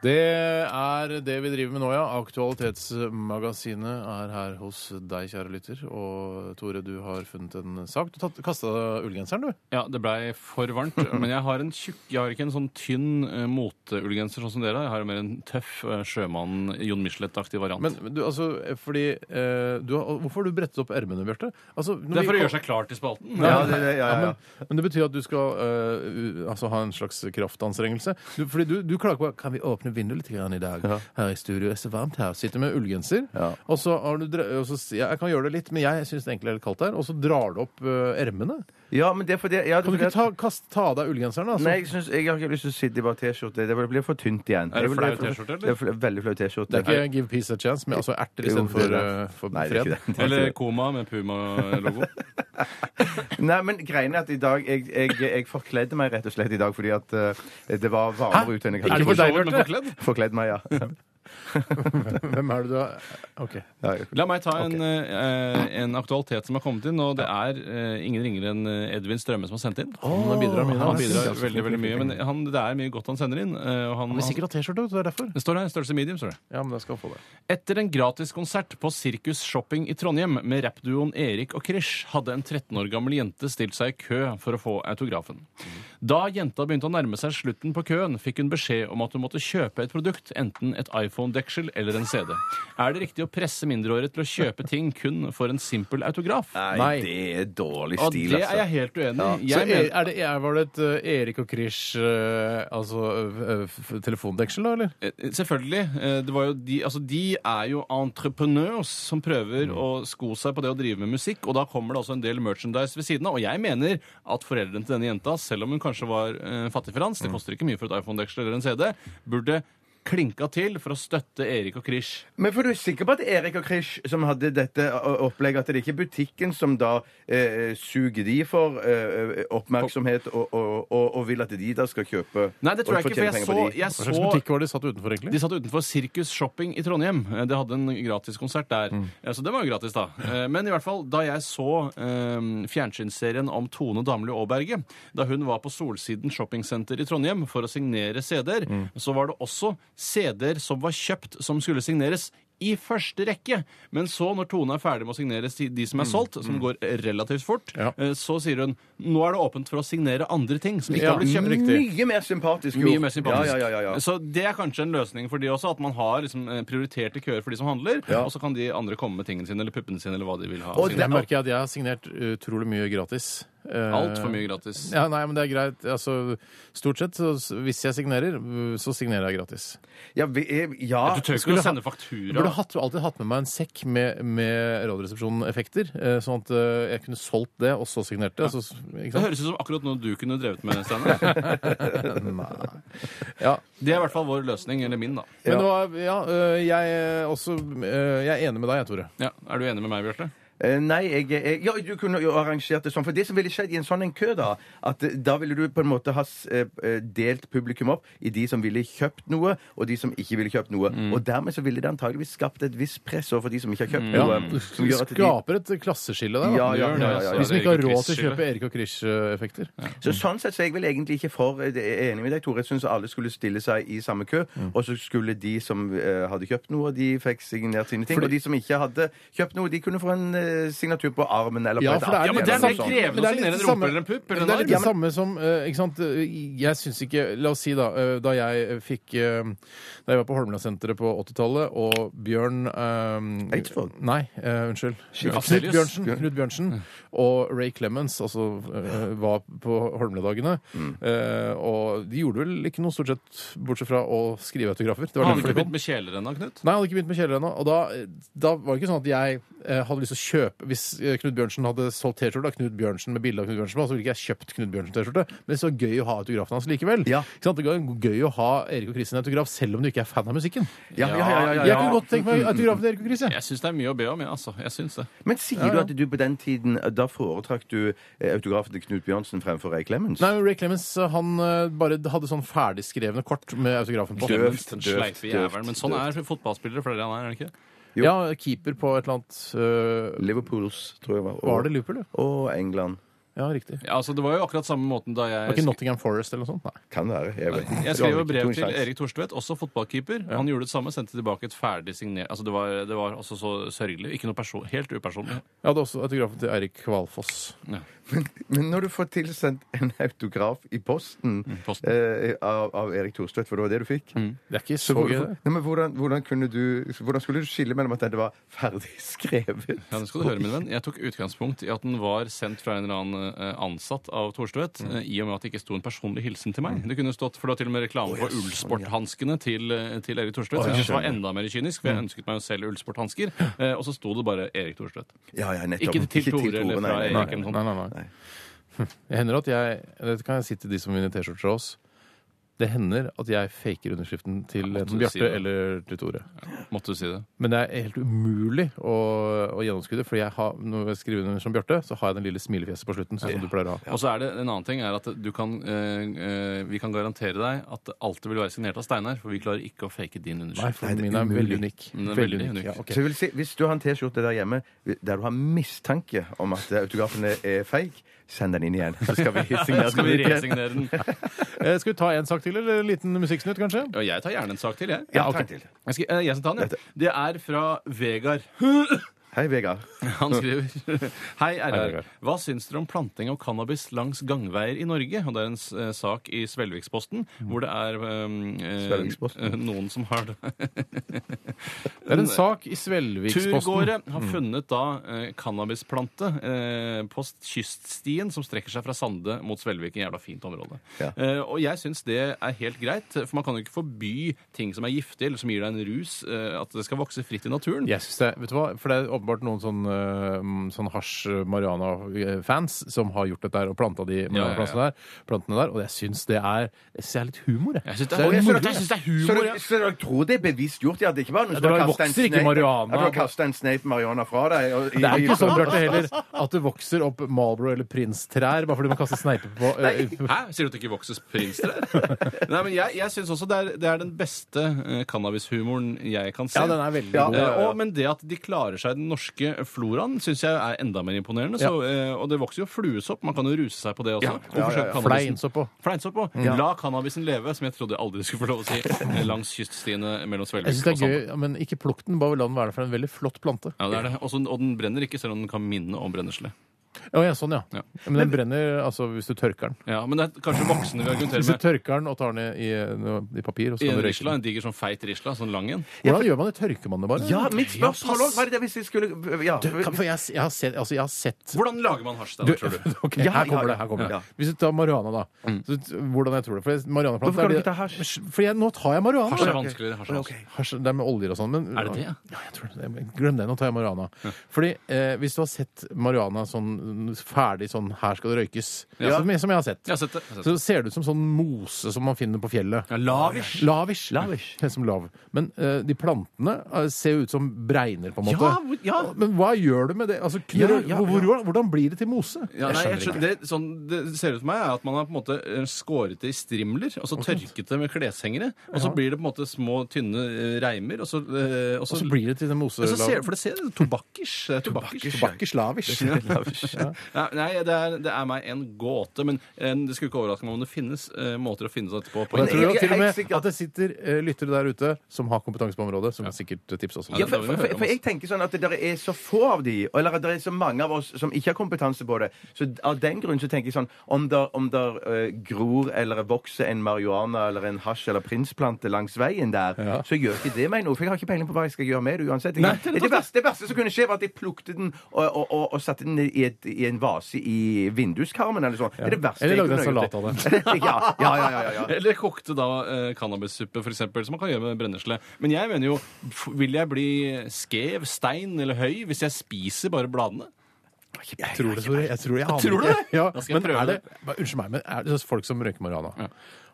[SPEAKER 3] Det er det vi driver med nå, ja. Aktualitetsmagasinet er her hos deg, kjære lytter. Og Tore, du har funnet en sak. Du kasta ullgenseren, du.
[SPEAKER 4] Ja, det blei for varmt. Men jeg har en tjukk, jeg har ikke en sånn tynn eh, moteullgenser sånn som dere har. Jeg har mer en tøff eh, sjømann Jon Michelet-aktig variant.
[SPEAKER 3] Men du, altså, fordi eh, du har, Hvorfor har du brettet opp ermene, Bjarte? Altså, når vi
[SPEAKER 4] det er for å
[SPEAKER 3] kom-
[SPEAKER 4] gjøre seg klar til spalten.
[SPEAKER 5] Ja, det, det, ja, ja, ja.
[SPEAKER 3] men, men det betyr at du skal eh, u- altså, ha en slags kraftanstrengelse. Du, fordi du, du klager på Kan vi åpne vinduet litt grann i dag? Her i studio er det så varmt her. Sitter med ullgenser.
[SPEAKER 5] Ja.
[SPEAKER 3] Og så har du dre- og så sier jeg, jeg kan gjøre det litt, men jeg syns det egentlig er litt kaldt her. Og så drar du opp eh, ermene.
[SPEAKER 5] Ja, men det er fordi ja, det er
[SPEAKER 3] Kan du
[SPEAKER 5] fordi
[SPEAKER 3] ikke
[SPEAKER 5] at-
[SPEAKER 3] ta, kast, ta av deg ullgenseren, da? så-
[SPEAKER 4] Altså-
[SPEAKER 5] Nei, jeg, synes, jeg har ikke lyst til å sitte i bare T-skjorte. Det blir for tynt igjen.
[SPEAKER 4] Er det
[SPEAKER 5] blir-
[SPEAKER 4] flau T-skjorte, eller?
[SPEAKER 5] Det er fl- veldig flau T-skjorte.
[SPEAKER 3] Det er ikke Give Peace a Chance, men altså erter
[SPEAKER 5] Jo, det
[SPEAKER 3] istedenfor
[SPEAKER 5] er
[SPEAKER 3] uh,
[SPEAKER 5] det.
[SPEAKER 3] for
[SPEAKER 5] Nei, det er
[SPEAKER 3] fred.
[SPEAKER 5] ikke det.
[SPEAKER 4] Eller Koma
[SPEAKER 3] (laughs)
[SPEAKER 4] med Puma-logo.
[SPEAKER 5] Nei, men greien er at i dag Jeg, jeg, jeg forkledde meg rett og slett i dag fordi at eh, det var varmere ute enn jeg
[SPEAKER 3] Er
[SPEAKER 5] hadde
[SPEAKER 3] det for deg,
[SPEAKER 4] Men
[SPEAKER 3] Bjarte?
[SPEAKER 4] forkledd?
[SPEAKER 5] Forkledd meg, ja.
[SPEAKER 3] (laughs) Hvem er det du har OK.
[SPEAKER 5] ja jeg-
[SPEAKER 4] La meg ta en, eh, en aktualitet som har kommet inn. Og det er eh, ingen ringere enn Edvin Strømme som har sendt inn.
[SPEAKER 3] Han bidrar mye.
[SPEAKER 4] Han
[SPEAKER 3] Han
[SPEAKER 4] bidrar veldig veldig mye, men han, det er mye godt han sender inn. eh, Og han,
[SPEAKER 3] vil sikkert ha T-skjorte, vet du. Det er derfor.
[SPEAKER 4] det står her, størrelse medium, står det.
[SPEAKER 3] Ja, men jeg skal få det.
[SPEAKER 4] Etter en gratiskonsert på Sirkus Shopping i Trondheim med rappduoen Erik og Krish hadde en 13 år gammel jente stilt seg i kø for å få autografen. Da jenta begynte å nærme seg slutten på køen, fikk hun beskjed om at hun måtte kjøpe et produkt, enten et iPhone-deksel eller en CD. Er det riktig å presse mindreårige til å kjøpe ting kun for en simpel autograf?
[SPEAKER 3] Nei.
[SPEAKER 5] Nei, det er dårlig
[SPEAKER 4] Og
[SPEAKER 5] stil,
[SPEAKER 4] det er jeg
[SPEAKER 5] altså.
[SPEAKER 4] helt uenig i.
[SPEAKER 3] Så
[SPEAKER 4] Jeg
[SPEAKER 3] er, E-
[SPEAKER 4] mener-
[SPEAKER 3] er det, er, var det et eh, Erik og Krish eh, altså, eh, f- telefondeksel, da, eller?
[SPEAKER 4] Eh, Selvfølgelig. Eh, Det var jo de, altså de er jo entreprenørs som prøver å sko seg på det å drive med musikk, og da kommer det også en del merchandise ved siden av. Og jeg mener at foreldrene til denne jenta, selv om hun kanskje var eh, fattig for hans, det koster ikke mye for et iPhone-deksel eller en CD, burde klinka til for å støtte Erik og Krish.
[SPEAKER 5] Men for du er sikker på at Erik og Krish, som hadde dette o- opplegget, at det ikke er butikken som da eh, suger de for eh, oppmerksomhet og, og, og, og vil at de da skal kjøpe
[SPEAKER 4] Nei, det tror
[SPEAKER 5] og
[SPEAKER 4] jeg ikke,
[SPEAKER 5] fortjene
[SPEAKER 4] for jeg
[SPEAKER 5] penger
[SPEAKER 4] så,
[SPEAKER 5] på de.
[SPEAKER 4] jeg
[SPEAKER 3] Hva slags
[SPEAKER 4] så
[SPEAKER 3] butikk var det de satt utenfor, egentlig?
[SPEAKER 4] De satt utenfor Sirkus Shopping i Trondheim. Eh, De hadde en gratiskonsert der.
[SPEAKER 3] Mm.
[SPEAKER 4] Eh, Så det var jo gratis, da. Eh, Men i hvert fall, da jeg så eh, fjernsynsserien om Tone Damli Aaberge, da hun var på Solsiden shoppingsenter i Trondheim for å signere CD-er,
[SPEAKER 3] Mm.
[SPEAKER 4] så var det også CD-er som var kjøpt, som skulle signeres. I første rekke, men så, når Tone er ferdig med å signere si- de som er solgt, som går relativt fort,
[SPEAKER 3] Mm. Ja.
[SPEAKER 4] eh, så sier hun nå er det åpent for å signere andre ting som ikke
[SPEAKER 3] Ja,
[SPEAKER 4] har blitt kjøpt.
[SPEAKER 5] Mye mer sympatisk, jo.
[SPEAKER 4] Mye mer sympatisk.
[SPEAKER 5] Ja, ja, ja, ja, ja.
[SPEAKER 4] Så det er kanskje en løsning for de også, at man har liksom eh, prioriterte køer for de som handler, og så kan de andre komme med tingene sine eller puppene sine eller hva de vil ha.
[SPEAKER 5] Og
[SPEAKER 4] sine.
[SPEAKER 3] Der merker jeg at jeg har signert utrolig mye gratis. Eh,
[SPEAKER 4] Alt for mye gratis.
[SPEAKER 3] Ja, nei, men det er greit. Altså, stort sett, så, s- hvis jeg signerer, uh, så signerer jeg gratis.
[SPEAKER 5] Ja, vi er, ja.
[SPEAKER 4] Du tør ikke
[SPEAKER 3] skulle
[SPEAKER 4] å
[SPEAKER 3] ha-
[SPEAKER 4] sende
[SPEAKER 3] Jeg burde
[SPEAKER 4] faktura.
[SPEAKER 3] hatt, alltid hatt med meg en sekk med, med Radioresepsjonen-effekter, eh, sånn at eh, jeg kunne solgt det, og så signert det. Så, ikke
[SPEAKER 4] Det
[SPEAKER 3] sant?
[SPEAKER 4] høres ut som akkurat noe du kunne drevet med,
[SPEAKER 5] (laughs)
[SPEAKER 4] Steinar.
[SPEAKER 3] Ja.
[SPEAKER 4] Det er i hvert fall vår løsning, eller min, da.
[SPEAKER 3] Men det var, ja, eh, jeg, eh, også, eh, jeg er enig med deg, jeg, Tore.
[SPEAKER 4] Ja. Er du enig med meg, Bjarte?
[SPEAKER 5] Eh, Nei, jeg, jeg, ja, du kunne jo arrangert det sånn. For det som ville skjedd i en sånn en kø, da at eh, Da ville du på en måte ha s- eh, eh, delt publikum opp i de som ville kjøpt noe, og de som ikke ville kjøpt noe.
[SPEAKER 4] Mm.
[SPEAKER 5] Og dermed så ville det antageligvis skapt et visst press overfor de som ikke har kjøpt
[SPEAKER 3] Ja.
[SPEAKER 5] noe. Som
[SPEAKER 3] Du
[SPEAKER 5] gjør at de,
[SPEAKER 3] skaper et klasseskille der. da.
[SPEAKER 5] Ja, ja,
[SPEAKER 3] Du gjør det,
[SPEAKER 5] ja, ja, ja.
[SPEAKER 3] De som ikke har
[SPEAKER 4] Erik og
[SPEAKER 3] råd til å
[SPEAKER 4] Chris-skille.
[SPEAKER 3] kjøpe Erik og eh, Krish-effekter.
[SPEAKER 5] så sånn sett så er jeg vel egentlig ikke for eh, det er jeg enig med deg, Tore. Jeg syns alle skulle stille seg i samme kø, og så skulle de som eh, hadde kjøpt noe, de fikk signert sine ting. Og de som ikke hadde kjøpt noe, de kunne få en eh, signatur på armen eller på
[SPEAKER 3] Ja,
[SPEAKER 5] et
[SPEAKER 3] for det er
[SPEAKER 5] ark
[SPEAKER 3] litt sånn.
[SPEAKER 5] eller
[SPEAKER 3] det samme-
[SPEAKER 5] noe sånt.
[SPEAKER 4] krevende
[SPEAKER 3] Men det er
[SPEAKER 4] å signere
[SPEAKER 3] litt
[SPEAKER 4] en
[SPEAKER 3] samme-
[SPEAKER 4] rumpe eller en pupp eller
[SPEAKER 3] Det
[SPEAKER 4] en
[SPEAKER 3] er litt
[SPEAKER 4] arm.
[SPEAKER 3] det samme som eh, ikke sant? Jeg syns ikke La oss si, da, eh, da jeg fikk eh, Da jeg var på Holmlandsenteret på 80-tallet, og Bjørn eh,
[SPEAKER 5] Eidsvåg?
[SPEAKER 3] Nei, eh, unnskyld. Knut
[SPEAKER 4] Afzelius.
[SPEAKER 3] Bjørnsen, Knut Bjørnsen og Ray Clemens altså, eh, var på Holmlia-dagene. Eh, og de gjorde vel ikke noe, stort sett, bortsett fra å skrive autografer. Det var
[SPEAKER 4] Har du
[SPEAKER 3] derfor de
[SPEAKER 4] ikke
[SPEAKER 3] kom.
[SPEAKER 4] begynt med kjeler ennå, Knut?
[SPEAKER 3] Nei, han hadde ikke begynt med kjeler ennå. Og da, da var det ikke sånn at jeg eh, hadde lyst til å kjøpe Hvis eh, Knut Bjørnsen hadde solgt T-skjorte av Knut Bjørnsen med bilde av Knut Bjørnsen, på, så ville ikke jeg kjøpt Knut Bjørnsen-T-skjorte. Men det var gøy å ha autografen hans likevel.
[SPEAKER 5] Ja.
[SPEAKER 3] Ikke sant? Det var gøy å ha Erik og Chris sin autograf selv om du ikke er fan av musikken.
[SPEAKER 5] Ja, ja, ja, ja, ja,
[SPEAKER 3] Jeg kunne godt tenke meg autografen til Erik og Chris. jeg.
[SPEAKER 4] Jeg syns det er mye å be om, ja, altså. Jeg syns det.
[SPEAKER 5] Men sier du at du på den tiden eh, Da foretrakk du eh, autografen til Knut Bjørnsen fremfor Ray Clemens?
[SPEAKER 3] Nei, men Ray Clemens han eh, bare hadde sånn ferdigskrevne kort med autografen på.
[SPEAKER 5] Døvt,
[SPEAKER 4] Clemens, den
[SPEAKER 5] døvt,
[SPEAKER 4] sleipe
[SPEAKER 5] døvt,
[SPEAKER 4] jævelen. Men sånn er fotballspillere flere enn han er, er det ikke?
[SPEAKER 5] jo.
[SPEAKER 3] Ja, keeper på et eller annet eh,
[SPEAKER 5] Liverpools, tror jeg var. Og,
[SPEAKER 3] Var det Liverpool, ja?
[SPEAKER 5] og England.
[SPEAKER 3] Ja, riktig. Det
[SPEAKER 4] Ja, altså, det var jo akkurat samme måten da jeg
[SPEAKER 3] var ikke Nottingham Forest eller noe sånt? Nei.
[SPEAKER 5] Kan være. Jeg vet.
[SPEAKER 4] (laughs) Jeg skrev jo brev
[SPEAKER 5] Tung
[SPEAKER 4] til
[SPEAKER 5] sjanse.
[SPEAKER 4] Erik Thorstvedt, også fotballkeeper. Han gjorde det samme, sendte tilbake et ferdig signert altså det, var, det var også så sørgelig. Ikke noe person, helt upersonlig.
[SPEAKER 3] Jeg hadde også autografen til Eirik Kvalfoss.
[SPEAKER 5] Men når du får tilsendt en autograf i posten,
[SPEAKER 4] Mm, posten. Mm.
[SPEAKER 5] Eh, av, av Erik Thorstvedt, for det var det du fikk
[SPEAKER 3] Det er ikke
[SPEAKER 5] Så
[SPEAKER 3] så
[SPEAKER 5] hvor,
[SPEAKER 3] gøy. det.
[SPEAKER 5] nei, men hvordan, hvordan, kunne du, hvordan skulle du skille mellom at det var ferdig (laughs) skrevet
[SPEAKER 4] Ja, det skal du høre, min venn. Jeg tok utgangspunkt i at den var sendt fra en eller annen eh, ansatt av Thorstvedt, eh, i og med at det ikke sto en personlig hilsen til meg. Det kunne stått, for det var til og med reklame for ullsporthanskene til, eh, til Erik Thorstvedt, som kanskje var enda mer kynisk, for jeg ønsket meg jo selv ullsporthansker, (gasps) eh, og så sto det bare Erik Thorstvedt.
[SPEAKER 5] Ja, ja, nettopp.
[SPEAKER 4] Ikke til Tore eller
[SPEAKER 5] nei,
[SPEAKER 4] fra
[SPEAKER 5] nei, nei.
[SPEAKER 4] Erik. eller noe sånt.
[SPEAKER 3] Nei, nei, nei. Hm. Det hender at jeg Dette kan jeg si til de som vinner T-skjorter av oss. Det hender at jeg faker underskriften til
[SPEAKER 4] måtte
[SPEAKER 3] enten
[SPEAKER 4] du si
[SPEAKER 3] Bjarte
[SPEAKER 4] det.
[SPEAKER 3] eller til Tore.
[SPEAKER 4] Måtte du si det?
[SPEAKER 3] Men det er helt umulig å, å gjennomskue det, for jeg har, når jeg skriver under som Bjarte, så har jeg den lille smilefjeset på slutten, sånn som du pleier å ha.
[SPEAKER 4] Og så er det en annen ting er at du kan, eh, eh, vi kan garantere deg at det alltid vil være signert av Steinar, for vi klarer ikke å fake din
[SPEAKER 3] Nei,
[SPEAKER 4] underskrift.
[SPEAKER 3] for min er veldig unik.
[SPEAKER 4] Den er veldig unik.
[SPEAKER 3] Ja, ok.
[SPEAKER 5] Så jeg vil si, Hvis du har en T-skjorte der hjemme der du har mistanke om at eh, autografen er feig, send den inn igjen. Så skal
[SPEAKER 4] (laughs)
[SPEAKER 5] vi signere
[SPEAKER 4] Da skal vi
[SPEAKER 5] den ut igjen.
[SPEAKER 4] resignere den.
[SPEAKER 3] (laughs) Eh, Skal vi ta en sak til, eller en liten musikksnutt, kanskje?
[SPEAKER 4] Ja, jeg tar gjerne en sak til, jeg.
[SPEAKER 5] Ja, ta en til.
[SPEAKER 4] Jeg, skal, eh, jeg skal ta den, jeg. Det er fra Vegard. (laughs)
[SPEAKER 5] Hei, Vegard.
[SPEAKER 4] Han skriver (laughs) Hei, RR.
[SPEAKER 3] Vegard.
[SPEAKER 4] Hva syns dere om planting av cannabis langs gangveier i Norge? Og det er en s- eh, sak i Svelviksposten hvor det er um, eh,
[SPEAKER 5] Svelviksposten.
[SPEAKER 4] eh, (laughs) noen som har det.
[SPEAKER 3] Det
[SPEAKER 4] Mm.
[SPEAKER 3] er en sak i Svelviksposten.
[SPEAKER 4] Turgåere har funnet da eh, cannabisplante eh, på s- kyststien som strekker seg fra Sande mot Svelvik. En jævla fint område.
[SPEAKER 5] Ja.
[SPEAKER 4] Eh, og jeg syns det er helt greit, for man kan jo ikke forby ting som er giftig, eller som gir deg en rus, eh, at det skal vokse fritt i naturen.
[SPEAKER 3] Jeg synes det, vet du hva? For det er åpenbart noen sånn, eh, sånn hasj-mariana-fans som har gjort dette her og planta de
[SPEAKER 4] ja, ja.
[SPEAKER 3] marihuana-plantene der, plantene der. Og jeg syns det er Jeg synes det er litt humor, jeg.
[SPEAKER 4] Jeg syns det,
[SPEAKER 3] Så
[SPEAKER 4] er-
[SPEAKER 3] litt
[SPEAKER 4] jeg
[SPEAKER 3] moro,
[SPEAKER 4] synes
[SPEAKER 3] jeg.
[SPEAKER 4] det er
[SPEAKER 5] Så
[SPEAKER 4] humor, ja.
[SPEAKER 5] dere, så dere tror det er bevisst gjort? Ja, det er ikke bare noe
[SPEAKER 3] Ja,
[SPEAKER 5] som
[SPEAKER 3] det
[SPEAKER 5] har kastet en
[SPEAKER 3] vokser ikke
[SPEAKER 5] sneip-
[SPEAKER 3] marihuana.
[SPEAKER 5] Ja, Du har kasta en sneip marihuana fra deg. og-
[SPEAKER 3] Det er
[SPEAKER 5] i-
[SPEAKER 3] ikke sånn, Bjarte, heller at det vokser opp Marlboro eller Prince-trær bare fordi man kaster sneiper på eh,
[SPEAKER 4] Hæ? Sier du at det ikke vokser
[SPEAKER 3] (laughs)
[SPEAKER 4] prinstrær? Nei, men jeg, jeg syns også det er, det er den beste eh, cannabishumoren jeg kan se.
[SPEAKER 3] Ja, den er veldig
[SPEAKER 5] Ja.
[SPEAKER 3] god.
[SPEAKER 4] Eh, og, men det at de klarer seg i den norske floraen, syns jeg er enda mer imponerende. Så, eh, og det vokser jo fluesopp. Man kan jo ruse seg på det også. Og forsøke cannabisen.
[SPEAKER 3] Fleinsopp på.
[SPEAKER 4] Fleinsopp og La cannabisen leve, som jeg trodde jeg aldri skulle få lov å
[SPEAKER 3] (laughs)
[SPEAKER 4] si, eh, langs kyststiene mellom
[SPEAKER 3] Jeg
[SPEAKER 4] Svelvik
[SPEAKER 3] syns det
[SPEAKER 4] og
[SPEAKER 3] er gøy,
[SPEAKER 4] Sande.
[SPEAKER 3] ja, men ikke plukk den, bare la den være der, for det er en veldig flott plante.
[SPEAKER 4] Ja, det er det. Også, og den brenner ikke, selv om den kan minne om brennesle.
[SPEAKER 3] Å, ja, sånn, ja.
[SPEAKER 4] Ja.
[SPEAKER 3] Men den brenner altså hvis du tørker den.
[SPEAKER 4] Ja, men det er kanskje voksne vi argumenterer
[SPEAKER 3] Hvis du
[SPEAKER 4] med.
[SPEAKER 3] tørker den og tar den i, i, noe- i papir, og så
[SPEAKER 4] I
[SPEAKER 3] kan
[SPEAKER 4] en
[SPEAKER 3] du røyke
[SPEAKER 4] risla,
[SPEAKER 3] den.
[SPEAKER 4] en diger sånn feit risla, sånn lang en.
[SPEAKER 3] Hvordan gjør man det? Tørker man det bare?
[SPEAKER 5] Ja, mitt spørsmål òg var det det hvis jeg skulle ja.
[SPEAKER 3] Du, kan, for jeg, jeg har sett, altså, jeg har sett
[SPEAKER 4] Hvordan lager man hasj, da,
[SPEAKER 3] du,
[SPEAKER 4] tror du?
[SPEAKER 3] Ok,
[SPEAKER 5] Ja,
[SPEAKER 3] her kommer (laughs)
[SPEAKER 5] ja,
[SPEAKER 3] det. her kommer
[SPEAKER 5] ja.
[SPEAKER 3] det Hvis du tar marihuana, da.
[SPEAKER 4] Mm.
[SPEAKER 3] Så, hvordan jeg tror det. For marihuanaplante
[SPEAKER 5] Hvorfor kan
[SPEAKER 3] er
[SPEAKER 5] du
[SPEAKER 3] det-
[SPEAKER 5] ikke ta hasj?
[SPEAKER 3] Fordi jeg, nå tar jeg marihuana.
[SPEAKER 4] Hasj er vanskeligere. Hasj er vanskeligere.
[SPEAKER 3] Hasj, det er med oljer og sånn. Men,
[SPEAKER 4] Er det det, ja?
[SPEAKER 3] ja? jeg tror det. Men Glem det, nå tar jeg marihuana. Fordi eh, hvis du har sett marihuana sånn ferdig sånn her skal det røykes,
[SPEAKER 4] Ja.
[SPEAKER 3] som, som jeg har sett,
[SPEAKER 4] Jeg har sett det. Jeg har sett det.
[SPEAKER 3] så ser det ut som sånn mose som man finner på fjellet.
[SPEAKER 4] Ja, Lavish.
[SPEAKER 3] Lavish.
[SPEAKER 5] Lavish.
[SPEAKER 3] Helt som lav. Men eh, de plantene eh, ser jo ut som bregner, på en måte.
[SPEAKER 4] Ja, hvor- ja.
[SPEAKER 3] Men hva gjør du med det? Altså,
[SPEAKER 5] Ja,
[SPEAKER 3] knurrer-
[SPEAKER 5] ja,
[SPEAKER 3] hvor, hvor, hvordan blir det til mose?
[SPEAKER 4] Ja, nei, jeg
[SPEAKER 3] skjønner
[SPEAKER 4] skjønner, det, sånn, det ser ut for meg er at man har på en måte eh, skåret det i strimler, og så tørket det med kleshengere, og så blir det på en måte små, tynne eh, reimer, og så, eh, og så,
[SPEAKER 3] Og så blir det til den mose
[SPEAKER 4] Ja, så ser, For det ser tobakkish det er tobakkish.
[SPEAKER 3] Bakkers lavish. (laughs)
[SPEAKER 4] Nei, nei det, er, det er meg en gåte, men eh, det skulle ikke overraske meg om det finnes eh, måter å finne dette på. på
[SPEAKER 3] Og jeg tror jo
[SPEAKER 4] internett.
[SPEAKER 5] jeg er
[SPEAKER 3] til og
[SPEAKER 5] helt
[SPEAKER 3] med
[SPEAKER 5] sikker-
[SPEAKER 3] at det sitter eh, lyttere der ute som har kompetanse på området, som sikkert tipser oss om
[SPEAKER 5] Ja,
[SPEAKER 3] det.
[SPEAKER 5] for, for, for, for jeg tenker sånn at det der er så få av de, eller det er så mange av oss som ikke har kompetanse på det. Så av den grunn så tenker jeg sånn Om der, om der eh, gror eller vokser en marihuana eller en hasj eller prinsplante langs veien der, så gjør ikke det meg noe. For jeg har ikke peiling på hva jeg skal gjøre med det uansett. Jeg,
[SPEAKER 4] det er
[SPEAKER 5] det, verste, det verste som kunne skje, var at jeg plukte den og, og, og, og satte den i, et, i en vase i vinduskarmen eller sånn. Det er det verste
[SPEAKER 3] Eller
[SPEAKER 5] jeg
[SPEAKER 3] lagde en
[SPEAKER 5] kunne gjort.
[SPEAKER 3] salat av det.
[SPEAKER 5] (laughs) ja, ja, ja, ja, ja.
[SPEAKER 4] Eller kokte da eh, cannabissuppe, f.eks., som man kan gjøre med brennesle. Men jeg mener jo, f- vil jeg bli skev, stein eller høy hvis jeg spiser bare bladene?
[SPEAKER 3] Jeg tror det, Tore. Jeg tror, jeg aner
[SPEAKER 4] Tror du
[SPEAKER 3] ikke.
[SPEAKER 4] det?
[SPEAKER 3] Ja,
[SPEAKER 4] Da skal jeg
[SPEAKER 3] men
[SPEAKER 4] prøve
[SPEAKER 3] er det,
[SPEAKER 4] det.
[SPEAKER 3] bare, unnskyld meg, men er det sånn folk som røyker marihuana?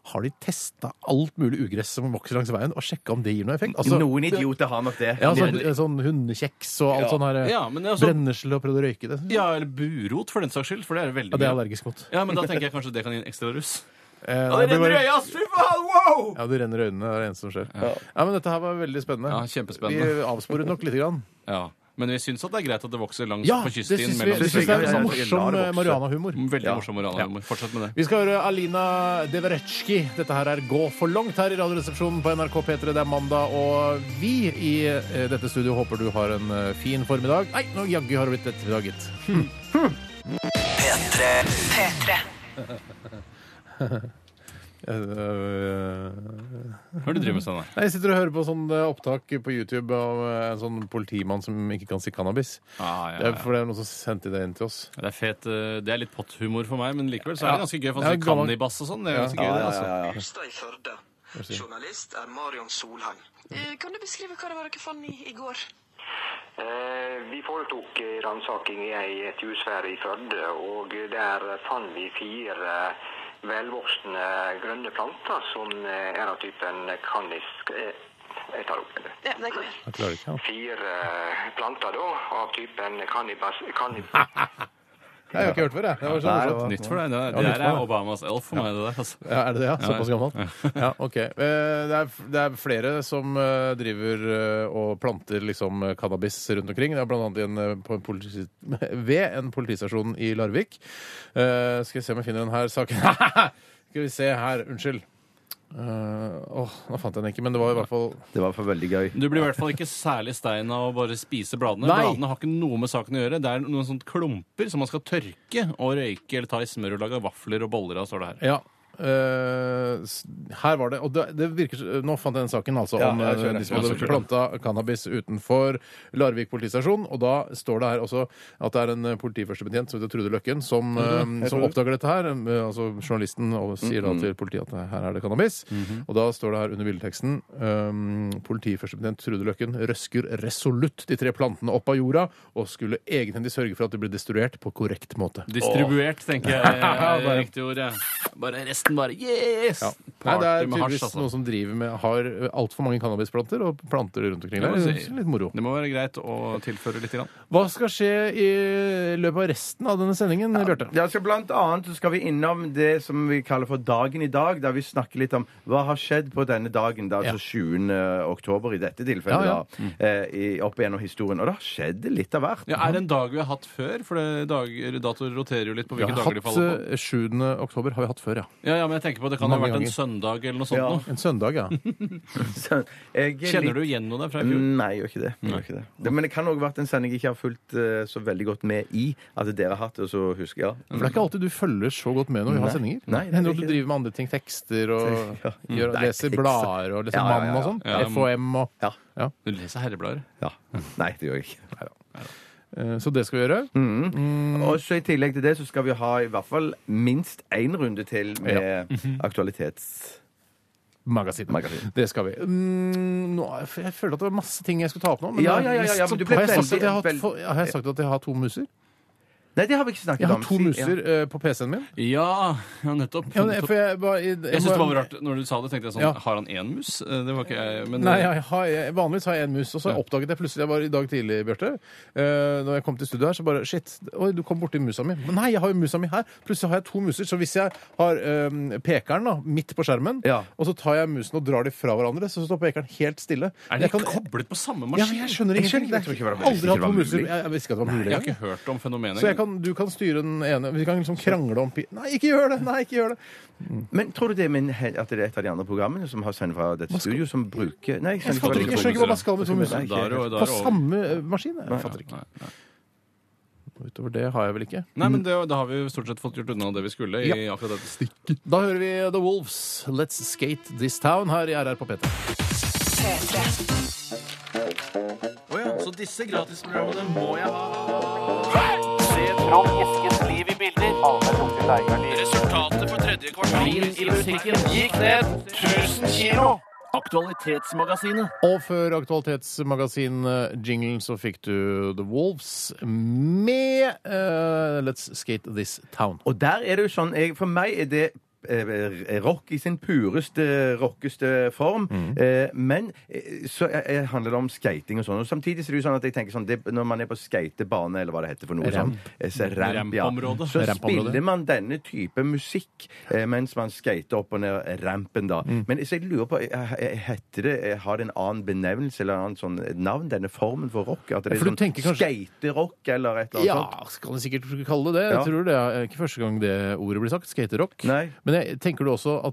[SPEAKER 3] Har de testa alt mulig ugress som vokser langs veien, og sjekka om det gir noe effekt? (laughs) Altså,
[SPEAKER 5] Noen idioter har nok det.
[SPEAKER 3] ja, sånn, sånn hundekjeks og alt sånn her.
[SPEAKER 4] Ja, men det er altså- også-
[SPEAKER 3] Brennesle og prøvd å røyke det.
[SPEAKER 4] Ja, eller burot, for den saks skyld. For det er det veldig
[SPEAKER 3] Ja, det er jeg
[SPEAKER 4] mye av.
[SPEAKER 3] allergisk mot.
[SPEAKER 4] Ja, men da tenker jeg kanskje det kan gi en ekstra russ.
[SPEAKER 3] Eh,
[SPEAKER 4] Ja, det
[SPEAKER 3] blir
[SPEAKER 4] renner
[SPEAKER 3] bare-
[SPEAKER 4] i øya, ass! Fy faen, wow!
[SPEAKER 3] ja, det renner i øynene. Det er det eneste som skjer. Ja. men Dette her var veldig spennende.
[SPEAKER 4] Ja, kjempespennende.
[SPEAKER 3] Vi avsporet nok lite grann.
[SPEAKER 4] Ja. Men vi syns at det er greit at det vokser langs
[SPEAKER 3] Ja,
[SPEAKER 4] på
[SPEAKER 3] det
[SPEAKER 4] kyststien
[SPEAKER 3] syns vi.
[SPEAKER 4] mellom sånn.
[SPEAKER 3] Det syns jeg
[SPEAKER 5] Ja,
[SPEAKER 3] er
[SPEAKER 5] ja,
[SPEAKER 3] sånn
[SPEAKER 5] ja.
[SPEAKER 3] morsom eh, marihuana-humor.
[SPEAKER 4] Veldig
[SPEAKER 5] Ja.
[SPEAKER 4] morsom moralhumor. Fortsett med det.
[SPEAKER 3] Vi skal høre Alina Deveretski. Dette her er Gå for langt her i Radioresepsjonen på NRK P3. Det er mandag, og vi i eh, dette studio håper du har en eh, fin formiddag. Nei, nå jaggu har det blitt ettermiddag, gitt. Hm.
[SPEAKER 1] P3. P3.
[SPEAKER 3] Eh,
[SPEAKER 4] Hva er det du driver med, Steinar?
[SPEAKER 3] Nei, jeg sitter og hører på sånn eh, opptak på YouTube av eh, en sånn politimann som ikke kan si cannabis.
[SPEAKER 4] Ah, ja,
[SPEAKER 3] Det er
[SPEAKER 4] ja.
[SPEAKER 3] for det er noen som sendte det inn til oss.
[SPEAKER 4] Det er fet, eh, det er litt potthumor for meg, men likevel så er det ganske gøy.
[SPEAKER 3] Ja,
[SPEAKER 4] For han sier
[SPEAKER 3] gammel-
[SPEAKER 4] kannibass og sånn. Det er ganske
[SPEAKER 5] Ja,
[SPEAKER 4] gøy, det,
[SPEAKER 5] ja,
[SPEAKER 4] altså.
[SPEAKER 5] ja, ja.
[SPEAKER 6] Jørstad i Førde. Journalist er Marion Solheim.
[SPEAKER 7] Eh, Kan du beskrive hva det var dere fant i i går?
[SPEAKER 6] Eh, Vi foretok eh, ransaking i ei- et hus her i Førde, og der fant vi fire velvoksne grønne planter som eh, er av typen kannis... eh, Jeg tar opp det.
[SPEAKER 7] Ja, det går bra.
[SPEAKER 3] Jeg klarer ikke, ja.
[SPEAKER 6] Fire eh, planter da, av typen cannabis... cannabis.
[SPEAKER 3] Nei, Jeg har ikke hørt før, jeg. Det var så morsomt.
[SPEAKER 4] Nytt for deg. Det,
[SPEAKER 3] Ja,
[SPEAKER 4] det
[SPEAKER 3] nytt
[SPEAKER 4] der
[SPEAKER 3] for
[SPEAKER 4] er
[SPEAKER 3] meg.
[SPEAKER 4] Obamas elf for meg, det der. altså.
[SPEAKER 3] Ja, er det det? ja? Såpass
[SPEAKER 4] Ja.
[SPEAKER 3] gammelt? Ja, ok. Eh, Det er, det er flere som eh, driver eh, og planter liksom eh, cannabis rundt omkring. Det er blant annet en, eh, på en politi (laughs) ved en politistasjon i Larvik. Eh, Skal vi se om jeg finner den her saken. (laughs) Skal vi se her. Unnskyld. Eh, Åh, nå fant jeg den ikke, men det var i hvert fall
[SPEAKER 5] Det var for veldig gøy.
[SPEAKER 4] Du blir i hvert fall ikke særlig stein av å bare spise bladene.
[SPEAKER 3] Nei.
[SPEAKER 4] Bladene har ikke noe med saken å gjøre. Det er noen sånne klumper som man skal tørke og røyke eller ta i smør og lage vafler og boller av, står det her.
[SPEAKER 3] Ja. eh, s- her var det Og det, det virker så- Nå fant jeg den saken, altså.
[SPEAKER 5] Ja,
[SPEAKER 3] om
[SPEAKER 5] jeg
[SPEAKER 3] eh,
[SPEAKER 5] skjønner.
[SPEAKER 3] de som
[SPEAKER 4] Ja,
[SPEAKER 3] hadde
[SPEAKER 4] så kult.
[SPEAKER 3] planta cannabis utenfor Larvik politistasjon. Og da står det her også at det er en eh, politiførstebetjent som heter Trude Løkken, som, eh, som oppdager dette her. Eh, altså Journalisten og sier da til politiet at eh, her er det cannabis. Og da står det her under bildeteksten um, Politiførstebetjent Trude Løkken røsker resolutt de tre plantene opp av jorda og skulle egenhendig sørge for at de ble destruert på korrekt måte.
[SPEAKER 4] Distribuert, tenker (laughs) jeg. er Riktig ord, ja. Bare resten, bare yes!
[SPEAKER 3] Ja. Nei,
[SPEAKER 4] Party
[SPEAKER 3] det er
[SPEAKER 4] med hasj,
[SPEAKER 3] tydeligvis
[SPEAKER 4] altså.
[SPEAKER 3] noen som driver med har altfor mange cannabisplanter og planter rundt omkring.
[SPEAKER 4] Det må
[SPEAKER 3] Det
[SPEAKER 4] si-
[SPEAKER 3] er litt moro.
[SPEAKER 4] Det må være greit å tilføre litt. Grann.
[SPEAKER 3] Hva skal skje i løpet av resten av denne sendingen, Bjarte?
[SPEAKER 5] Ja, så blant annet så skal vi innom det som vi kaller for dagen i dag, der vi snakker litt om hva har skjedd på denne dagen, da, altså 7. oktober i dette tilfellet,
[SPEAKER 3] Ja, ja.
[SPEAKER 5] da, eh, i, opp igjennom historien. Og det har skjedd litt av hvert.
[SPEAKER 4] Ja, er det en dag vi har hatt før? For det dager, datoer roterer jo litt på
[SPEAKER 3] Vi
[SPEAKER 4] hvilke
[SPEAKER 3] har
[SPEAKER 4] dager de
[SPEAKER 3] hatt
[SPEAKER 4] faller på.
[SPEAKER 3] eh, 7. oktober har vi hatt før, ja.
[SPEAKER 4] Ja, ja, men jeg tenker på at Det kan ha
[SPEAKER 3] Mange
[SPEAKER 4] vært en
[SPEAKER 3] ganger.
[SPEAKER 4] søndag eller noe sånt.
[SPEAKER 5] Ja.
[SPEAKER 4] Nå.
[SPEAKER 3] En søndag,
[SPEAKER 5] (laughs)
[SPEAKER 3] ja.
[SPEAKER 5] (laughs) Så jeg er
[SPEAKER 4] Kjenner
[SPEAKER 5] litt-
[SPEAKER 4] du igjen noe der fra i
[SPEAKER 3] Mm.
[SPEAKER 4] fjor?
[SPEAKER 5] Nei, jeg gjør ikke det. Jeg Gjør ikke det. det. Men det kan òg ha vært en sending jeg ikke har fulgt eh, så veldig godt med i. At dere har hatt det, og så husker jeg. Ja.
[SPEAKER 3] For det er ikke alltid du følger så godt med når vi har
[SPEAKER 5] Nei.
[SPEAKER 3] sendinger.
[SPEAKER 5] Nei, det er
[SPEAKER 3] Hender det at
[SPEAKER 5] ikke
[SPEAKER 3] du driver med andre ting, tekster og
[SPEAKER 5] (laughs) Ja.
[SPEAKER 3] gjør,
[SPEAKER 5] Nei,
[SPEAKER 3] leser
[SPEAKER 5] tekster.
[SPEAKER 3] blader og leser
[SPEAKER 5] Ja, ja, ja,
[SPEAKER 3] Mann og sånn?
[SPEAKER 4] ja. Ja.
[SPEAKER 3] FHM og
[SPEAKER 5] Ja.
[SPEAKER 3] ja.
[SPEAKER 4] Du leser herreblader.
[SPEAKER 5] ja. Nei, det gjør jeg ikke.
[SPEAKER 3] Eh, Så det skal vi gjøre.
[SPEAKER 5] Og så I tillegg til det så skal vi ha i hvert fall minst én runde til med aktualitets...
[SPEAKER 3] Magasin.
[SPEAKER 5] Magasin.
[SPEAKER 3] Det skal vi. Mm, nå, jeg føler at det var masse ting jeg skulle ta opp nå.
[SPEAKER 5] Ja, ja, ja, ja,
[SPEAKER 3] så-
[SPEAKER 5] men du ble
[SPEAKER 3] har, jeg sagt
[SPEAKER 5] veldig-
[SPEAKER 3] at jeg har,
[SPEAKER 5] veld-
[SPEAKER 3] hatt for- har jeg sagt at jeg har to muser?
[SPEAKER 5] Nei, det har vi ikke snakket
[SPEAKER 3] Jeg
[SPEAKER 5] om.
[SPEAKER 3] har to
[SPEAKER 5] Si- ja.
[SPEAKER 3] muser eh, på PC-en min.
[SPEAKER 4] Ja, ja nettopp.
[SPEAKER 3] Ja, men, for
[SPEAKER 4] jeg
[SPEAKER 3] jeg, bare, jeg,
[SPEAKER 4] jeg synes det var rart når du sa det. tenkte jeg sånn,
[SPEAKER 3] Ja.
[SPEAKER 4] Har han én mus? Eh, Det var ikke jeg, men eh,
[SPEAKER 3] Nei, jeg har, jeg, vanligvis har jeg en mus, og så oppdaget jeg plutselig jeg var i dag tidlig, Bjarte. eh, når jeg kom til studio her, så bare Shit, oi, du kom borti musa mi. Men nei, jeg har jo musa mi her. Plutselig har jeg to muser. Så hvis jeg har eh, pekeren da, midt på skjermen,
[SPEAKER 5] Ja.
[SPEAKER 3] og så tar jeg musen og drar de fra hverandre, så står pekeren helt stille
[SPEAKER 4] Er de
[SPEAKER 3] Jeg kan-
[SPEAKER 4] koblet på
[SPEAKER 3] Ja,
[SPEAKER 4] samme
[SPEAKER 3] men
[SPEAKER 4] maskin?
[SPEAKER 3] jeg skjønner
[SPEAKER 5] Jeg
[SPEAKER 3] ingenting.
[SPEAKER 5] skjønner ikke, jeg tror ikke det var-
[SPEAKER 3] Aldri
[SPEAKER 5] jeg visste ikke
[SPEAKER 3] hatt
[SPEAKER 5] det
[SPEAKER 3] to
[SPEAKER 5] var
[SPEAKER 3] muser.
[SPEAKER 5] mulig.
[SPEAKER 3] Jeg, jeg visste ikke at det var mulig
[SPEAKER 4] Jeg har
[SPEAKER 3] engang.
[SPEAKER 4] ikke hørt om fenomenet.
[SPEAKER 3] Så jeg kan, du kan styre den ene Vi kan liksom krangle om pi... Nei, ikke gjør det! Nei, ikke gjør det!
[SPEAKER 5] Men tror du det er min, he- at det er et av de andre programmene som har sendt fra dette studio, som bruker Nei, jeg
[SPEAKER 3] Jeg
[SPEAKER 5] hva
[SPEAKER 3] fatter
[SPEAKER 5] de
[SPEAKER 3] ikke, jeg
[SPEAKER 5] bruker.
[SPEAKER 3] skjønner ikke hva man skal med to
[SPEAKER 5] Nei,
[SPEAKER 3] muser.
[SPEAKER 5] ikke
[SPEAKER 4] Da er det jo- da er
[SPEAKER 3] På
[SPEAKER 4] det over.
[SPEAKER 3] samme eh, maskin? Jeg fatter ikke.
[SPEAKER 4] Nei, nei.
[SPEAKER 3] Utover det har jeg vel ikke.
[SPEAKER 4] Nei, men det, da har vi jo stort sett fått gjort unna det vi skulle. i akkurat dette stikk.
[SPEAKER 3] Da hører vi The Wolves, Let's Skate This Town, her i RR på P3.
[SPEAKER 1] P3.
[SPEAKER 4] Så disse gratisprogrammene må jeg ha. Se fram eskens liv i bilder. Resultatet for tredje kvartal i musikken gikk ned 1000 kilo. Aktualitetsmagasinet.
[SPEAKER 3] Og før Aktualitetsmagasin-jinglen så fikk du The Wolves med eh, Let's Skate This Town.
[SPEAKER 5] Og der er det jo sånn jeg, For meg er det eh, rock i sin pureste, rockeste form.
[SPEAKER 3] Mm.
[SPEAKER 5] Eh, men eh, så eh, eh, handler det om skating og sånn. Og samtidig så er det jo sånn at jeg tenker sånn det, Når man er på skatebane, eller hva det heter for noe
[SPEAKER 3] Ramp.
[SPEAKER 5] sånn, eh, så, ramp, ja,
[SPEAKER 4] Rampområdet.
[SPEAKER 5] så
[SPEAKER 3] Rampområdet.
[SPEAKER 5] spiller man denne type musikk eh, mens man skater opp og ned eh, rampen, da.
[SPEAKER 3] Mm.
[SPEAKER 5] Men så jeg lurer på eh, eh, Heter det eh, Har det en annen benevnelse eller en annen sånn navn, denne formen for rock? At
[SPEAKER 3] Ja,
[SPEAKER 5] det er
[SPEAKER 3] for
[SPEAKER 5] sånn
[SPEAKER 3] du tenker kanskje-
[SPEAKER 5] skaterock eller et eller annet
[SPEAKER 3] Ja,
[SPEAKER 5] sånt?
[SPEAKER 3] kan du sikkert kalle det det. Jeg
[SPEAKER 5] Ja.
[SPEAKER 3] tror det er ikke første gang det ordet blir sagt. Skaterock.
[SPEAKER 5] Nei.
[SPEAKER 3] Men jeg, tenker du også at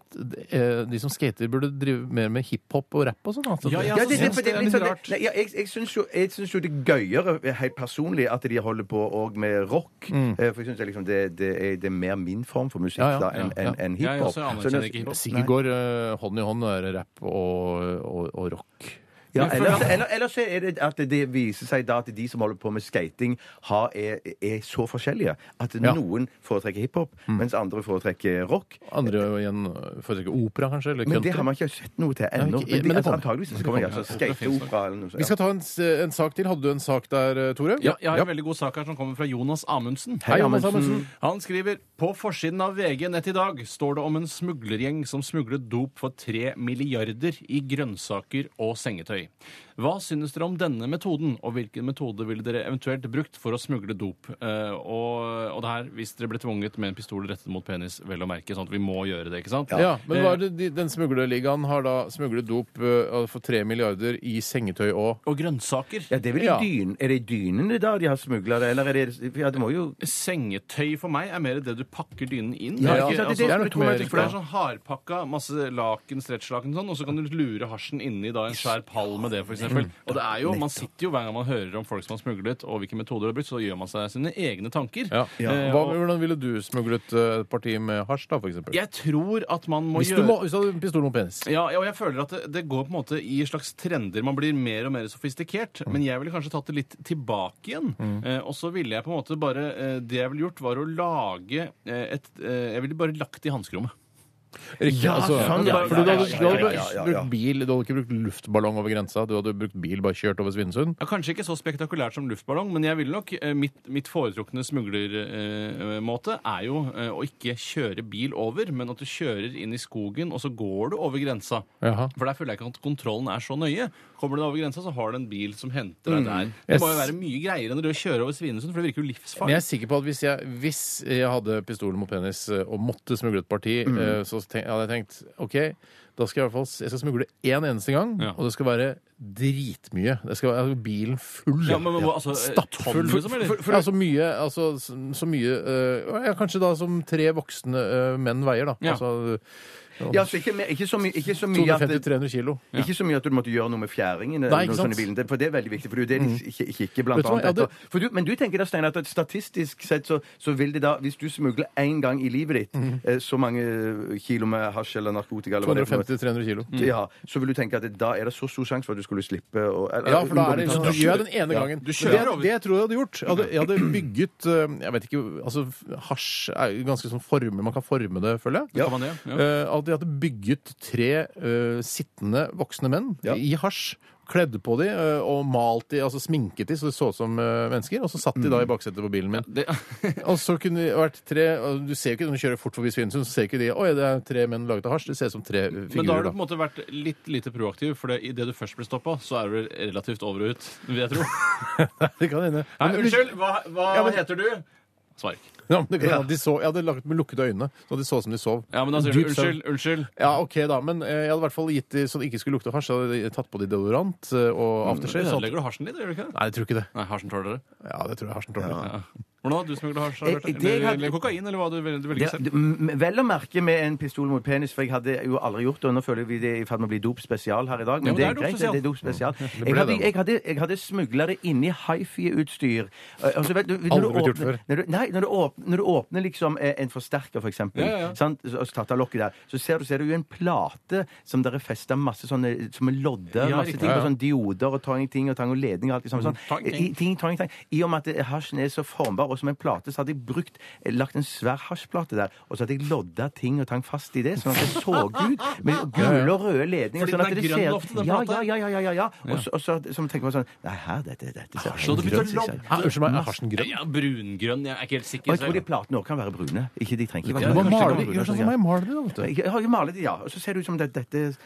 [SPEAKER 3] eh, de som skater, burde drive mer med hiphop og rap og sånn? Altså,
[SPEAKER 4] Ja, ja, så
[SPEAKER 5] Ja, det, det,
[SPEAKER 4] synes
[SPEAKER 5] for det,
[SPEAKER 4] det er
[SPEAKER 5] er litt
[SPEAKER 4] litt
[SPEAKER 5] sånn-
[SPEAKER 4] rart.
[SPEAKER 5] Nei, ja, jeg jeg syns jo, jeg syns jo det er gøyere eh, helt personlig at de holder på òg med rock. Eh, For jeg syns liksom det, det, er, det er mer min form for musikk
[SPEAKER 3] Mm. Ja, ja,
[SPEAKER 5] da enn
[SPEAKER 3] ja, ja.
[SPEAKER 5] enn- enn
[SPEAKER 4] Ja, jeg
[SPEAKER 5] hiphop.
[SPEAKER 4] også
[SPEAKER 5] Så
[SPEAKER 4] anerkjenner
[SPEAKER 5] nå-
[SPEAKER 4] ikke hiphop.
[SPEAKER 3] Sikkert går eh, hånd i hånd, det er rap og, og, og rock.
[SPEAKER 5] Ja,
[SPEAKER 4] Men for-
[SPEAKER 5] ellers, eller, ellers er det at det viser seg da at de som holder på med skating, har, er, er så forskjellige at noen foretrekker hiphop,
[SPEAKER 3] Mm.
[SPEAKER 5] mens andre foretrekker rock.
[SPEAKER 3] Andre igjen foretrekker opera, kanskje? Eller
[SPEAKER 5] Men
[SPEAKER 3] country?
[SPEAKER 5] det har man ikke sett noe til
[SPEAKER 3] Nei,
[SPEAKER 5] ennå.
[SPEAKER 3] ikke-
[SPEAKER 5] Men, de,
[SPEAKER 3] men det
[SPEAKER 5] altså,
[SPEAKER 3] kommer.
[SPEAKER 5] antageligvis så kommer det altså,
[SPEAKER 4] Det finnes nok.
[SPEAKER 5] skateopera eller noe
[SPEAKER 3] Vi
[SPEAKER 5] sånt.
[SPEAKER 3] skal ta en, s- en sak til. Hadde du en sak der, eh, Tore?
[SPEAKER 4] Ja, jeg har en veldig god sak her som kommer fra Jonas Amundsen.
[SPEAKER 3] Hei, Jonas Amundsen.
[SPEAKER 4] Han skriver på forsiden av VG nett i dag står det om en smuglergjeng som smuglet dop for 3 milliarder i grønnsaker og sengetøy. Hva synes dere om denne metoden, og hvilken metode ville dere eventuelt brukt for å smugle dop? Eh, og, og det her, hvis dere ble tvunget med en pistol rettet mot penis, vel å merke, sånn at vi må gjøre det, ikke sant?
[SPEAKER 3] Ja, men hva
[SPEAKER 4] Eh,
[SPEAKER 3] er det, de, Den smuglerligaen har da smuglet dop eh, for tre milliarder i sengetøy og
[SPEAKER 4] Og grønnsaker.
[SPEAKER 5] Ja, det er, vel i
[SPEAKER 3] Ja.
[SPEAKER 5] dyn, er det i dynene da de har smugla det, eller er det Ja, det må jo
[SPEAKER 4] Sengetøy for meg er mer det du pakker dynen inn.
[SPEAKER 5] Ja,
[SPEAKER 4] Er
[SPEAKER 3] ja,
[SPEAKER 4] ikke- altså,
[SPEAKER 3] det- det er nok
[SPEAKER 4] for det
[SPEAKER 3] mer-
[SPEAKER 4] er sånn hardpakka, masse laken, stretchlaken og sånn, og så kan du lure hasjen inni da en svær pall med det, for
[SPEAKER 3] Mm.
[SPEAKER 4] eksempel. Og det er jo, man sitter jo hver gang man hører om folk som har smuglet, og hvilke metoder de har brukt, så gjør man seg sine egne tanker.
[SPEAKER 3] ja.
[SPEAKER 4] Eh,
[SPEAKER 3] Hva,
[SPEAKER 4] og
[SPEAKER 3] Hvordan ville du smuglet eh, et parti med hasj, da, for eksempel?
[SPEAKER 4] jeg tror at man må
[SPEAKER 3] Hvis
[SPEAKER 4] gjøre
[SPEAKER 3] du, må, hvis du hadde en pistol mot penis.
[SPEAKER 4] Ja, ja, og jeg føler at det, det går på en måte i slags trender. Man blir mer og mer sofistikert. Men jeg ville kanskje tatt det litt tilbake igjen. Eh, og så ville jeg på en måte bare eh, Det jeg ville gjort, var å lage eh, et eh, Jeg ville bare lagt det i hanskerommet.
[SPEAKER 3] Riktig.
[SPEAKER 5] Ja,
[SPEAKER 3] altså,
[SPEAKER 5] sånn,
[SPEAKER 4] ja,
[SPEAKER 3] Fordi du
[SPEAKER 4] ja,
[SPEAKER 3] hadde,
[SPEAKER 4] ja,
[SPEAKER 3] du hadde
[SPEAKER 4] ja,
[SPEAKER 5] ja, ja, ja.
[SPEAKER 3] brukt bil, du hadde ikke brukt luftballong over grensa, du hadde brukt bil bare kjørt over Svinesund.
[SPEAKER 4] Ja, kanskje ikke så spektakulært som luftballong, men jeg ville nok eh, mitt, mitt foretrukne smuglermåte eh, måte er jo eh, å ikke kjøre bil over, men at du kjører inn i skogen, og så går du over grensa.
[SPEAKER 3] Jaha.
[SPEAKER 4] For der føler jeg ikke at kontrollen er så nøye. Kommer du deg over grensa, så har du en bil som henter deg der. Det
[SPEAKER 3] Jeg
[SPEAKER 4] må jo
[SPEAKER 3] s-
[SPEAKER 4] være mye greiere enn å kjøre over Svinesund, for det virker jo
[SPEAKER 3] Men
[SPEAKER 4] livsfarlig.
[SPEAKER 3] jeg er sikker på at hvis jeg, hvis jeg hadde pistolen mot penis eh, og måtte smugle et parti,
[SPEAKER 4] Mm.
[SPEAKER 3] eh, så tenk, hadde jeg tenkt OK, da skal jeg i hvert fall s- jeg skal smugle én eneste gang,
[SPEAKER 4] Ja.
[SPEAKER 3] og det skal være dritmye. Det skal være altså, bilen full.
[SPEAKER 4] Ja, men, hva- altså, eh,
[SPEAKER 3] Stappfull.
[SPEAKER 4] tonn, liksom, eller?
[SPEAKER 3] ja, så mye, altså, så, så mye eh, ja, Kanskje da som tre voksne eh, menn veier, da.
[SPEAKER 4] Ja.
[SPEAKER 3] Altså
[SPEAKER 5] Ja, altså, ikke, mer- ikke så mye ikke så mye at det-
[SPEAKER 3] 250-300 kilo.
[SPEAKER 5] Ikke så mye at du måtte gjøre noe med fjæringen.
[SPEAKER 3] Nei,
[SPEAKER 5] eller
[SPEAKER 3] ikke
[SPEAKER 5] noe sånt
[SPEAKER 3] sant?
[SPEAKER 5] i
[SPEAKER 3] Mm.
[SPEAKER 5] bilen. Det- For det er veldig viktig. For det er jo det de ikke, ikke, ikke blant
[SPEAKER 3] Vet du hva,
[SPEAKER 5] annet
[SPEAKER 3] ja, det-
[SPEAKER 5] etter. For du, Men du tenker da, Steinar, at statistisk sett så, så vil det da, hvis du smugler én gang i livet ditt
[SPEAKER 3] Mm.
[SPEAKER 5] eh, så mange kilo med hasj eller narkotika eller hva det er for noe,
[SPEAKER 3] 250-300 kilo.
[SPEAKER 5] ja, så vil du tenke at det, da er det så stor sjanse for at du skulle slippe å eller-
[SPEAKER 3] Ja, for da er det
[SPEAKER 5] unngå
[SPEAKER 3] liksom,
[SPEAKER 5] å
[SPEAKER 3] du
[SPEAKER 5] bli
[SPEAKER 3] gjør
[SPEAKER 5] tatt.
[SPEAKER 3] den ene gangen.
[SPEAKER 4] du
[SPEAKER 3] Men
[SPEAKER 4] kjører
[SPEAKER 3] det, er-
[SPEAKER 4] over.
[SPEAKER 3] det jeg tror jeg hadde gjort Jeg hadde, jeg hadde bygget eh, Jeg vet ikke, altså hasj er jo ganske sånn forme, man kan forme det, føler jeg.
[SPEAKER 5] Ja.
[SPEAKER 4] Kan man det? Ja.
[SPEAKER 3] Eh, At jeg hadde bygget tre eh, sittende voksne menn
[SPEAKER 5] Ja.
[SPEAKER 3] i hasj. Kledd på de eh, og malt de, altså sminket de så de så ut som eh, mennesker. Og så satt de da i baksetet på bilen min.
[SPEAKER 4] Det, (laughs)
[SPEAKER 3] Og så kunne det vært tre og Du ser jo ikke når du kjører fort forbi Svinesund, så ser ikke de Oi, det er tre menn laget av hasj. Det ser ut som tre eh,
[SPEAKER 4] men da har
[SPEAKER 3] figurer,
[SPEAKER 4] du på
[SPEAKER 3] da.
[SPEAKER 4] en måte vært litt lite proaktiv, for det, i det du først blir stoppa, så er du vel relativt over og ut, vil jeg tro.
[SPEAKER 3] (laughs) Det kan hende.
[SPEAKER 4] Nei,
[SPEAKER 3] Men-
[SPEAKER 4] unnskyld, hva, hva
[SPEAKER 3] Ja, men-
[SPEAKER 4] heter du? Svark.
[SPEAKER 3] Ja, men det kan, hende at de sov, jeg hadde lagt med lukkede øyne, så de så ut som de sov.
[SPEAKER 4] Ja, men da sier du
[SPEAKER 3] Dyp søvn.
[SPEAKER 4] unnskyld, unnskyld.
[SPEAKER 3] Ja, ok da, men eh, jeg hadde i hvert fall gitt de, så det ikke skulle lukte hasj, så hadde jeg tatt på de deodorant eh, og aftershave. sånn.
[SPEAKER 4] Mm, Ødelegger du hasjen litt, gjør du ikke det?
[SPEAKER 3] Nei, jeg tror ikke det.
[SPEAKER 4] Nei, hasjen tåler det.
[SPEAKER 3] Ja, det tror jeg sånn hasjen tåler.
[SPEAKER 4] Ja. Hvordan hadde du smugla hasj?
[SPEAKER 5] Jeg-
[SPEAKER 4] Bjarte?
[SPEAKER 5] det jeg
[SPEAKER 4] Eller,
[SPEAKER 5] hadde-
[SPEAKER 4] eller kokain, eller hva du, vel- du velger
[SPEAKER 5] Det-
[SPEAKER 4] selv?
[SPEAKER 5] det- m- Vel å merke med en pistol mot penis, for jeg hadde jo aldri gjort det. Og nå føler vi det er i ferd med å bli dop spesial her i dag,
[SPEAKER 4] Ja, men
[SPEAKER 5] men
[SPEAKER 4] det
[SPEAKER 5] det er
[SPEAKER 4] er dop
[SPEAKER 5] greit.
[SPEAKER 4] spesial.
[SPEAKER 5] Det er dop spesial.
[SPEAKER 3] ble
[SPEAKER 5] Jeg hadde,
[SPEAKER 3] det, da.
[SPEAKER 5] jeg hadde, jeg hadde smuglere inni hifi-utstyr. Eh, Altså, vet du, når
[SPEAKER 3] Aldri
[SPEAKER 5] du
[SPEAKER 3] blitt gjort
[SPEAKER 5] åpner-
[SPEAKER 3] før.
[SPEAKER 5] Når du, nei, når du, åpner, når du åpner liksom eh, en forsterker, for eksempel,
[SPEAKER 4] Ja, ja.
[SPEAKER 5] sant, og så tatt av lokket der, så ser du, ser du jo en plate som der er festa masse sånne eh, som er lodder,
[SPEAKER 4] Ja,
[SPEAKER 5] masse
[SPEAKER 4] riktig.
[SPEAKER 5] ting,
[SPEAKER 3] Ja,
[SPEAKER 5] og
[SPEAKER 3] ja.
[SPEAKER 5] sånn dioder og tang, ting og tang og ledning og alt det samme. Sånn.
[SPEAKER 4] Tang, ting.
[SPEAKER 5] I- ting, tang, tang. I og med at hasjen er så formbar, og som en plate, så hadde jeg brukt, eh, lagt en svær hasjplate der, og så hadde jeg lodda ting og tang fast i det, sånn at det så ut med gule og røde ledninger.
[SPEAKER 4] Fordi
[SPEAKER 5] sånn
[SPEAKER 4] den
[SPEAKER 5] at
[SPEAKER 4] er
[SPEAKER 5] det
[SPEAKER 4] grønn
[SPEAKER 5] ser-
[SPEAKER 4] ofte, den
[SPEAKER 5] ja,
[SPEAKER 4] plata.
[SPEAKER 5] ja, ja, ja, ja, ja. Og så- Og så så tenker man sånn Nei, her, dette, dette ser
[SPEAKER 4] Ah, Så det begynte å
[SPEAKER 5] grønt ut.
[SPEAKER 4] lodde.
[SPEAKER 3] Ja, unnskyld meg, sånn er hasjen grønn?
[SPEAKER 4] Ja, brungrønn, jeg er ikke helt
[SPEAKER 5] Og
[SPEAKER 4] sikker.
[SPEAKER 5] jeg tror de
[SPEAKER 4] så-
[SPEAKER 5] platene òg kan være brune. Ikke de trenger ikke
[SPEAKER 3] Du må
[SPEAKER 5] være
[SPEAKER 3] male
[SPEAKER 5] brune.
[SPEAKER 3] de. Gjør sånn som meg, mal de da, vet du.
[SPEAKER 5] Jeg har jo malet de, ja. Og så ser det ut som det, dette altså,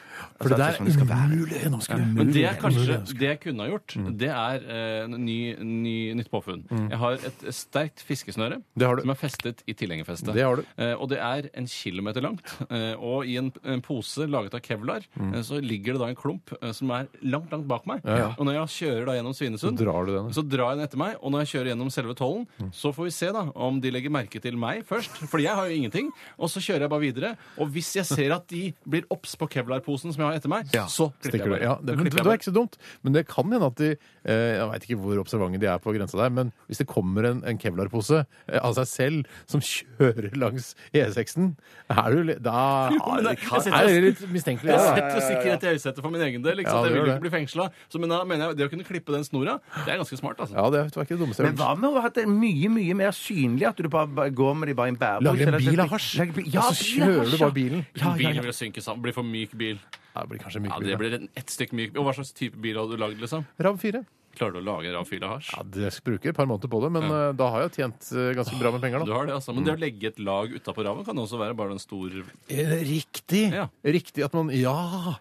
[SPEAKER 3] For det
[SPEAKER 5] altså,
[SPEAKER 3] der
[SPEAKER 5] sånn det skal
[SPEAKER 3] er
[SPEAKER 5] være.
[SPEAKER 3] umulig altså. gjennomskuelig.
[SPEAKER 4] Men det er kanskje det jeg kunne ha gjort.
[SPEAKER 3] Mm.
[SPEAKER 4] Det er eh, en ny, ny, nytt påfunn. Jeg har et sterkt fiskesnøre
[SPEAKER 3] Det har du.
[SPEAKER 4] som er festet i tilhengerfestet.
[SPEAKER 3] Det har du.
[SPEAKER 4] Eh, og det er en kilometer langt. Eh, og i en, en pose laget av kevlar
[SPEAKER 3] Mm.
[SPEAKER 4] eh, så ligger det da en klump eh, som er langt, langt bak meg. Og når jeg kjører da gjennom Svinesund,
[SPEAKER 3] Så drar du den. Mm.
[SPEAKER 4] så drar jeg den etter meg. Og når jeg kjører gjennom selve tollen, så får vi se da om de legger merke til meg først. For jeg har jo ingenting. Og så kjører jeg bare videre. Og hvis jeg ser at de blir obs på kevlarposen som jeg har etter meg, så klipper
[SPEAKER 3] Stikker
[SPEAKER 4] jeg
[SPEAKER 3] du.
[SPEAKER 4] bare.
[SPEAKER 3] Ja,
[SPEAKER 4] Da
[SPEAKER 3] det, men,
[SPEAKER 4] klipper
[SPEAKER 3] det
[SPEAKER 4] jeg
[SPEAKER 3] er
[SPEAKER 4] bare.
[SPEAKER 3] ikke så dumt. Men det kan hende at de eh, Jeg veit ikke hvor observante de er på grensa der, men hvis det kommer en, en kevlarpose eh, av seg selv, som (laughs) kjører langs E6-en, er du litt Da
[SPEAKER 4] men det er- jeg setter-
[SPEAKER 3] er det litt mistenkelig.
[SPEAKER 4] Jeg
[SPEAKER 3] Ja, ja,
[SPEAKER 4] setter sikkerhet i høysetet for min egen del. Ikke
[SPEAKER 3] Ja,
[SPEAKER 4] sant?
[SPEAKER 3] det
[SPEAKER 4] Jeg vil
[SPEAKER 3] gjør
[SPEAKER 4] jo ikke bli fengsla. Så men da mener jeg det å kunne klippe den snora, det er ganske smart. altså.
[SPEAKER 3] ja, det var ikke det dummeste jeg
[SPEAKER 5] Men
[SPEAKER 3] har
[SPEAKER 5] hva
[SPEAKER 3] hørt.
[SPEAKER 5] med å ha det mye mye mer synlig? At du bare bare går med de bare i en bærepose?
[SPEAKER 3] Lager en
[SPEAKER 5] eller at det-
[SPEAKER 3] bil av hasj,
[SPEAKER 5] Lager bil-
[SPEAKER 3] og
[SPEAKER 5] Ja,
[SPEAKER 3] så
[SPEAKER 5] bil av
[SPEAKER 3] kjører
[SPEAKER 5] hasj,
[SPEAKER 3] du bare bilen.
[SPEAKER 5] Ja, ja,
[SPEAKER 4] Bilen
[SPEAKER 5] ja.
[SPEAKER 4] vil synke sammen. Blir for myk bil.
[SPEAKER 3] Ja, det blir kanskje mye
[SPEAKER 4] Ja, Det
[SPEAKER 3] billigere.
[SPEAKER 4] blir en ett stykk myk bil. Og hva slags type bil hadde du lagd? liksom?
[SPEAKER 3] Rav 4.
[SPEAKER 4] Klarer du å lage en rav fil av hasj?
[SPEAKER 3] Ja, det bruker et par måneder på det, men eh, da har jeg tjent eh, ganske bra med penger,
[SPEAKER 4] Du
[SPEAKER 3] da.
[SPEAKER 4] har det, altså. Men
[SPEAKER 3] Mm.
[SPEAKER 4] det å legge et lag utapå raven kan også være bare en stor
[SPEAKER 3] Er det Eh, Riktig!
[SPEAKER 4] Ja.
[SPEAKER 3] Riktig at man Ja!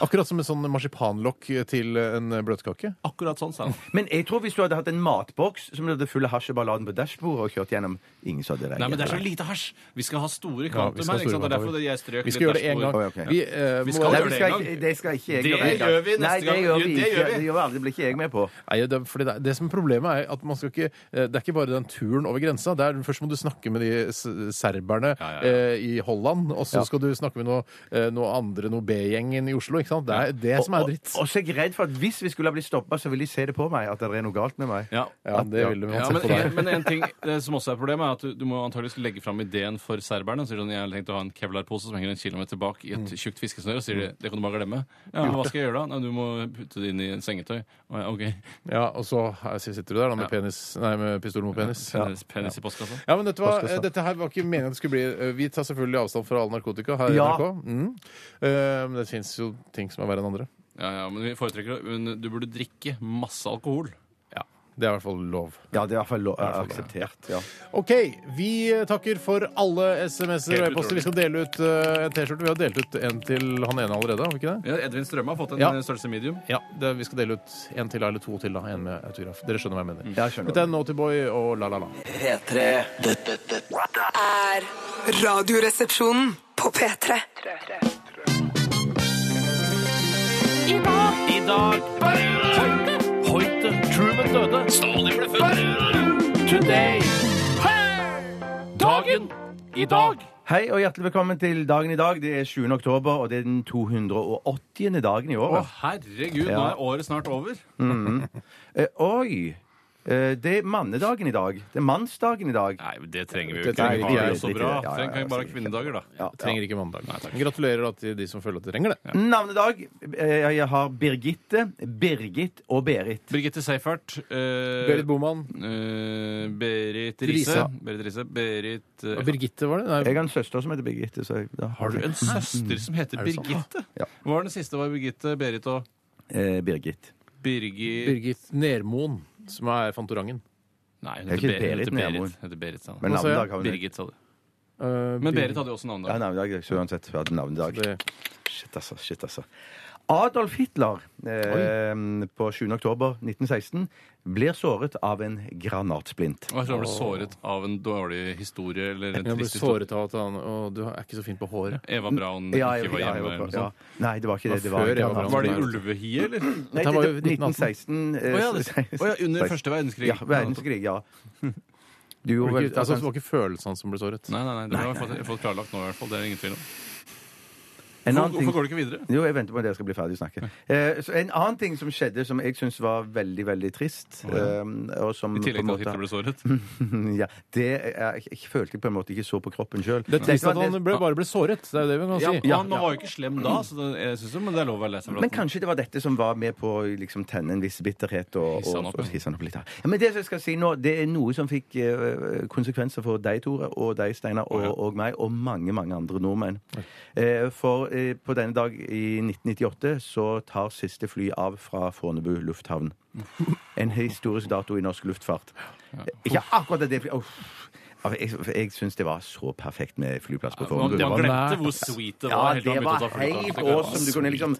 [SPEAKER 3] Akkurat som en sånn marsipanlokk til en bløtkake.
[SPEAKER 4] Akkurat sånn,
[SPEAKER 3] (laughs)
[SPEAKER 4] sa han.
[SPEAKER 5] Men jeg tror hvis du hadde hatt en matboks som du hadde full av hasj og bare la den på dashbordet og kjørt gjennom Ingen så hadde reagert.
[SPEAKER 4] Nei, men det er så lite hasj! Vi skal ha store
[SPEAKER 3] Ja,
[SPEAKER 4] kvantum
[SPEAKER 3] vi skal
[SPEAKER 4] her. ikke sant? Det er
[SPEAKER 3] ha store
[SPEAKER 4] derfor jeg strøk
[SPEAKER 3] Vi skal gjøre det én gang.
[SPEAKER 5] Oi, ok.
[SPEAKER 3] Vi, eh,
[SPEAKER 4] Vi
[SPEAKER 3] må-
[SPEAKER 4] skal
[SPEAKER 5] Nei,
[SPEAKER 4] gjør
[SPEAKER 5] vi
[SPEAKER 4] det
[SPEAKER 5] skal,
[SPEAKER 4] en
[SPEAKER 5] ikke- det skal ikke jeg
[SPEAKER 4] Det
[SPEAKER 5] gjøre.
[SPEAKER 4] gjør vi neste
[SPEAKER 5] Nei, det
[SPEAKER 4] gang.
[SPEAKER 5] gjør
[SPEAKER 4] Jo,
[SPEAKER 5] vi
[SPEAKER 4] det
[SPEAKER 5] ikke.
[SPEAKER 4] gjør vi.
[SPEAKER 5] Det gjør vi aldri. Det blir ikke jeg med på.
[SPEAKER 3] Nei, det, er- fordi det, er- det som er Problemet er at man skal ikke, eh, det er ikke bare den turen over grensa. Det er, først må du snakke med de s- serberne
[SPEAKER 4] Ja, ja, ja.
[SPEAKER 3] Eh, i Holland, og så skal du snakke med noe, eh, noe andre, noe B-gjengen i Oslo. ikke sant? Det er det som er dritt.
[SPEAKER 5] Og, og så er jeg redd for at hvis vi skulle ha blitt stoppa, så ville de se det på meg at det er noe galt med meg.
[SPEAKER 4] Ja.
[SPEAKER 3] Ja, det vil du
[SPEAKER 4] Ja,
[SPEAKER 3] uansett
[SPEAKER 4] men,
[SPEAKER 3] på
[SPEAKER 4] en,
[SPEAKER 3] deg.
[SPEAKER 4] men en ting eh, som også er problemet, er at du, du må antageligvis legge fram ideen for serberne. Så sier de sånn, jeg har tenkt å ha en kevlarpose som henger en kilometer bak i et tjukt fiskesnøre. Og sier de det kan du bare glemme. Ja, men Hva skal jeg gjøre da? Nei, du må putte det inn i en sengetøy. Å, ja, OK.
[SPEAKER 3] Ja, og så her sitter du der da, med,
[SPEAKER 4] Ja.
[SPEAKER 3] penis, nei, med pistol mot penis. Ja.
[SPEAKER 4] Penis, penis i postkassa.
[SPEAKER 3] men dette, var, eh, dette her var ikke meningen det skulle bli eh, Vi tar selvfølgelig avstand fra all narkotika her i
[SPEAKER 5] Ja.
[SPEAKER 3] NRK. Mm. Eh, Men det fins jo ting som er verre enn andre.
[SPEAKER 4] Ja, ja, men vi foretrekker det. Men du burde drikke masse alkohol.
[SPEAKER 3] Ja. Det er i hvert fall lov.
[SPEAKER 5] Ja, det er i hvert fall lo- akseptert. Ja.
[SPEAKER 3] OK. Vi takker for alle SMS-er og
[SPEAKER 4] Helt
[SPEAKER 3] e-poster. Vi skal dele ut eh, en T-skjorte. Vi har delt ut en til han ene allerede, har vi ikke det?
[SPEAKER 4] Ja, Edvin Strømme har fått en
[SPEAKER 3] Ja.
[SPEAKER 4] eh, størrelse medium.
[SPEAKER 3] Ja, det, Vi skal dele ut en til, eller to til, da. En med autograf. Dere skjønner hva jeg mener.
[SPEAKER 5] Ja, jeg skjønner.
[SPEAKER 3] Dette er Naughty Boy og La La La.
[SPEAKER 7] P3 Dette, dette
[SPEAKER 1] er Radioresepsjonen på P3.
[SPEAKER 2] I dag Hoite Truman døde Stalin ble født Today Dagen I dag
[SPEAKER 5] Hei og hjertelig velkommen til dagen i dag. Det er 7. oktober, og det er den 280. dagen i altså.
[SPEAKER 4] Å,
[SPEAKER 5] året.
[SPEAKER 4] herregud, nå
[SPEAKER 5] Ja.
[SPEAKER 4] er året snart over.
[SPEAKER 5] Eh, oi! Eh, det er mannedagen i dag. Det er mannsdagen i dag.
[SPEAKER 4] Nei, men det trenger vi jo
[SPEAKER 3] Det
[SPEAKER 4] ikke.
[SPEAKER 3] trenger
[SPEAKER 4] Vi har
[SPEAKER 3] jeg
[SPEAKER 4] det jo så
[SPEAKER 5] ikke.
[SPEAKER 4] bra.
[SPEAKER 5] Ja, ja, ja,
[SPEAKER 4] Trenger vi bare
[SPEAKER 5] sikkert.
[SPEAKER 4] kvinnedager, da.
[SPEAKER 5] Ja, ja.
[SPEAKER 3] Trenger ikke mandag. Gratulerer da til de som føler at de trenger det.
[SPEAKER 5] Navnedag. Eh, jeg har Birgitte, Birgit og Berit.
[SPEAKER 4] Birgitte Seifert. eh,
[SPEAKER 3] Berit Boman.
[SPEAKER 4] Eh, Berit
[SPEAKER 3] Risa.
[SPEAKER 4] Riise. Berit Riise. Berit eh,
[SPEAKER 3] Og Birgitte, var det? Nei.
[SPEAKER 5] Jeg har en søster som heter Birgitte. Så jeg, da.
[SPEAKER 4] Har du en søster som heter
[SPEAKER 3] det sant?
[SPEAKER 4] Birgitte?
[SPEAKER 5] Ja.
[SPEAKER 4] Hva var den siste? var Birgitte, Berit og
[SPEAKER 5] Eh, Birgit.
[SPEAKER 4] Birgit
[SPEAKER 3] Birgit Nermoen, som er Fantorangen.
[SPEAKER 4] Nei, hun
[SPEAKER 5] Det
[SPEAKER 4] heter
[SPEAKER 5] er ikke
[SPEAKER 4] Berit. Heter
[SPEAKER 5] Berit,
[SPEAKER 4] Berit,
[SPEAKER 5] naboen.
[SPEAKER 4] Berit, heter Berit sa han.
[SPEAKER 5] Men
[SPEAKER 3] Hva sa jeg?
[SPEAKER 5] navnedag har hun.
[SPEAKER 4] Birgit, sa du.
[SPEAKER 3] Eh,
[SPEAKER 4] Men Berit hadde jo også navn
[SPEAKER 5] Ja,
[SPEAKER 4] da.
[SPEAKER 5] navnedag. Så uansett, vi hadde navnedag.
[SPEAKER 3] Det-
[SPEAKER 5] Shit, altså. Shit, altså. Adolf Hitler eh, på 7. oktober 1916 blir såret av en granatsplint.
[SPEAKER 4] Og jeg tror han ble såret av en dårlig historie eller
[SPEAKER 3] Jeg
[SPEAKER 4] en
[SPEAKER 3] ble
[SPEAKER 4] trist historie.
[SPEAKER 3] såret av at han Å, du er ikke så fin på håret.
[SPEAKER 4] Eva Braun
[SPEAKER 5] Ja, jeg-
[SPEAKER 4] ikke var
[SPEAKER 5] ja,
[SPEAKER 4] hjemme.
[SPEAKER 5] jeg
[SPEAKER 4] eller
[SPEAKER 5] var
[SPEAKER 4] noe
[SPEAKER 5] på- ja.
[SPEAKER 4] sånt.
[SPEAKER 5] Nei, det var ikke det. Det
[SPEAKER 3] var
[SPEAKER 5] var,
[SPEAKER 3] før jeg var
[SPEAKER 5] granatsplint.
[SPEAKER 3] på-
[SPEAKER 4] Var det i Ulvehiet, eller?
[SPEAKER 5] Nei,
[SPEAKER 3] Dette var jo
[SPEAKER 5] det- det- 1916. eh,
[SPEAKER 4] Å ja, det-
[SPEAKER 5] se-
[SPEAKER 4] å ja, under første verdenskrig.
[SPEAKER 5] Ja, verdenskrig,
[SPEAKER 3] (laughs)
[SPEAKER 5] ja. Du
[SPEAKER 3] Det
[SPEAKER 5] gjorde
[SPEAKER 3] var
[SPEAKER 5] vel
[SPEAKER 3] ikke, altså, det var ikke følelsene hans som ble såret.
[SPEAKER 4] Nei, nei, nei, det har jeg fått, jeg har fått klarlagt nå i hvert fall. Det er det ingen tvil om.
[SPEAKER 5] En
[SPEAKER 4] Hvorfor,
[SPEAKER 5] annen ting-
[SPEAKER 4] hvorfor går du ikke videre?
[SPEAKER 5] Jo, jeg venter på at dere skal bli ferdig å snakke. Eh, så en annen ting som skjedde som jeg syns var veldig, veldig trist eh, og som
[SPEAKER 4] I tillegg til at Hitler ble såret. Men
[SPEAKER 5] (laughs) ja, det jeg, jeg følte jeg på en måte ikke så på kroppen sjøl.
[SPEAKER 3] Det er trist at han ble, bare ble såret. Det er jo det vi kan si.
[SPEAKER 4] ja, han var jo ikke slem da, så det, jeg synes jo, men det er lov å være lei seg for
[SPEAKER 5] Men
[SPEAKER 4] at han-
[SPEAKER 5] kanskje det var dette som var med på å liksom, tenne en viss bitterhet og
[SPEAKER 4] Hisse han
[SPEAKER 5] og-
[SPEAKER 4] opp, ja.
[SPEAKER 5] og hisse han opp litt. ja. Ja, men det som jeg skal si nå, det er noe som fikk eh, konsekvenser for deg, Tore, og deg, Steinar, og, og meg, og mange, mange andre nordmenn. Eh, for eh, på denne dag i 1998 så tar siste fly av fra Fornebu
[SPEAKER 4] (laughs)
[SPEAKER 5] lufthavn. En historisk dato i norsk luftfart. Ikke akkurat det flyet Uff. Altså, Jeg, jeg syns det var så perfekt med flyplass på
[SPEAKER 4] Man,
[SPEAKER 5] Fornebu.
[SPEAKER 4] man
[SPEAKER 3] var
[SPEAKER 4] glemte
[SPEAKER 3] nært,
[SPEAKER 4] hvor sweet det var.
[SPEAKER 5] Ja,
[SPEAKER 4] helt til
[SPEAKER 5] det
[SPEAKER 4] han begynte å ta
[SPEAKER 5] var
[SPEAKER 4] flyet.
[SPEAKER 5] helt awesome. Du kunne liksom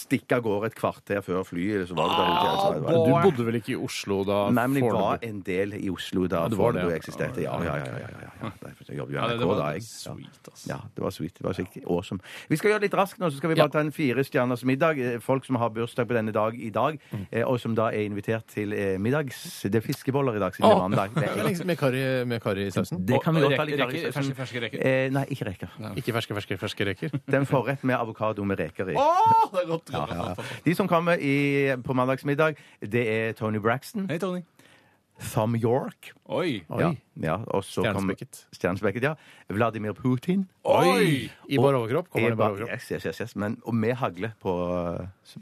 [SPEAKER 5] stikke av gårde et kvarter før flyet. Så var du der ute, altså. Det var-
[SPEAKER 3] Du bodde vel ikke i Oslo da?
[SPEAKER 5] Nei, men jeg var
[SPEAKER 3] Fornebu-
[SPEAKER 5] en del i Oslo da
[SPEAKER 3] Ja, det var det,
[SPEAKER 5] Fornebu
[SPEAKER 3] ja.
[SPEAKER 5] eksisterte. Ja, ja, ja. ja, ja, ja, ja. Derfor Jeg jobber jo i
[SPEAKER 4] Ja, det,
[SPEAKER 5] NRK
[SPEAKER 4] det var
[SPEAKER 5] da, jeg. Ja.
[SPEAKER 4] sweet, altså. ass.
[SPEAKER 5] Ja, det var sweet. Det var skikkelig awesome. Vi skal gjøre litt raskt nå, så skal vi bare ta en fire stjerners middag. Eh, Folk som har bursdag på denne dag i dag, eh, og som da er invitert til eh, middags... Det er fiskeboller i dag, siden det er
[SPEAKER 3] Åh!
[SPEAKER 5] mandag.
[SPEAKER 3] (laughs)
[SPEAKER 5] Det er
[SPEAKER 3] Med karri- Med karri i sausen?
[SPEAKER 5] det kan vi
[SPEAKER 4] Og
[SPEAKER 5] godt ta litt
[SPEAKER 4] reker-
[SPEAKER 5] karri i
[SPEAKER 4] reker-
[SPEAKER 5] sausen.
[SPEAKER 4] ferske- ferske reker.
[SPEAKER 5] Eh, nei, ikke reker.
[SPEAKER 3] Ikke ferske, ferske, ferske reker?
[SPEAKER 5] Det er en forrett med avokado med reker i.
[SPEAKER 4] Åh, det er godt,
[SPEAKER 5] (laughs)
[SPEAKER 4] godt, godt,
[SPEAKER 5] Ja.
[SPEAKER 4] godt.
[SPEAKER 5] De som kommer i, på mandagsmiddag, det er Tony Braxton.
[SPEAKER 4] Hei, Tony.
[SPEAKER 5] Thumb York.
[SPEAKER 4] Oi!
[SPEAKER 5] Ja, ja, og så kom-
[SPEAKER 3] Stjernespekket.
[SPEAKER 5] Stjernespekket, ja. Vladimir Putin.
[SPEAKER 4] Oi!
[SPEAKER 3] I bar overkropp? Kommer
[SPEAKER 5] Jeg
[SPEAKER 3] det i bar
[SPEAKER 5] bare,
[SPEAKER 3] overkropp?
[SPEAKER 5] yes, yes, yes, yes. Men, og med hagle på,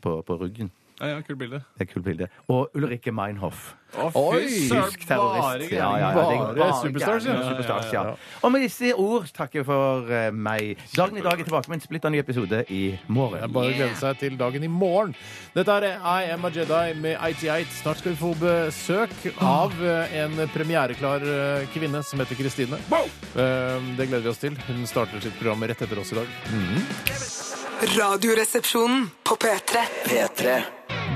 [SPEAKER 5] på, på ryggen.
[SPEAKER 4] Ja, ja, kult bilde.
[SPEAKER 5] Det er et kult bilde. Og Ulrikke Meinhoff.
[SPEAKER 4] Å,
[SPEAKER 3] Oi!
[SPEAKER 4] fy søren!
[SPEAKER 5] Tysk terrorist.
[SPEAKER 4] bare
[SPEAKER 5] Ja, ja, ja,
[SPEAKER 4] greier.
[SPEAKER 5] det er
[SPEAKER 3] Bare superstars, ja.
[SPEAKER 5] gærne superstars, ja. Og med disse ord takker jeg for eh, meg. Dagen i dag er tilbake med en splitter ny episode i morgen.
[SPEAKER 3] Det er bare å glede seg til dagen i morgen. Dette er I Am A Jedi med IT8. Snart skal vi få besøk av eh, en premiereklar eh, kvinne som heter Kristine. Eh, Det gleder vi oss til. Hun starter sitt program rett etter oss i dag.
[SPEAKER 1] Radioresepsjonen på P3.
[SPEAKER 7] P3.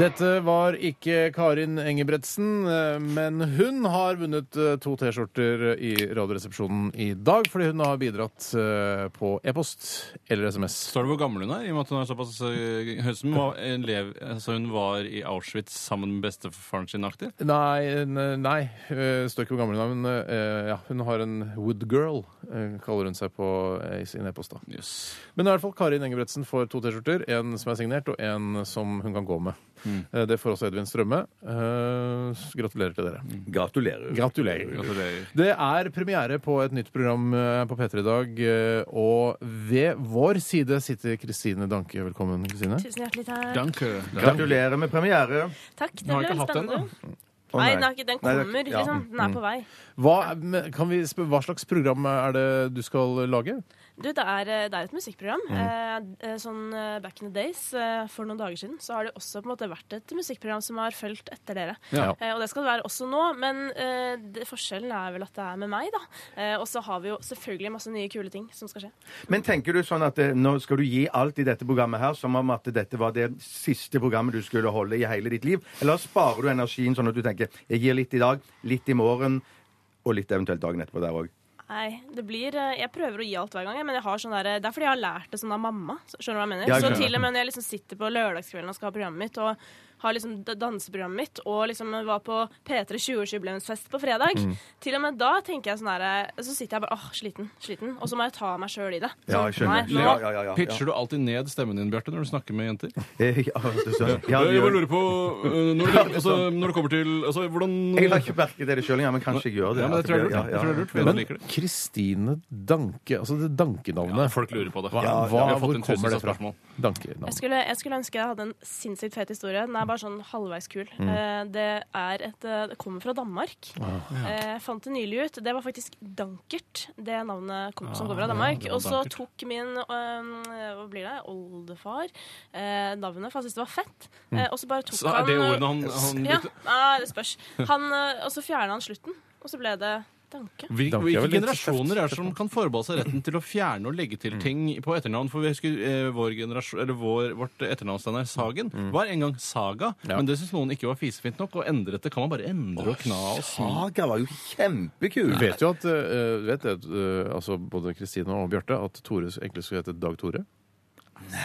[SPEAKER 3] Dette var ikke Karin Engebretsen, eh, men hun har vunnet eh, to T-skjorter i Radioresepsjonen i dag fordi hun har bidratt eh, på e-post eller SMS.
[SPEAKER 4] Står det hvor gammel hun er? I og med at Hun er såpass eh, hun som var elev, altså hun var i Auschwitz sammen med bestefaren sin aktig?
[SPEAKER 3] Nei, ne- nei. eh, står ikke hvor gammel hun er, men eh, ja, hun har en Woodgirl, eh, kaller hun seg på eh, i sin e-post. da.
[SPEAKER 4] Jøss.
[SPEAKER 3] Men i hvert fall Karin Engebretsen får to T-skjorter. En som er signert, og en som hun kan gå med. Eh, Det får også Edvin Strømme. Eh, s- Gratulerer til dere.
[SPEAKER 5] Gratulerer.
[SPEAKER 3] Mm. Gratulerer.
[SPEAKER 4] Gratulerer.
[SPEAKER 3] Det er premiere på et nytt program eh, på P3 i dag, eh, og ved vår side sitter Kristine Danke. Velkommen, Kristine.
[SPEAKER 8] Tusen hjertelig takk.
[SPEAKER 4] Danke.
[SPEAKER 5] Gratulerer med premiere.
[SPEAKER 8] Takk, det
[SPEAKER 4] Du har
[SPEAKER 8] ble
[SPEAKER 4] ikke
[SPEAKER 8] veldig
[SPEAKER 4] hatt den,
[SPEAKER 8] spennende.
[SPEAKER 5] Å,
[SPEAKER 8] Nei, den, er ikke, den
[SPEAKER 5] Nei, det
[SPEAKER 8] kommer,
[SPEAKER 5] er ikke- ja. Mm.
[SPEAKER 8] liksom. Den er på vei.
[SPEAKER 3] Hva, men kan vi spørre, hva slags program er det du skal lage?
[SPEAKER 8] Du, det er, eh, det er et musikkprogram.
[SPEAKER 5] Mm.
[SPEAKER 8] Eh, eh, Sånn eh, back in the days, eh, for noen dager siden, så har det også på en måte vært et musikkprogram som har fulgt etter dere.
[SPEAKER 3] Ja.
[SPEAKER 8] Eh, Og det skal det være også nå, men eh, det, forskjellen er vel at det er med meg, da. Eh, Og så har vi jo selvfølgelig masse nye kule ting som skal skje.
[SPEAKER 5] Men tenker du sånn at eh, nå skal du gi alt i dette programmet her som om at dette var det siste programmet du skulle holde i hele ditt liv? Eller sparer du energien sånn at du tenker jeg gir litt i dag, litt i morgen, og litt eventuelt dagen etterpå der
[SPEAKER 4] (laughs)
[SPEAKER 5] òg?
[SPEAKER 8] Nei, det blir eh, Jeg prøver å gi alt hver gang, jeg, men jeg har sånn der, det er fordi jeg har lært det sånn av mamma. så- Skjønner du hva jeg mener?
[SPEAKER 5] Ja, jeg
[SPEAKER 8] så
[SPEAKER 5] skjønner.
[SPEAKER 8] til og med når jeg liksom sitter på lørdagskvelden og skal ha programmet mitt, og har liksom d- danseprogrammet mitt, og liksom var på P3 20-årsjubileumsfest på fredag,
[SPEAKER 5] Mm.
[SPEAKER 8] til og med da tenker jeg sånn her eh, Så sitter jeg bare åh, sliten, sliten, og så må jeg ta meg sjøl i det.
[SPEAKER 5] Ja, jeg skjønner.
[SPEAKER 8] Nei, nå-
[SPEAKER 5] Ja, ja, ja, ja.
[SPEAKER 4] Pitcher du alltid ned stemmen din, Bjarte, når du snakker med jenter?
[SPEAKER 5] Eh, Ja, du sa det. Ja,
[SPEAKER 4] Eh, jeg bare
[SPEAKER 5] gjør-
[SPEAKER 4] lurer på eh, når, det, altså, når det kommer til altså, hvordan
[SPEAKER 5] jeg la ikke merke til det sjøl engang, men kanskje jeg gjør det.
[SPEAKER 4] Ja, men det tror jeg er lurt.
[SPEAKER 5] Ja, ja.
[SPEAKER 4] Jeg tror det er lurt, for jeg
[SPEAKER 3] Men
[SPEAKER 4] liker det.
[SPEAKER 3] Kristine Danke, altså det dankenavnet
[SPEAKER 4] Folk lurer på det.
[SPEAKER 3] hva,
[SPEAKER 4] Ja,
[SPEAKER 3] hva,
[SPEAKER 4] vi har fått
[SPEAKER 3] Hvor
[SPEAKER 4] en
[SPEAKER 3] kommer det
[SPEAKER 4] tusenvis av
[SPEAKER 3] fra?
[SPEAKER 4] spørsmål.
[SPEAKER 8] Jeg
[SPEAKER 3] Dankenavn.
[SPEAKER 8] skulle, jeg skulle ønske jeg hadde en sinnssykt fet historie. Den er bare sånn halvveis kul. Eh, det, er et, eh, det kommer fra Danmark. Eh, fant det nylig ut. Det var faktisk Dankert, det navnet kom, som kommer fra Danmark.
[SPEAKER 4] Ah, det var
[SPEAKER 8] og så
[SPEAKER 4] Dankert.
[SPEAKER 8] tok min øhm, hva blir det, oldefar eh, navnet, for han syntes det var fett. Eh, og så bare tok
[SPEAKER 4] Så er
[SPEAKER 8] han eh,
[SPEAKER 4] det ordene han, han
[SPEAKER 8] Ja, nei, det spørs. Han, eh, og så fjerna han slutten, og så ble det Danke.
[SPEAKER 4] Hvil-
[SPEAKER 3] Danke er
[SPEAKER 4] Hvilke
[SPEAKER 3] vel litt
[SPEAKER 4] generasjoner er det som kan forbeholde seg retten til å fjerne og legge til ting på etternavn? For vi husker eh, vår generasjon, eller vår, Vårt etternavnstegn er Sagen. Var en gang Saga, men det syns noen ikke var fisefint nok. Og endret det kan man bare endre og kna og si.
[SPEAKER 5] Saga var jo kjempekul!
[SPEAKER 3] Du vet jo at eh, vet det, eh, altså både Kristine og Bjarte at Tore egentlig skulle hete Dag Tore.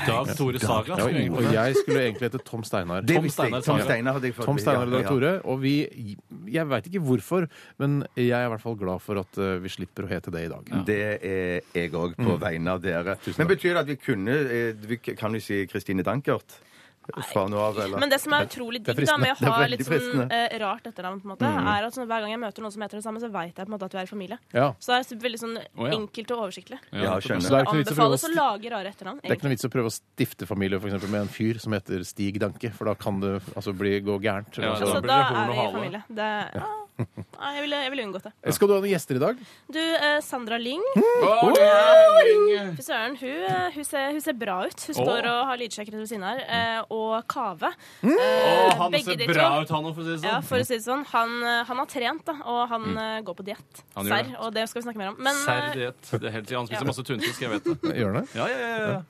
[SPEAKER 4] Dag Tore Saga.
[SPEAKER 3] Ja,
[SPEAKER 4] skulle egentlig
[SPEAKER 3] og
[SPEAKER 4] være.
[SPEAKER 3] jeg skulle egentlig hete Tom Steinar.
[SPEAKER 5] Det
[SPEAKER 4] Tom
[SPEAKER 5] visste jeg.
[SPEAKER 4] Steinar
[SPEAKER 5] Tom
[SPEAKER 4] Saga.
[SPEAKER 5] Steinar hadde jeg fått-
[SPEAKER 3] Tom Steinar og Dag
[SPEAKER 5] ja, ja.
[SPEAKER 3] Tore. Og vi Jeg veit ikke hvorfor, men jeg er i hvert fall glad for at eh, vi slipper å hete det i dag.
[SPEAKER 5] Det er jeg òg,
[SPEAKER 4] Mm.
[SPEAKER 5] på vegne av dere. Men betyr det at vi kunne eh, vi, Kan vi si Kristine Dankert fra nå av, eller?
[SPEAKER 8] Men det som er utrolig
[SPEAKER 3] Det er
[SPEAKER 8] digg da med
[SPEAKER 5] fristende.
[SPEAKER 8] å ha
[SPEAKER 5] Det er
[SPEAKER 8] litt
[SPEAKER 5] veldig
[SPEAKER 8] sånn eh, rart etternavn, på en måte, er at sånn, hver gang jeg møter noen som heter det samme, så veit jeg på en måte at vi er i familie.
[SPEAKER 3] Ja.
[SPEAKER 8] Så det er veldig sånn
[SPEAKER 4] Å, ja.
[SPEAKER 8] enkelt og oversiktlig.
[SPEAKER 5] ja, skjønner.
[SPEAKER 3] Så det er ikke noe vits å prøve å
[SPEAKER 8] Anbefales å
[SPEAKER 3] sti-
[SPEAKER 8] lage rare etternavn.
[SPEAKER 3] det er ikke
[SPEAKER 8] egentlig.
[SPEAKER 3] noe vits å prøve å stifte familie for eksempel, med en fyr som heter Stig Danke, for da kan det altså, bli, gå gærent.
[SPEAKER 4] Ja,
[SPEAKER 8] Altså,
[SPEAKER 4] Da blir
[SPEAKER 8] da
[SPEAKER 4] det horn
[SPEAKER 8] er
[SPEAKER 4] og
[SPEAKER 8] vi i
[SPEAKER 4] hale.
[SPEAKER 8] familie. Det, ja. Nei, jeg ville, jeg ville unngått det.
[SPEAKER 3] Skal du ha noen gjester i dag?
[SPEAKER 8] Du, eh, Sandra Lyng,
[SPEAKER 4] Å, det er ring.
[SPEAKER 8] fy søren, hun, eh, hun, ser, hun ser bra ut. Hun står og har lydsjekker ved siden her. Eh, og Kave.
[SPEAKER 4] Å,
[SPEAKER 8] Eh,
[SPEAKER 4] han
[SPEAKER 8] begge
[SPEAKER 4] ser
[SPEAKER 8] de
[SPEAKER 4] bra
[SPEAKER 8] to.
[SPEAKER 4] ut, han òg, for å si det
[SPEAKER 8] Ja,
[SPEAKER 4] sånn.
[SPEAKER 8] for å si det sånn. Han, eh, han har trent, da, og han eh, går på diett.
[SPEAKER 4] Han gjør
[SPEAKER 8] Serr.
[SPEAKER 4] det.
[SPEAKER 8] Og det skal vi snakke mer om. Men, eh,
[SPEAKER 4] Seriøst. Det er helt riktig. Han spiser masse tunfisk, jeg vet det.
[SPEAKER 3] Gjør han det?
[SPEAKER 4] Ja, ja, ja, ja.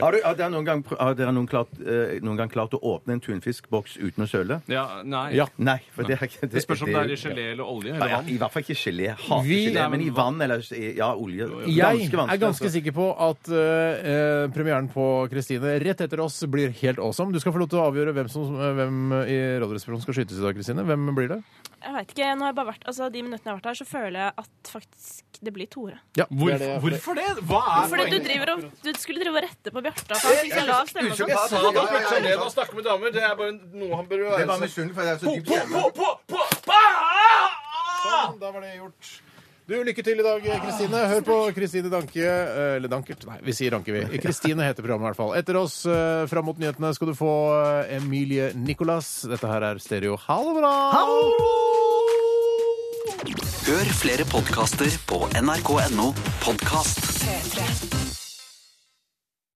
[SPEAKER 5] Har, du, har dere noen gang, pr- har dere noen, klart, eh, noen gang klart å åpne en tunfiskboks uten å søle?
[SPEAKER 4] ja nei.
[SPEAKER 3] Ja.
[SPEAKER 5] Nei. for det er ikke
[SPEAKER 4] Det spørs om det er i gelé eller olje. Eller
[SPEAKER 5] Ja,
[SPEAKER 4] vann.
[SPEAKER 5] I hvert fall ikke gelé. Jeg Hater
[SPEAKER 3] Vi-
[SPEAKER 5] gelé, men i vann eller ja, olje.
[SPEAKER 3] Jeg er ganske
[SPEAKER 5] altså.
[SPEAKER 3] sikker på at eh, eh, premieren på Kristine rett etter oss blir helt awesome. Du skal få lov til å avgjøre hvem, som, eh, hvem i Radioresepsjonen skal skytes i dag, Kristine. Hvem blir det?
[SPEAKER 8] Jeg vet ikke, nå har jeg bare vært, altså De minuttene jeg har vært her, så føler jeg at faktisk det blir Tore.
[SPEAKER 3] Ja,
[SPEAKER 4] Hvor, hvorfor det? Hva er
[SPEAKER 8] Fordi du, driver og, du skulle drive og rette på Bjarte. at Han fikk så lav stemme. og sånn.
[SPEAKER 5] Ja, ja, ja, ja, ja.
[SPEAKER 4] snakke med damer, det er bare noe han bør
[SPEAKER 5] Det var misunnelig, for det er så dypt hjemme.
[SPEAKER 4] på, på, på!
[SPEAKER 3] Sånn, da var det gjort. Du, Lykke til i dag, eh, Kristine. Hør på Kristine Danke eh, Eller Dankert. Nei, vi sier Danke, vi. Kristine heter programmet i hvert fall. Etter oss, eh, fram mot nyhetene, skal du få eh, Emilie Nicolas. Dette her er Stereo. Ha det bra!
[SPEAKER 6] Hør flere podkaster på nrk.no podkast.
[SPEAKER 9] 3